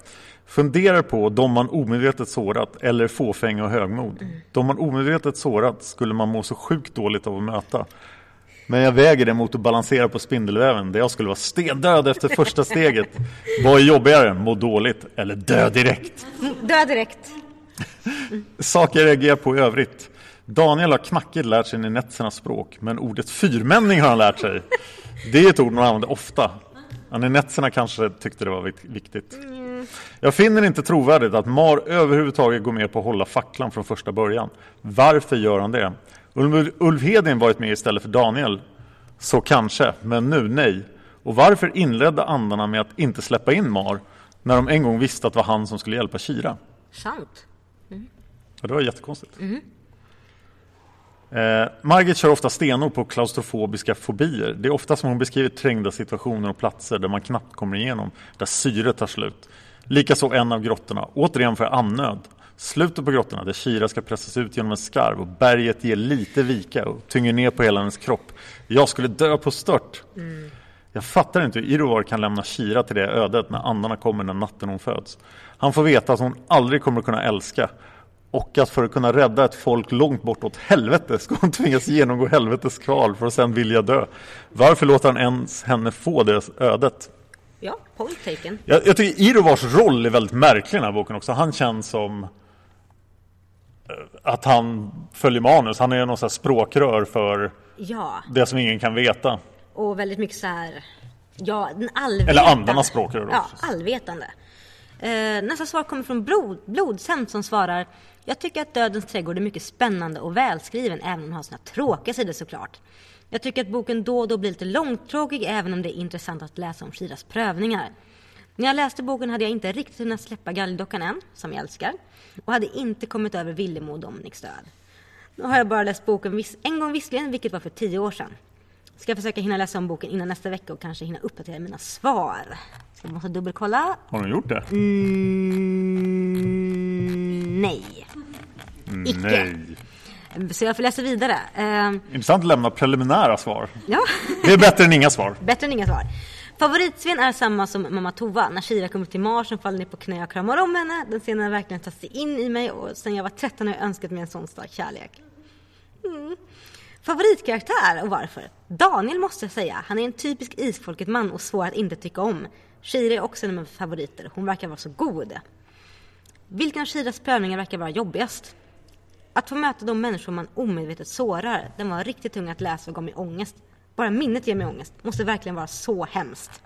[SPEAKER 2] Funderar på de man omedvetet sårat eller fåfänga och högmod. De man omedvetet sårat skulle man må så sjukt dåligt av att möta. Men jag väger det mot att balansera på spindelväven där jag skulle vara stendöd efter första steget. Vad är jobbigare? Må dåligt eller dö direkt?
[SPEAKER 3] Dö direkt.
[SPEAKER 2] Saker jag reagerar på i övrigt. Daniel har knackigt lärt sig Ninetternas språk, men ordet fyrmänning har han lärt sig. Det är ett ord man använder ofta. Ja, Ninetterna kanske tyckte det var vik- viktigt. Jag finner det inte trovärdigt att Mar överhuvudtaget går med på att hålla facklan från första början. Varför gör han det? Om Ulf Hedin varit med istället för Daniel, så kanske, men nu nej. Och varför inledde andarna med att inte släppa in Mar, när de en gång visste att det var han som skulle hjälpa Kira?
[SPEAKER 3] Sant.
[SPEAKER 2] Ja, det var jättekonstigt. Eh, Margit kör ofta stenor på klaustrofobiska fobier. Det är ofta som hon beskriver trängda situationer och platser där man knappt kommer igenom, där syret tar slut. Likaså en av grottorna, återigen för annöd. Slutet på grottorna där Kira ska pressas ut genom en skarv och berget ger lite vika och tynger ner på hela hennes kropp. Jag skulle dö på stört. Jag fattar inte hur Irovar kan lämna Kira till det ödet när andarna kommer den natten hon föds. Han får veta att hon aldrig kommer att kunna älska och att för att kunna rädda ett folk långt bortåt helvete ska hon (laughs) tvingas genomgå helvetets kval för att sen vilja dö. Varför låter han ens henne få det ödet?
[SPEAKER 3] Ja, point taken.
[SPEAKER 2] Jag, jag tycker Irovars roll är väldigt märklig i den här boken också. Han känns som eh, att han följer manus. Han är någon sån här språkrör för
[SPEAKER 3] Ja,
[SPEAKER 2] det som ingen kan veta.
[SPEAKER 3] och väldigt mycket så här... Ja, den allvetande.
[SPEAKER 2] Eller andarnas språk är det då
[SPEAKER 3] Ja,
[SPEAKER 2] förstås.
[SPEAKER 3] allvetande. Eh, nästa svar kommer från Blod, Blodsem som svarar Jag tycker att Dödens trädgård är mycket spännande och välskriven även om den har sina tråkiga sidor såklart. Jag tycker att boken då och då blir lite långtråkig även om det är intressant att läsa om Shiras prövningar. När jag läste boken hade jag inte riktigt hunnit släppa galgdockan än, som jag älskar, och hade inte kommit över Villemo och Dominiks död. Nu har jag bara läst boken viss, en gång visserligen, vilket var för tio år sedan. Ska jag försöka hinna läsa om boken innan nästa vecka och kanske hinna uppdatera mina svar. Så jag måste dubbelkolla.
[SPEAKER 2] Har hon gjort det?
[SPEAKER 3] Mm, nej. Icke.
[SPEAKER 2] Nej.
[SPEAKER 3] Så jag får läsa vidare. Eh,
[SPEAKER 2] Intressant att lämna preliminära svar.
[SPEAKER 3] ja.
[SPEAKER 2] Det är bättre än inga svar.
[SPEAKER 3] Bättre än inga svar. Favoritscen är samma som mamma Tova. När Shira kommer till Mars som faller ner på knä och kramar om henne. Den scenen har verkligen tagit sig in i mig och sen jag var 13 har jag önskat mig en sån stark kärlek. Mm. Favoritkaraktär och varför? Daniel måste jag säga. Han är en typisk isfolket-man och svår att inte tycka om. Shira är också en av mina favoriter. Hon verkar vara så god. Vilken av Shiras prövningar verkar vara jobbigast? Att få möta de människor man omedvetet sårar, den var riktigt tung att läsa och gav mig ångest. Bara minnet ger mig ångest. Måste verkligen vara så hemskt.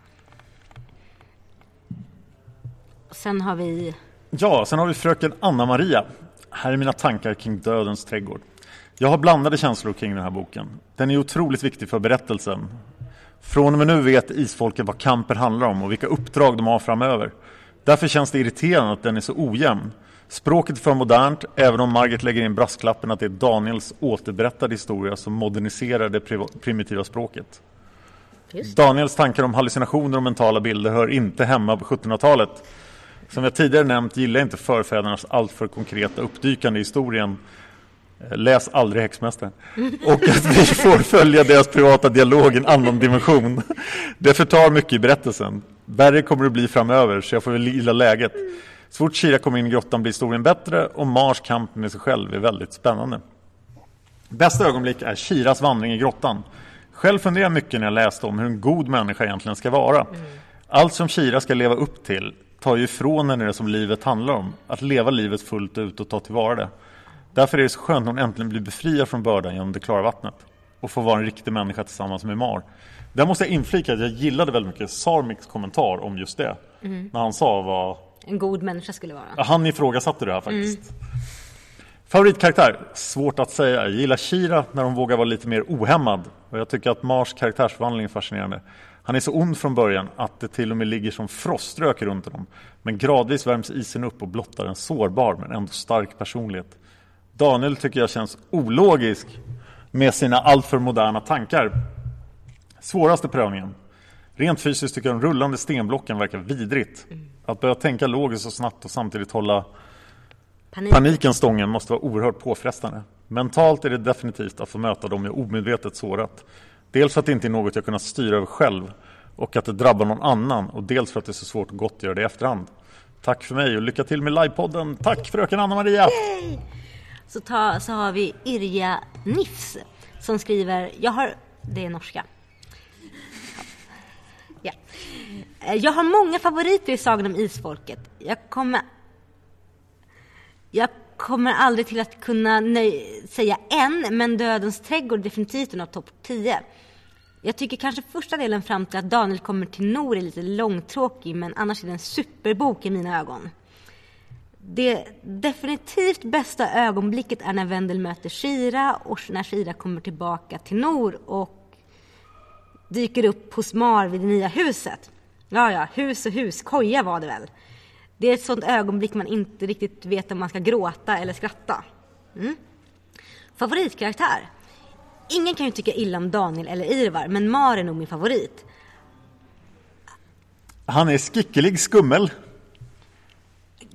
[SPEAKER 3] Och Sen har vi...
[SPEAKER 2] Ja, sen har vi fröken Anna-Maria. Här är mina tankar kring Dödens trädgård. Jag har blandade känslor kring den här boken. Den är otroligt viktig för berättelsen. Från och med nu vet isfolket vad kamper handlar om och vilka uppdrag de har framöver. Därför känns det irriterande att den är så ojämn. Språket är för modernt, även om Margit lägger in brasklappen att det är Daniels återberättade historia som moderniserar det priva- primitiva språket. Daniels tankar om hallucinationer och mentala bilder hör inte hemma på 1700-talet. Som jag tidigare nämnt gillar jag inte förfädernas alltför konkreta uppdykande i historien. Eh, Läs aldrig Häxmästaren. Och att vi får följa deras privata dialog i en annan dimension. Det förtar mycket i berättelsen. Värre kommer det bli framöver, så jag får väl gilla läget. Så fort Kira kommer in i grottan blir historien bättre och Mars kamp med sig själv är väldigt spännande. Bästa ögonblick är Kiras vandring i grottan. Själv funderar jag mycket när jag läste om hur en god människa egentligen ska vara. Allt som Kira ska leva upp till tar ju ifrån henne det som livet handlar om. Att leva livet fullt ut och ta tillvara det. Därför är det så skönt när hon äntligen blir befriad från bördan genom det klara vattnet. Och får vara en riktig människa tillsammans med Mar. Där måste jag inflika att jag gillade väldigt mycket Sarmiks kommentar om just det. När han sa vad
[SPEAKER 3] En god människa skulle vara.
[SPEAKER 2] Ja, Han ifrågasatte det här faktiskt. Favoritkaraktär? Svårt att säga. Jag gillar Kira när hon vågar vara lite mer ohämmad. Och jag tycker att Mars karaktärsförvandling är fascinerande. Han är så ond från början att det till och med ligger som froströk runt honom. Men gradvis värms isen upp och blottar en sårbar men ändå stark personlighet. Daniel tycker jag känns ologisk med sina alltför moderna tankar. Svåraste prövningen. Rent fysiskt tycker jag de rullande stenblocken verkar vidrigt. Att börja tänka logiskt så snabbt och samtidigt hålla
[SPEAKER 3] Panik.
[SPEAKER 2] paniken stången måste vara oerhört påfrestande. Mentalt är det definitivt att få möta dem jag omedvetet sårat. Dels för att det inte är något jag kunnat styra över själv och att det drabbar någon annan och dels för att det är så svårt att gottgöra det i efterhand. Tack för mig och lycka till med livepodden. Tack fröken Anna-Maria!
[SPEAKER 3] Så, ta, så har vi Irja Nifs som skriver, jag har, det är norska. Ja. Eh, Jag har många favoriter i Sagan om Isfolket. Jag kommer, jag kommer aldrig till att kunna nöj, säga en, men Dödens trädgård är definitivt en av topp 10. Jag tycker kanske första delen fram till att Daniel kommer till Nor är lite långtråkig, men annars är det en superbok i mina ögon. Det definitivt bästa ögonblicket är när Wendel möter Shira och när Shira kommer tillbaka till Nor och dyker upp hos Mar vid det nya huset. Ja, ja, hus och hus, koja var det väl. Det är ett sånt ögonblick man inte riktigt vet om man ska gråta eller skratta. Mm. Favoritkaraktär? Ingen kan ju tycka illa om Daniel eller Irvar, men Mar är nog min favorit.
[SPEAKER 2] Han är skicklig skummel.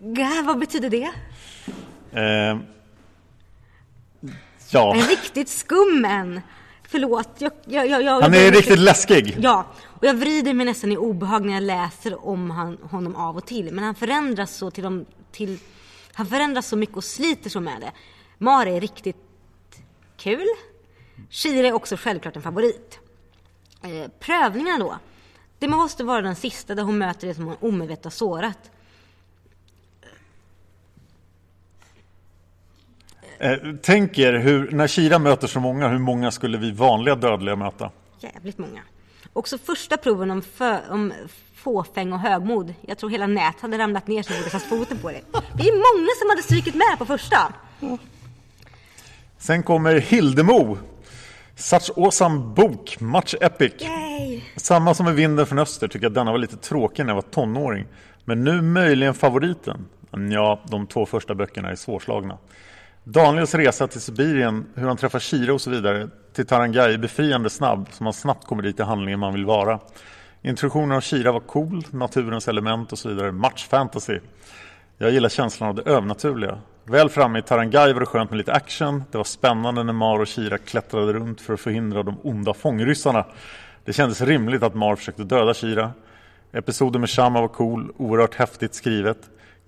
[SPEAKER 3] Gah, vad betyder det?
[SPEAKER 2] Eh, ja,
[SPEAKER 3] En riktigt skum en. Förlåt, jag... jag, jag, jag
[SPEAKER 2] han
[SPEAKER 3] jag-
[SPEAKER 2] är
[SPEAKER 3] jag-
[SPEAKER 2] riktigt läskig.
[SPEAKER 3] Ja, och jag vrider mig nästan i obehag när jag läser om han, honom av och till. Men han förändras så till de, till, han förändras så mycket och sliter så med det. Mari är riktigt kul. Shira är också självklart en favorit. Eh, prövningarna då. Det måste vara den sista där hon möter det som hon omedvetet har sårat.
[SPEAKER 2] Eh, tänk er hur, när Kira möter så många, hur många skulle vi vanliga dödliga möta?
[SPEAKER 3] Jävligt många. Också första proven om, fö, om fåfäng och högmod. Jag tror hela nät hade ramlat ner så jag borde satt foten på det. Det är många som hade strykit med på första.
[SPEAKER 2] Sen kommer Hildemo. Such awesome bok, much epic.
[SPEAKER 3] Yay!
[SPEAKER 2] Samma som med Vinden från Öster tycker jag denna var lite tråkig när jag var tonåring. Men nu möjligen favoriten. Ja, de två första böckerna är svårslagna. Daniels resa till Sibirien, hur han träffar Shira och så vidare till Tarangai är befriande snabb så man snabbt kommer dit i handlingen man vill vara. Introduktionen av Shira var cool, naturens element och så vidare, match fantasy. Jag gillar känslan av det övernaturliga. Väl framme i Tarangai var det skönt med lite action. Det var spännande när Mar och Kira klättrade runt för att förhindra de onda fångryssarna. Det kändes rimligt att Mar försökte döda Kira. Episoden med Shama var cool, oerhört häftigt skrivet.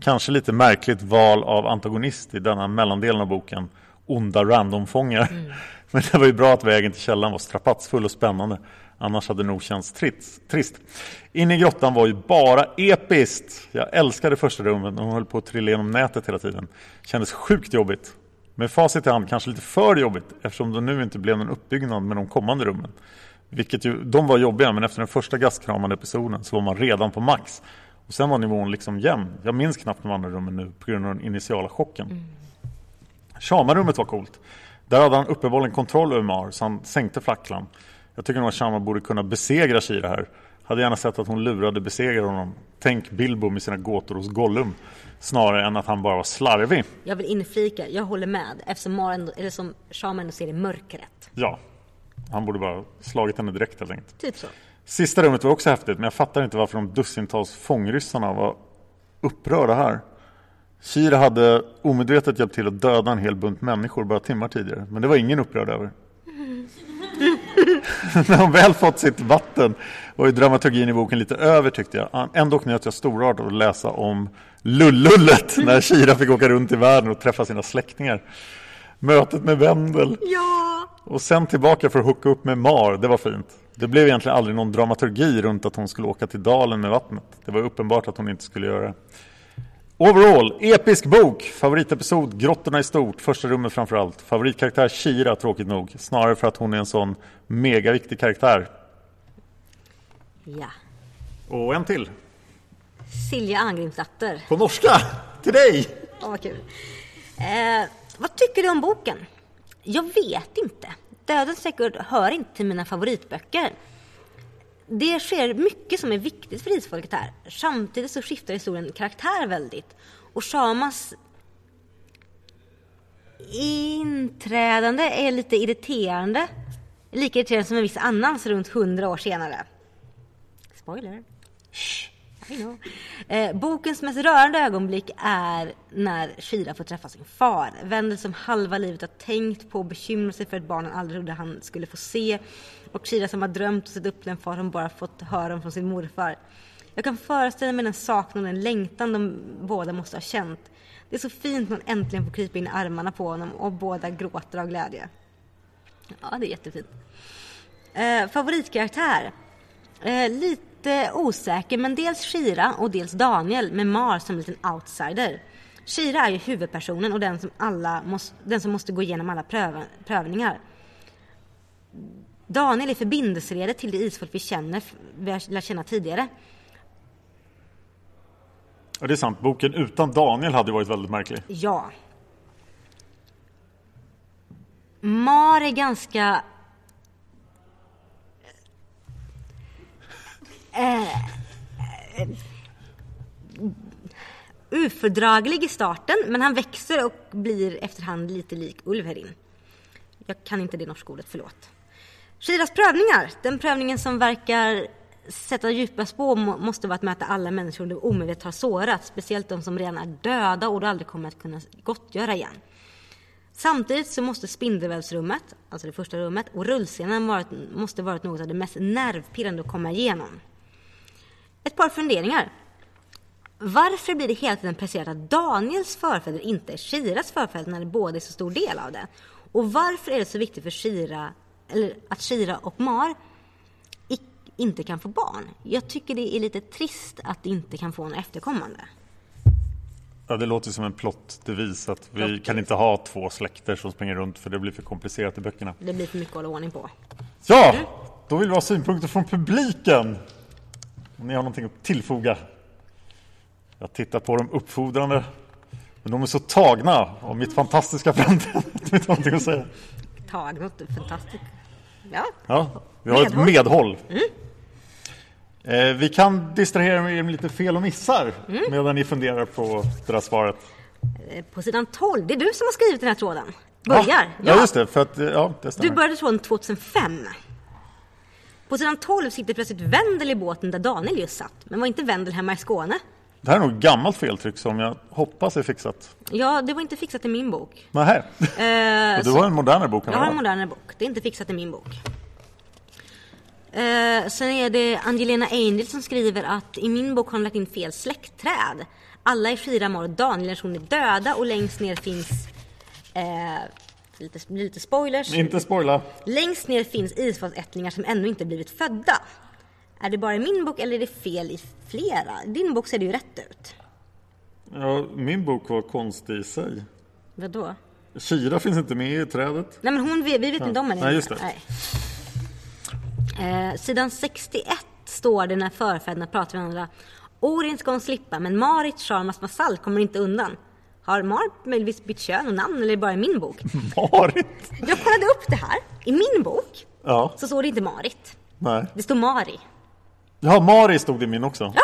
[SPEAKER 2] Kanske lite märkligt val av antagonist i denna mellandelen av boken. Onda randomfångar. (laughs) Men det var ju bra att vägen till källan var strapatsfull och spännande. Annars hade det nog känts trits, trist. Inne i grottan var ju bara episkt. Jag älskade första rummet när hon höll på att trilla genom nätet hela tiden. Kändes sjukt jobbigt. Med facit i hand kanske lite för jobbigt eftersom det nu inte blev någon uppbyggnad med de kommande rummen. Vilket ju, de var jobbiga men efter den första gastkramande episoden så var man redan på max. Och sen var nivån liksom jämn. Jag minns knappt de andra rummen nu på grund av den initiala chocken. Shamarummet var coolt. Där hade han uppenbarligen kontroll över Mar, så han sänkte flacklan. Jag tycker nog att Shama borde kunna besegra Shira här. Hade gärna sett att hon lurade besegrade honom. Tänk Bilbo med sina gåtor hos Gollum. Snarare än att han bara var slarvig.
[SPEAKER 3] Jag vill inflika, jag håller med eftersom Mara ändå, eller som Shaman ändå ser det mörkret.
[SPEAKER 2] Ja, han borde bara slagit henne direkt helt enkelt.
[SPEAKER 3] Typ så.
[SPEAKER 2] Sista rummet var också häftigt, men jag fattar inte varför de dussintals fångryssarna var upprörda här. Shira hade omedvetet hjälpt till att döda en hel bunt människor bara timmar tidigare, men det var ingen upprörd över. (laughs) När hon väl fått sitt vatten var ju dramaturgin i boken lite över tyckte jag. Ändå njöt jag storartat av att läsa om lullullet när Shira fick åka runt i världen och träffa sina släktingar. Mötet med Wendel.
[SPEAKER 3] Ja!
[SPEAKER 2] Och sen tillbaka för att hooka upp med Mar, det var fint. Det blev egentligen aldrig någon dramaturgi runt att hon skulle åka till dalen med vattnet. Det var uppenbart att hon inte skulle göra det. Overall, episk bok! Favoritepisod, grottorna i stort, första rummet framför allt. Favoritkaraktär Shira, tråkigt nog. Snarare för att hon är en sån megaviktig karaktär.
[SPEAKER 3] Ja.
[SPEAKER 2] Och en till.
[SPEAKER 3] Silja Arngrimsdatter.
[SPEAKER 2] På norska! Till dig!
[SPEAKER 3] Åh, vad kul. Eh, vad tycker du om boken? Jag vet inte. Dödens trädgård hör inte till mina favoritböcker. Det sker mycket som är viktigt för isfolket här. Samtidigt så skiftar historien karaktär väldigt. Och Shamas inträdande är lite irriterande. Lika irriterande som en viss annans runt hundra år senare. Spoiler. I know. Eh, bokens mest rörande ögonblick är när Shira får träffa sin far. Wendel som halva livet har tänkt på och bekymrat sig för ett barn han aldrig trodde han skulle få se. Och Shira som har drömt och sett upp till en far som bara fått höra om från sin morfar. Jag kan föreställa mig den saknad och den längtan de båda måste ha känt. Det är så fint när hon äntligen får krypa in i armarna på honom och båda gråter av glädje. Ja, det är jättefint. Eh, favoritkaraktär? Eh, lite osäker, men dels Shira och dels Daniel med Mar som en liten outsider. Shira är ju huvudpersonen och den som, alla måste, den som måste gå igenom alla pröv, prövningar. Daniel är förbindelseredet till det isfolk vi känner, vi har lärt känna tidigare.
[SPEAKER 2] Ja, det är sant. Boken utan Daniel hade ju varit väldigt märklig.
[SPEAKER 3] Ja. Mar är ganska... Eh, eh, ofördraglig i starten, men han växer och blir efterhand lite lik Ulverin. Jag kan inte det norska ordet, förlåt. Shiras prövningar, den prövningen som verkar sätta djupa spår må- måste vara att möta alla människor du omedvetet har sårat, speciellt de som redan är döda och du aldrig kommer att kunna gottgöra igen. Samtidigt så måste spindelvävsrummet, alltså det första rummet, och rullscenen varit, måste varit något av det mest nervpirrande att komma igenom. Ett par funderingar. Varför blir det hela tiden preciserat att Daniels förfäder inte är Shiras förfäder när de båda är så stor del av det? Och varför är det så viktigt för Shira, eller att Shira och Mar ic- inte kan få barn? Jag tycker det är lite trist att de inte kan få en efterkommande.
[SPEAKER 2] Ja, det låter som en plottdevis att vi kan inte ha två släkter som springer runt för det blir för komplicerat i böckerna.
[SPEAKER 3] Det blir för mycket att hålla ordning på.
[SPEAKER 2] Ja,
[SPEAKER 3] Mm.
[SPEAKER 2] då vill vi ha synpunkter från publiken. Om ni har någonting att tillfoga. Jag tittar på dem uppfordrande. Men de är så tagna av mitt fantastiska framträdande. att de inte har någonting att säga.
[SPEAKER 3] Tag något fantastiskt. Ja,
[SPEAKER 2] Ja, vi har ett medhåll.
[SPEAKER 3] Mm.
[SPEAKER 2] Eh, vi kan distrahera er med lite fel och missar medan ni funderar på det där svaret.
[SPEAKER 3] eh, på sidan 12. Det är du som har skrivit den här tråden. Börjar.
[SPEAKER 2] Ja, ja just det. För att, eh, ja, det stämmer.
[SPEAKER 3] Du började tråden 2005. På sidan 12 sitter plötsligt Wendel i båten där Daniel just satt. Men var inte Wendel hemma i Skåne?
[SPEAKER 2] Det här är nog ett gammalt feltryck som jag hoppas är fixat.
[SPEAKER 3] Ja, det var inte fixat i min bok.
[SPEAKER 2] Nähä.
[SPEAKER 3] Eh,
[SPEAKER 2] Och du har en modernare bok än
[SPEAKER 3] Jag har en
[SPEAKER 2] vad
[SPEAKER 3] modernare bok. Det är inte fixat i min bok. Eh, sen är det Angelina Angel som skriver att i min bok har de lagt in fel släktträd. Alla i Shiramar och Daniel som är döda och längst ner finns... Eh, lite, lite spoilers.
[SPEAKER 2] Inte spoila.
[SPEAKER 3] Längst ner finns isfasättlingar som ännu inte blivit födda. Är det bara i min bok eller är det fel i flera? I din bok ser det ju rätt ut.
[SPEAKER 2] Ja, min bok var konstig i sig.
[SPEAKER 3] Vadå?
[SPEAKER 2] Kira finns inte med i
[SPEAKER 3] (laughs)
[SPEAKER 2] trädet.
[SPEAKER 3] Nej men hon, vi vi vet inte om henne.
[SPEAKER 2] Nej, just det.
[SPEAKER 3] Nej. Eh, sidan 61 står det när förfäderna pratar med varandra. Orin ska hon slippa men Marit Sharmas Masal kommer inte undan. Har Marit möjligtvis bytt kön och namn eller är det bara i min bok?
[SPEAKER 2] Marit!
[SPEAKER 3] Jag kollade upp det här. I min bok
[SPEAKER 2] Ja,
[SPEAKER 3] så står det inte Marit.
[SPEAKER 2] nej.
[SPEAKER 3] Det står Mari.
[SPEAKER 2] Ja, Mari stod det i min också. Ja.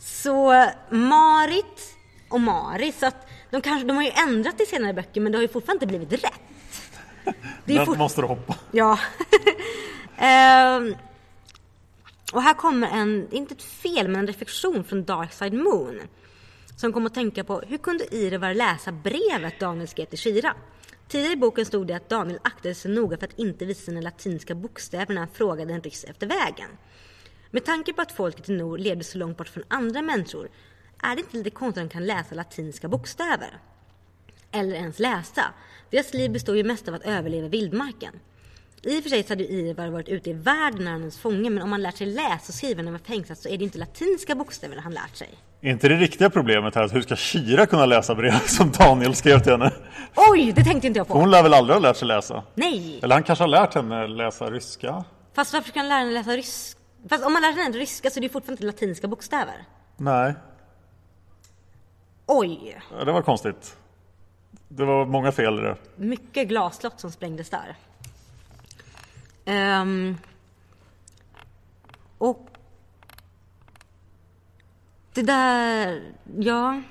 [SPEAKER 3] Så eh, Marit och Mari, så att de, kanske, de har ju ändrat i senare böcker men det har ju fortfarande inte blivit rätt. Det är
[SPEAKER 2] Den
[SPEAKER 3] fort-
[SPEAKER 2] måste du hoppa.
[SPEAKER 3] Ja. (laughs) Ehm, och här kommer en, inte ett fel, men en reflektion från Darkside Moon. som kom att tänka på hur kunde Irevar läsa brevet Daniel skrev till Shira? Tidigare i boken stod det att Daniel aktade sig noga för att inte visa sina latinska bokstäver när han frågade en ryss efter vägen. Med tanke på att folket i norr levde så långt bort från andra människor är det inte lite konstigt att de kan läsa latinska bokstäver? Eller ens läsa. Deras liv består ju mest av att överleva i vildmarken. I och för sig så hade ju Ivar varit ute i världen när han var fånge men om han lärt sig läsa och skriva när han var fängslad så är det inte latinska bokstäver han lärt sig.
[SPEAKER 2] Är inte det riktiga problemet här att hur ska Kira kunna läsa brev (laughs) som Daniel skrev till henne?
[SPEAKER 3] Oj, det tänkte inte jag på!
[SPEAKER 2] Hon lär väl aldrig ha lärt sig läsa?
[SPEAKER 3] Nej!
[SPEAKER 2] Eller han kanske har lärt henne läsa ryska?
[SPEAKER 3] Fast varför ska han lära henne läsa ryska? Fast om man lär sig henne ryska så är det ju fortfarande inte latinska bokstäver.
[SPEAKER 2] Nej,
[SPEAKER 3] Oj!
[SPEAKER 2] Ja, det var konstigt. Det var många fel i det. (laughs)
[SPEAKER 3] Mycket glaslott som sprängdes där. Ehm, och det där, ja.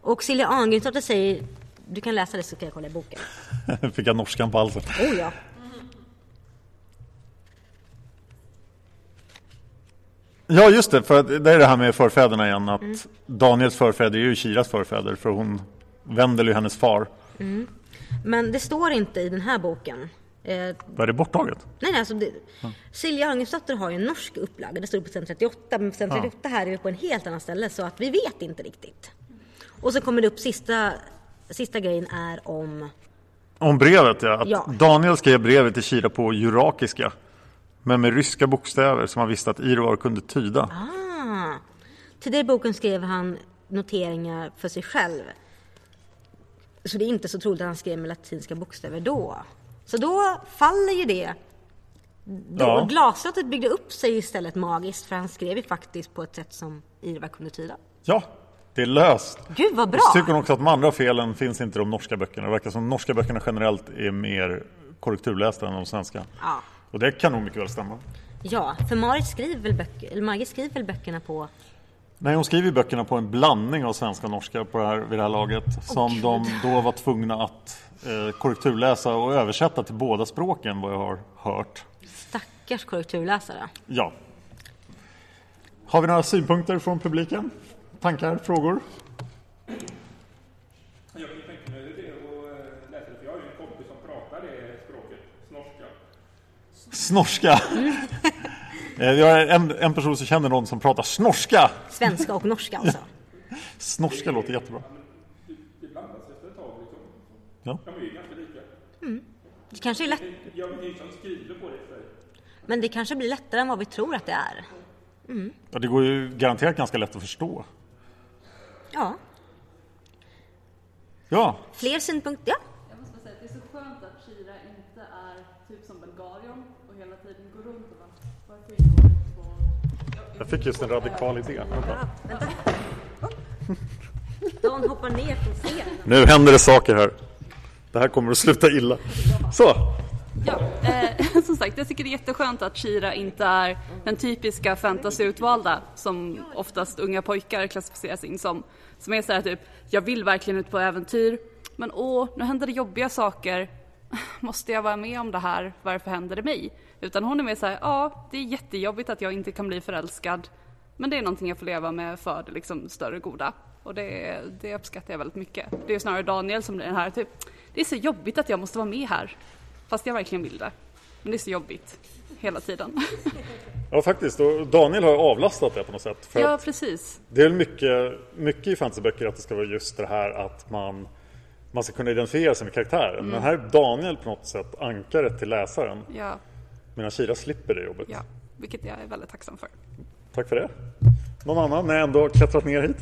[SPEAKER 3] Och Silja Arngren säger, du kan läsa det så kan jag kolla i boken.
[SPEAKER 2] Fick jag norskan på halsen.
[SPEAKER 3] Oh ja.
[SPEAKER 2] Ja, just det. För att det är det här med förfäderna igen. Att
[SPEAKER 3] Mm.
[SPEAKER 2] Daniels förfäder är ju Kiras förfäder. För hon, Wendel är ju hennes far.
[SPEAKER 3] Men det står inte i den här boken. Eh,
[SPEAKER 2] Var det borttaget?
[SPEAKER 3] Nej, nej, alltså det, Silja Arngensdotter har ju en norsk upplaga, det står det på sidan 38, men på sidan 38 här är vi på en helt annan ställe så att vi vet inte riktigt. Och så kommer det upp sista, sista grejen är om,
[SPEAKER 2] Om brevet, ja. Att
[SPEAKER 3] Ja.
[SPEAKER 2] Daniel skrev brevet till Kira på jurakiska. Men med ryska bokstäver som han visste att Iroar kunde tyda.
[SPEAKER 3] ah, tidigare i boken skrev han noteringar för sig själv. Så det är inte så troligt att han skrev med latinska bokstäver då. Så då faller ju det. Då
[SPEAKER 2] Ja.
[SPEAKER 3] Glasslottet byggde upp sig istället magiskt för han skrev ju faktiskt på ett sätt som Irva kunde tyda.
[SPEAKER 2] Ja, det är löst.
[SPEAKER 3] Gud vad bra!
[SPEAKER 2] Och så tycker hon också att de andra felen finns inte i de norska böckerna. Det verkar som de norska böckerna generellt är mer korrekturlästa än de svenska.
[SPEAKER 3] Ja.
[SPEAKER 2] Och det kan nog mycket väl stämma.
[SPEAKER 3] Ja, för Marit skriver väl, böcker, eller Margit skriver väl böckerna på...
[SPEAKER 2] Nej, hon skriver ju böckerna på en blandning av svenska och norska på det här, vid det här laget. Som de då var tvungna att eh, korrekturläsa och översätta till båda språken vad jag har hört.
[SPEAKER 3] Stackars korrekturläsare.
[SPEAKER 2] Ja. Har vi några synpunkter från publiken? Tankar, frågor?
[SPEAKER 7] Jag kan ju tänka mig det och eh, läsa det, för jag har ju en kompis som pratar det språket, snorska.
[SPEAKER 2] Snorska! Eh, Jag är en, en person som känner någon som pratar snorska.
[SPEAKER 3] Svenska och norska alltså.
[SPEAKER 2] Snorska låter jättebra.
[SPEAKER 7] Det blandas efter ett tag liksom.
[SPEAKER 2] Ja.
[SPEAKER 7] De är ju ganska lika.
[SPEAKER 3] Det kanske är lätt,
[SPEAKER 7] Jag vet inte som skriver på det i sig.
[SPEAKER 3] men det kanske blir lättare än vad vi tror att det är.
[SPEAKER 2] Ja, det går ju garanterat ganska lätt att förstå.
[SPEAKER 3] Ja,
[SPEAKER 2] Ja,
[SPEAKER 3] fler synpunkter? Ja.
[SPEAKER 5] Jag måste bara säga att det är så skönt att Kira inte är typ som Bulgarion och hela tiden går runt och bara varför ingår det två...
[SPEAKER 2] jag fick just en radikal idé.
[SPEAKER 3] (laughs) Dan hoppar ner från scenen.
[SPEAKER 2] Nu händer det saker här. Det här kommer att sluta illa. Så,
[SPEAKER 5] Ja, eh, (laughs) som sagt, jag tycker det är jätteskönt att Kira inte är den typiska fantasyutvalda som oftast unga pojkar klassificeras in som. Som är såhär typ, jag vill verkligen ut på äventyr, men åh, nu händer det jobbiga saker. (laughs) Måste jag vara med om det här? Varför händer det mig? Utan hon är mer såhär, ja, det är jättejobbigt att jag inte kan bli förälskad, men det är någonting jag får leva med för det liksom större goda. Och det, det uppskattar jag väldigt mycket. Det är ju snarare Daniel som blir den här typ, det är så jobbigt att jag måste vara med här. Fast jag verkligen vill det. Men det är så jobbigt hela tiden.
[SPEAKER 2] ja faktiskt. Och Daniel har ju avlastat det på något sätt. För
[SPEAKER 5] (laughs) ja,
[SPEAKER 2] att
[SPEAKER 5] precis.
[SPEAKER 2] det är väl mycket, mycket i fantasyböcker att det ska vara just det här att man, man ska kunna identifiera sig med karaktären. Men här är Daniel på något sätt ankaret till läsaren.
[SPEAKER 5] Ja,
[SPEAKER 2] Medan Kira slipper det jobbet.
[SPEAKER 5] ja, vilket jag är väldigt tacksam för.
[SPEAKER 2] Tack för det. Någon annan när jag ändå har klättrat ner hit?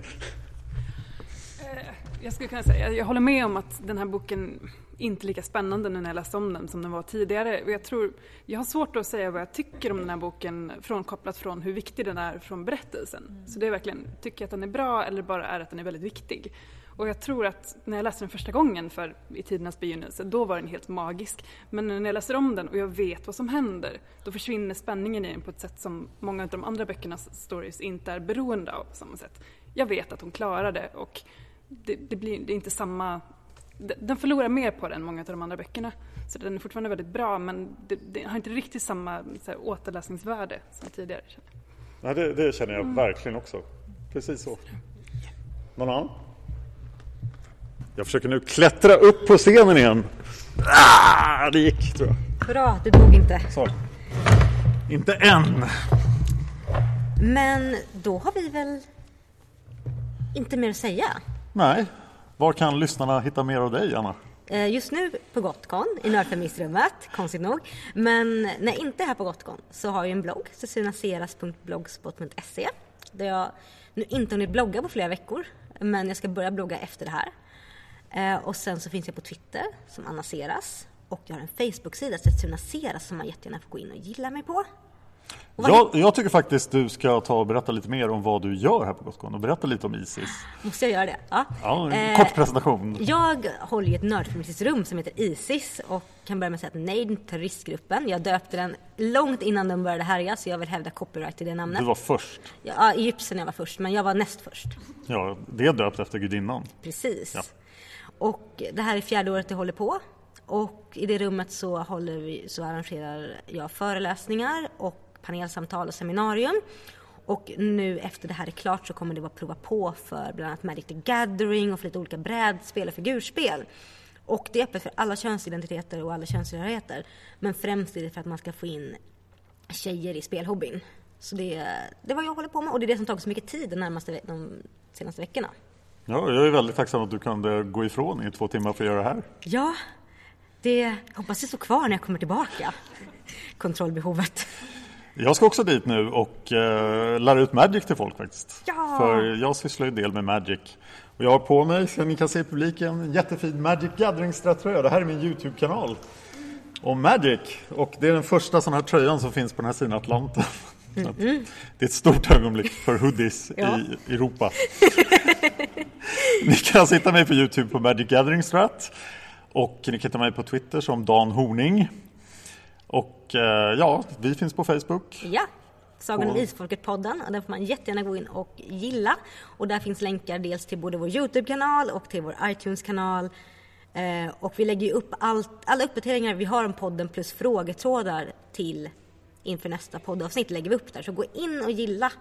[SPEAKER 8] Jag skulle kunna säga, jag håller med om att den här boken inte är lika spännande nu när jag läste om den som den var tidigare. Och jag, tror, jag har svårt att säga vad jag tycker om den här boken frånkopplat från hur viktig den är från berättelsen. Så det är verkligen, tycker jag att den är bra eller bara är att den är väldigt viktig? Och jag tror att när jag läste den första gången för i tidernas begynnelse, då var den helt magisk. Men nu när jag läser om den och jag vet vad som händer, då försvinner spänningen i den på ett sätt som många av de andra böckernas stories inte är beroende av på samma sätt. Jag vet att hon klarar det och det, det, blir, det är inte samma... de- Den förlorar mer på det än många av de andra böckerna. Så den är fortfarande väldigt bra men det, det har inte riktigt samma så här, återläsningsvärde som tidigare. känner jag.
[SPEAKER 2] Nej, det, det känner jag verkligen också. Precis så. Någon annan? Jag försöker nu klättra upp på scenen igen. Ah, det gick tror jag.
[SPEAKER 3] Bra, du dog inte.
[SPEAKER 2] Så. Inte än.
[SPEAKER 3] Men då har vi väl inte mer att säga.
[SPEAKER 2] Nej. Var kan lyssnarna hitta mer av dig, Anna?
[SPEAKER 3] Eh, Just nu på Gotcon i Nördfeministrummet, konstigt nog. Men när jag inte är här på Gotcon så har jag en blogg, cecilianaseras.blogspot.se där jag nu inte hunnit blogga på flera veckor men jag ska börja blogga efter det här. Eh, Och sen så finns jag på Twitter som Anna Seras och jag har en Facebook-sida, Cecilina Seras, som man jättegärna får gå in och gilla mig på. Och vad-
[SPEAKER 2] Jag, jag tycker faktiskt du ska ta och berätta lite mer om vad du gör här på Gotcon och berätta lite om Isis.
[SPEAKER 3] Måste jag göra det? Ja.
[SPEAKER 2] Ja, en
[SPEAKER 3] Eh,
[SPEAKER 2] kort presentation.
[SPEAKER 3] Jag håller ju ett nördfeministiskt rum som heter Isis och kan börja med att säga att nej, det är inte terroristgruppen. Jag döpte den långt innan de började härja så jag vill hävda copyright till det namnet.
[SPEAKER 2] Du var först.
[SPEAKER 3] Ja, egyptierna var först, men jag var näst först.
[SPEAKER 2] Ja, det är döpt efter gudinnan.
[SPEAKER 3] Precis.
[SPEAKER 2] Ja.
[SPEAKER 3] Och det här är fjärde året det håller på. Och i det rummet så, håller vi, så arrangerar jag föreläsningar och panelsamtal och seminarium. Och nu efter det här är klart så kommer det vara prova på för bland annat Magic the Gathering och för lite olika brädspel och figurspel. Och det är öppet för alla könsidentiteter och alla könstillhörigheter. Men främst är det för att man ska få in tjejer i spelhobbyn. Så det, det är vad jag håller på med och det är det som tagit så mycket tid de, närmaste, ve- de senaste veckorna.
[SPEAKER 2] Ja, jag är väldigt tacksam att du kunde gå ifrån i två timmar för att göra det här.
[SPEAKER 3] Ja, det jag hoppas det står kvar när jag kommer tillbaka. Kontrollbehovet.
[SPEAKER 2] Jag ska också dit nu och eh, lära ut Magic till folk faktiskt.
[SPEAKER 3] Ja!
[SPEAKER 2] För jag sysslar ju en del med Magic. Och jag har på mig, som ni kan se i publiken, en jättefin Magic Gathering-tröja. Det här är min YouTube-kanal om Magic. Och det är den första sån här tröjan som finns på den här sidan Atlanten. (laughs) Så att Det är ett stort ögonblick för hoodies
[SPEAKER 3] Mm-hmm. (laughs) Ja.
[SPEAKER 2] i Europa. (laughs) ni kan alltså hitta mig på Youtube på Magic Gathering Strat. Och ni kan hitta mig på Twitter som Dan Horning. Och eh, ja, vi finns på Facebook.
[SPEAKER 3] Ja, Sagan om
[SPEAKER 2] Och-
[SPEAKER 3] Isfolket-podden. och Den får man jättegärna gå in och gilla. Och där finns länkar dels till både vår YouTube-kanal och till vår iTunes-kanal. Eh, och vi lägger ju upp allt, alla uppdateringar vi har om podden plus frågetrådar till inför nästa poddavsnitt lägger vi upp där. Så gå in och gilla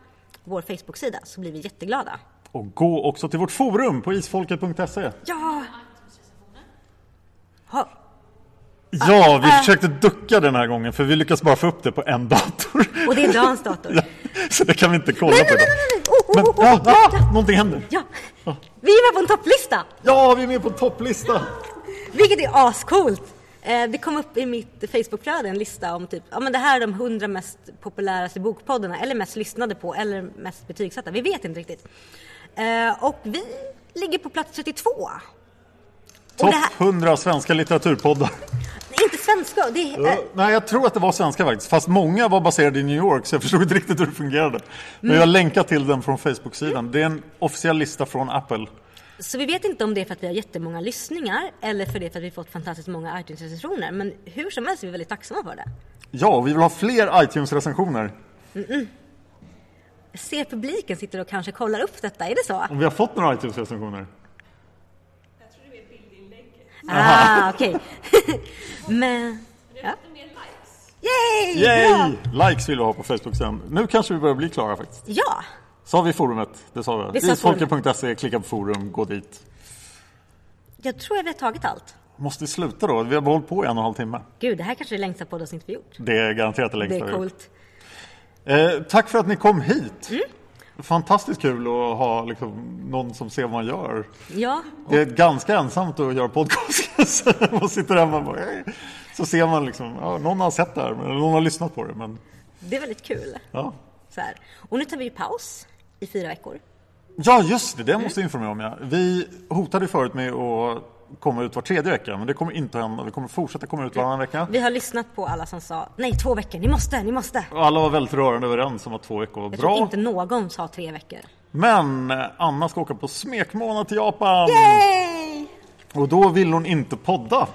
[SPEAKER 3] vår Facebook-sida så blir vi jätteglada.
[SPEAKER 2] Och gå också till vårt forum på isfolket.se.
[SPEAKER 3] Ja! Ha,
[SPEAKER 2] Ja, vi
[SPEAKER 3] Ah, ah.
[SPEAKER 2] försökte ducka den här gången för vi lyckas bara få upp det på en dator.
[SPEAKER 3] och det är Dans
[SPEAKER 2] (laughs)
[SPEAKER 3] dator.
[SPEAKER 2] Ja, så det kan vi inte kolla
[SPEAKER 3] Nej,
[SPEAKER 2] på
[SPEAKER 3] nej,
[SPEAKER 2] idag.
[SPEAKER 3] nej, nej, nej. Oh,
[SPEAKER 2] Men,
[SPEAKER 3] oh, oh,
[SPEAKER 2] ja,
[SPEAKER 3] oh,
[SPEAKER 2] ah, någonting händer.
[SPEAKER 3] Ja, vi är med på en topplista!
[SPEAKER 2] Ja, vi är med på en topplista.
[SPEAKER 3] Vilket är ascoolt! Eh, Det kom upp i mitt Facebookflöde en lista om typ, ja men det här är de 100 mest populäraste bokpoddarna eller mest lyssnade på eller mest betygsatta. Vi vet inte riktigt. Eh, Och vi ligger på plats 32. Och
[SPEAKER 2] Topp
[SPEAKER 3] det här,
[SPEAKER 2] 100 svenska litteraturpoddar.
[SPEAKER 3] inte svenska, det är...
[SPEAKER 2] Ja,
[SPEAKER 3] eh,
[SPEAKER 2] Nej, jag tror att det var svenska faktiskt. Fast många var baserade i New York så jag förstod inte riktigt hur det fungerade.
[SPEAKER 3] Mm.
[SPEAKER 2] Men jag länkar till den från Facebook-sidan. Det är en officiell lista från Apple.
[SPEAKER 3] Så vi vet inte om det är för att vi har jättemånga lyssningar eller för det för att vi fått fantastiskt många iTunes-recensioner. Men hur som helst är vi väldigt tacksamma för det.
[SPEAKER 2] Ja, och vi vill ha fler iTunes-recensioner.
[SPEAKER 3] Jag ser publiken sitter och kanske kollar upp detta, är det så?
[SPEAKER 2] Om vi har fått några iTunes-recensioner.
[SPEAKER 3] Ah, okej. (laughs) Men... Ja. Yay! Bra!
[SPEAKER 2] Yay! Likes vill vi ha på Facebook-sidan. Nu kanske vi börjar bli klara faktiskt.
[SPEAKER 3] Ja!
[SPEAKER 2] Sa vi forumet? Det sa vi.
[SPEAKER 3] Vi sa
[SPEAKER 2] Isfolket.se, klicka på forum, gå dit.
[SPEAKER 3] Jag tror att vi har tagit allt.
[SPEAKER 2] Måste vi sluta då? Vi har hållit på i en och en halv timme.
[SPEAKER 3] Gud, det här kanske är det längsta poddavsnitt vi gjort.
[SPEAKER 2] Det är garanterat det
[SPEAKER 3] Det
[SPEAKER 2] längsta
[SPEAKER 3] är
[SPEAKER 2] vi har
[SPEAKER 3] coolt. Mm.
[SPEAKER 2] gjort. eh, Tack för att ni kom hit. Fantastiskt kul att ha liksom, någon som ser vad man gör.
[SPEAKER 3] Ja,
[SPEAKER 2] Det är ganska ensamt att göra podcast. Så man sitter hemma och bara, "Eh." Så ser man liksom, ja, någon har sett det här, men- eller någon har lyssnat på det. Men,
[SPEAKER 3] det är väldigt kul.
[SPEAKER 2] ja.
[SPEAKER 3] Så här. Och nu tar vi ju paus i fyra veckor.
[SPEAKER 2] Ja, just det. Det
[SPEAKER 3] Mm.
[SPEAKER 2] måste jag informera om. Ja. Vi hotade ju förut med att komma ut var tredje vecka, men det kommer inte att hända. Vi kommer fortsätta komma ut varannan vecka.
[SPEAKER 3] Vi har lyssnat på alla som sa nej, två veckor, ni måste, ni måste.
[SPEAKER 2] Och alla var väldigt rörande överens om att två veckor var
[SPEAKER 3] Jag tror
[SPEAKER 2] bra.
[SPEAKER 3] inte någon sa tre veckor.
[SPEAKER 2] Men eh, Anna ska åka på smekmånad till Japan.
[SPEAKER 3] Yay!
[SPEAKER 2] Och då vill hon inte podda.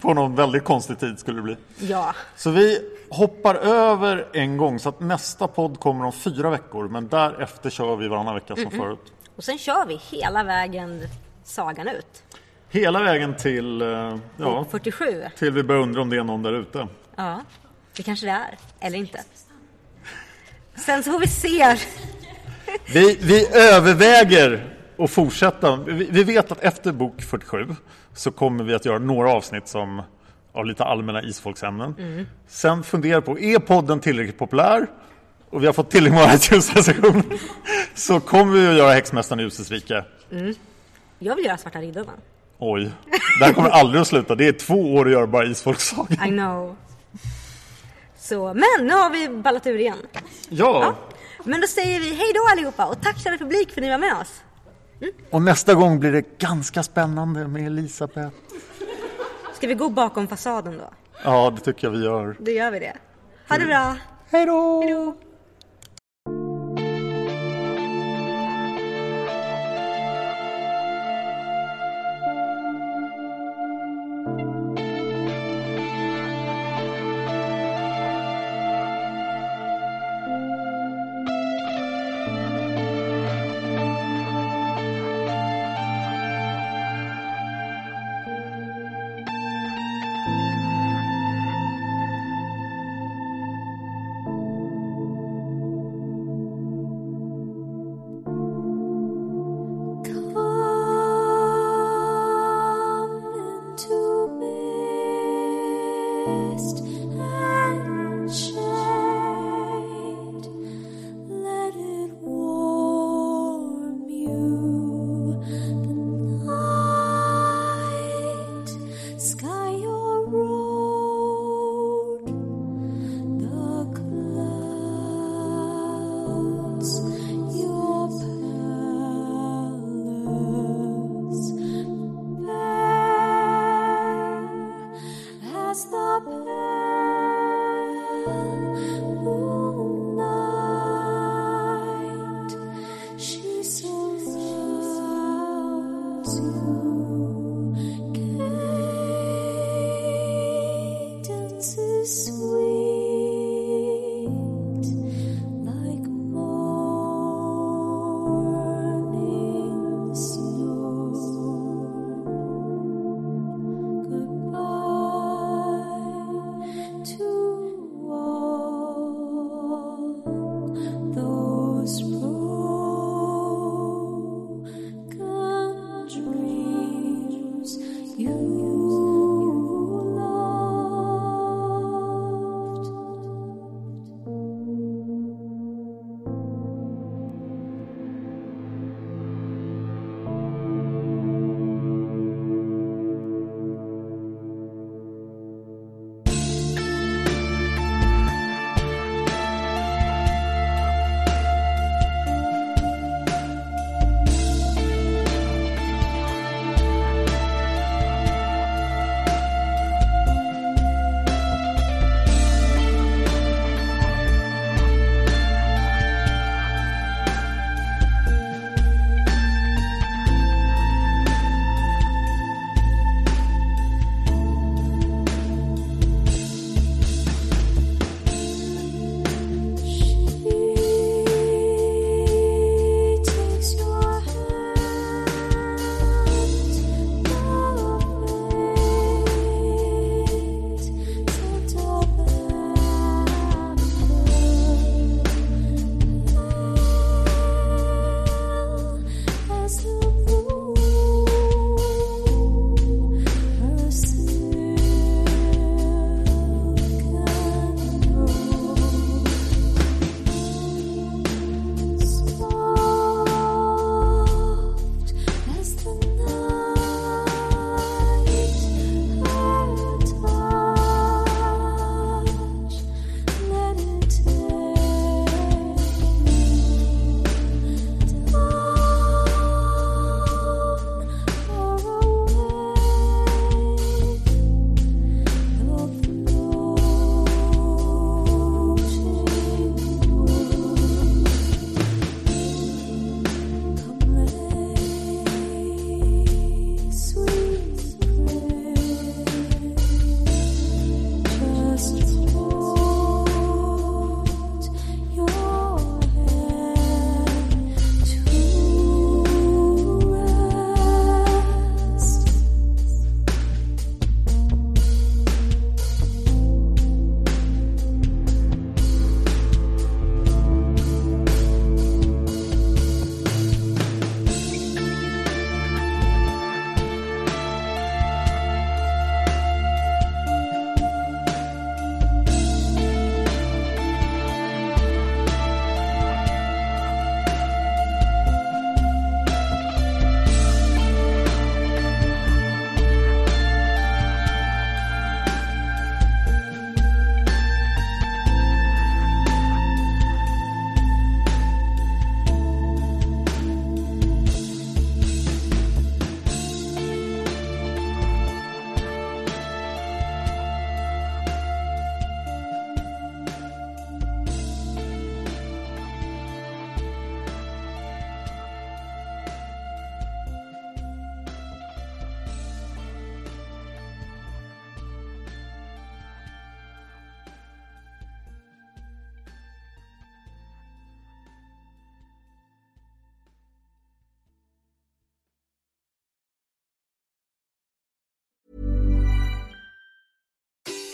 [SPEAKER 2] På någon väldigt konstig tid skulle det bli.
[SPEAKER 3] Ja,
[SPEAKER 2] Så vi hoppar över en gång så att nästa podd kommer om fyra veckor. Men därefter kör vi varannan vecka som förut.
[SPEAKER 3] och sen kör vi hela vägen sagan ut.
[SPEAKER 2] Hela vägen till, eh, ja,
[SPEAKER 3] 47.
[SPEAKER 2] till vi börjar undra om det är någon där ute.
[SPEAKER 3] Ja, det kanske det är. Eller inte. Sen så får vi se.
[SPEAKER 2] Vi, vi överväger att fortsätta. Vi, vi vet att efter bok 47 så kommer vi att göra några avsnitt som av lite allmänna isfolksämnen.
[SPEAKER 3] Mm.
[SPEAKER 2] Sen funderar på, är podden tillräckligt populär? Och vi har fått tillräckligt (laughs) många iTunes-recensioner. Så kommer vi att göra Häxmästaren i Usels rike.
[SPEAKER 3] Mm. Jag vill göra Svarta Riddaren.
[SPEAKER 2] Oj, det här kommer aldrig att sluta. Det är två år att göra bara isfolksaga.
[SPEAKER 3] I know. Så, men nu har vi ballat ur igen.
[SPEAKER 2] Ja,
[SPEAKER 3] Men då säger vi hej då allihopa och tack kära publik för att ni var med oss.
[SPEAKER 2] och nästa gång blir det ganska spännande med Elisabeth.
[SPEAKER 3] Ska vi gå bakom fasaden då?
[SPEAKER 2] Ja, det tycker jag vi gör.
[SPEAKER 3] Då gör vi det. Ha det bra!
[SPEAKER 2] Hej då!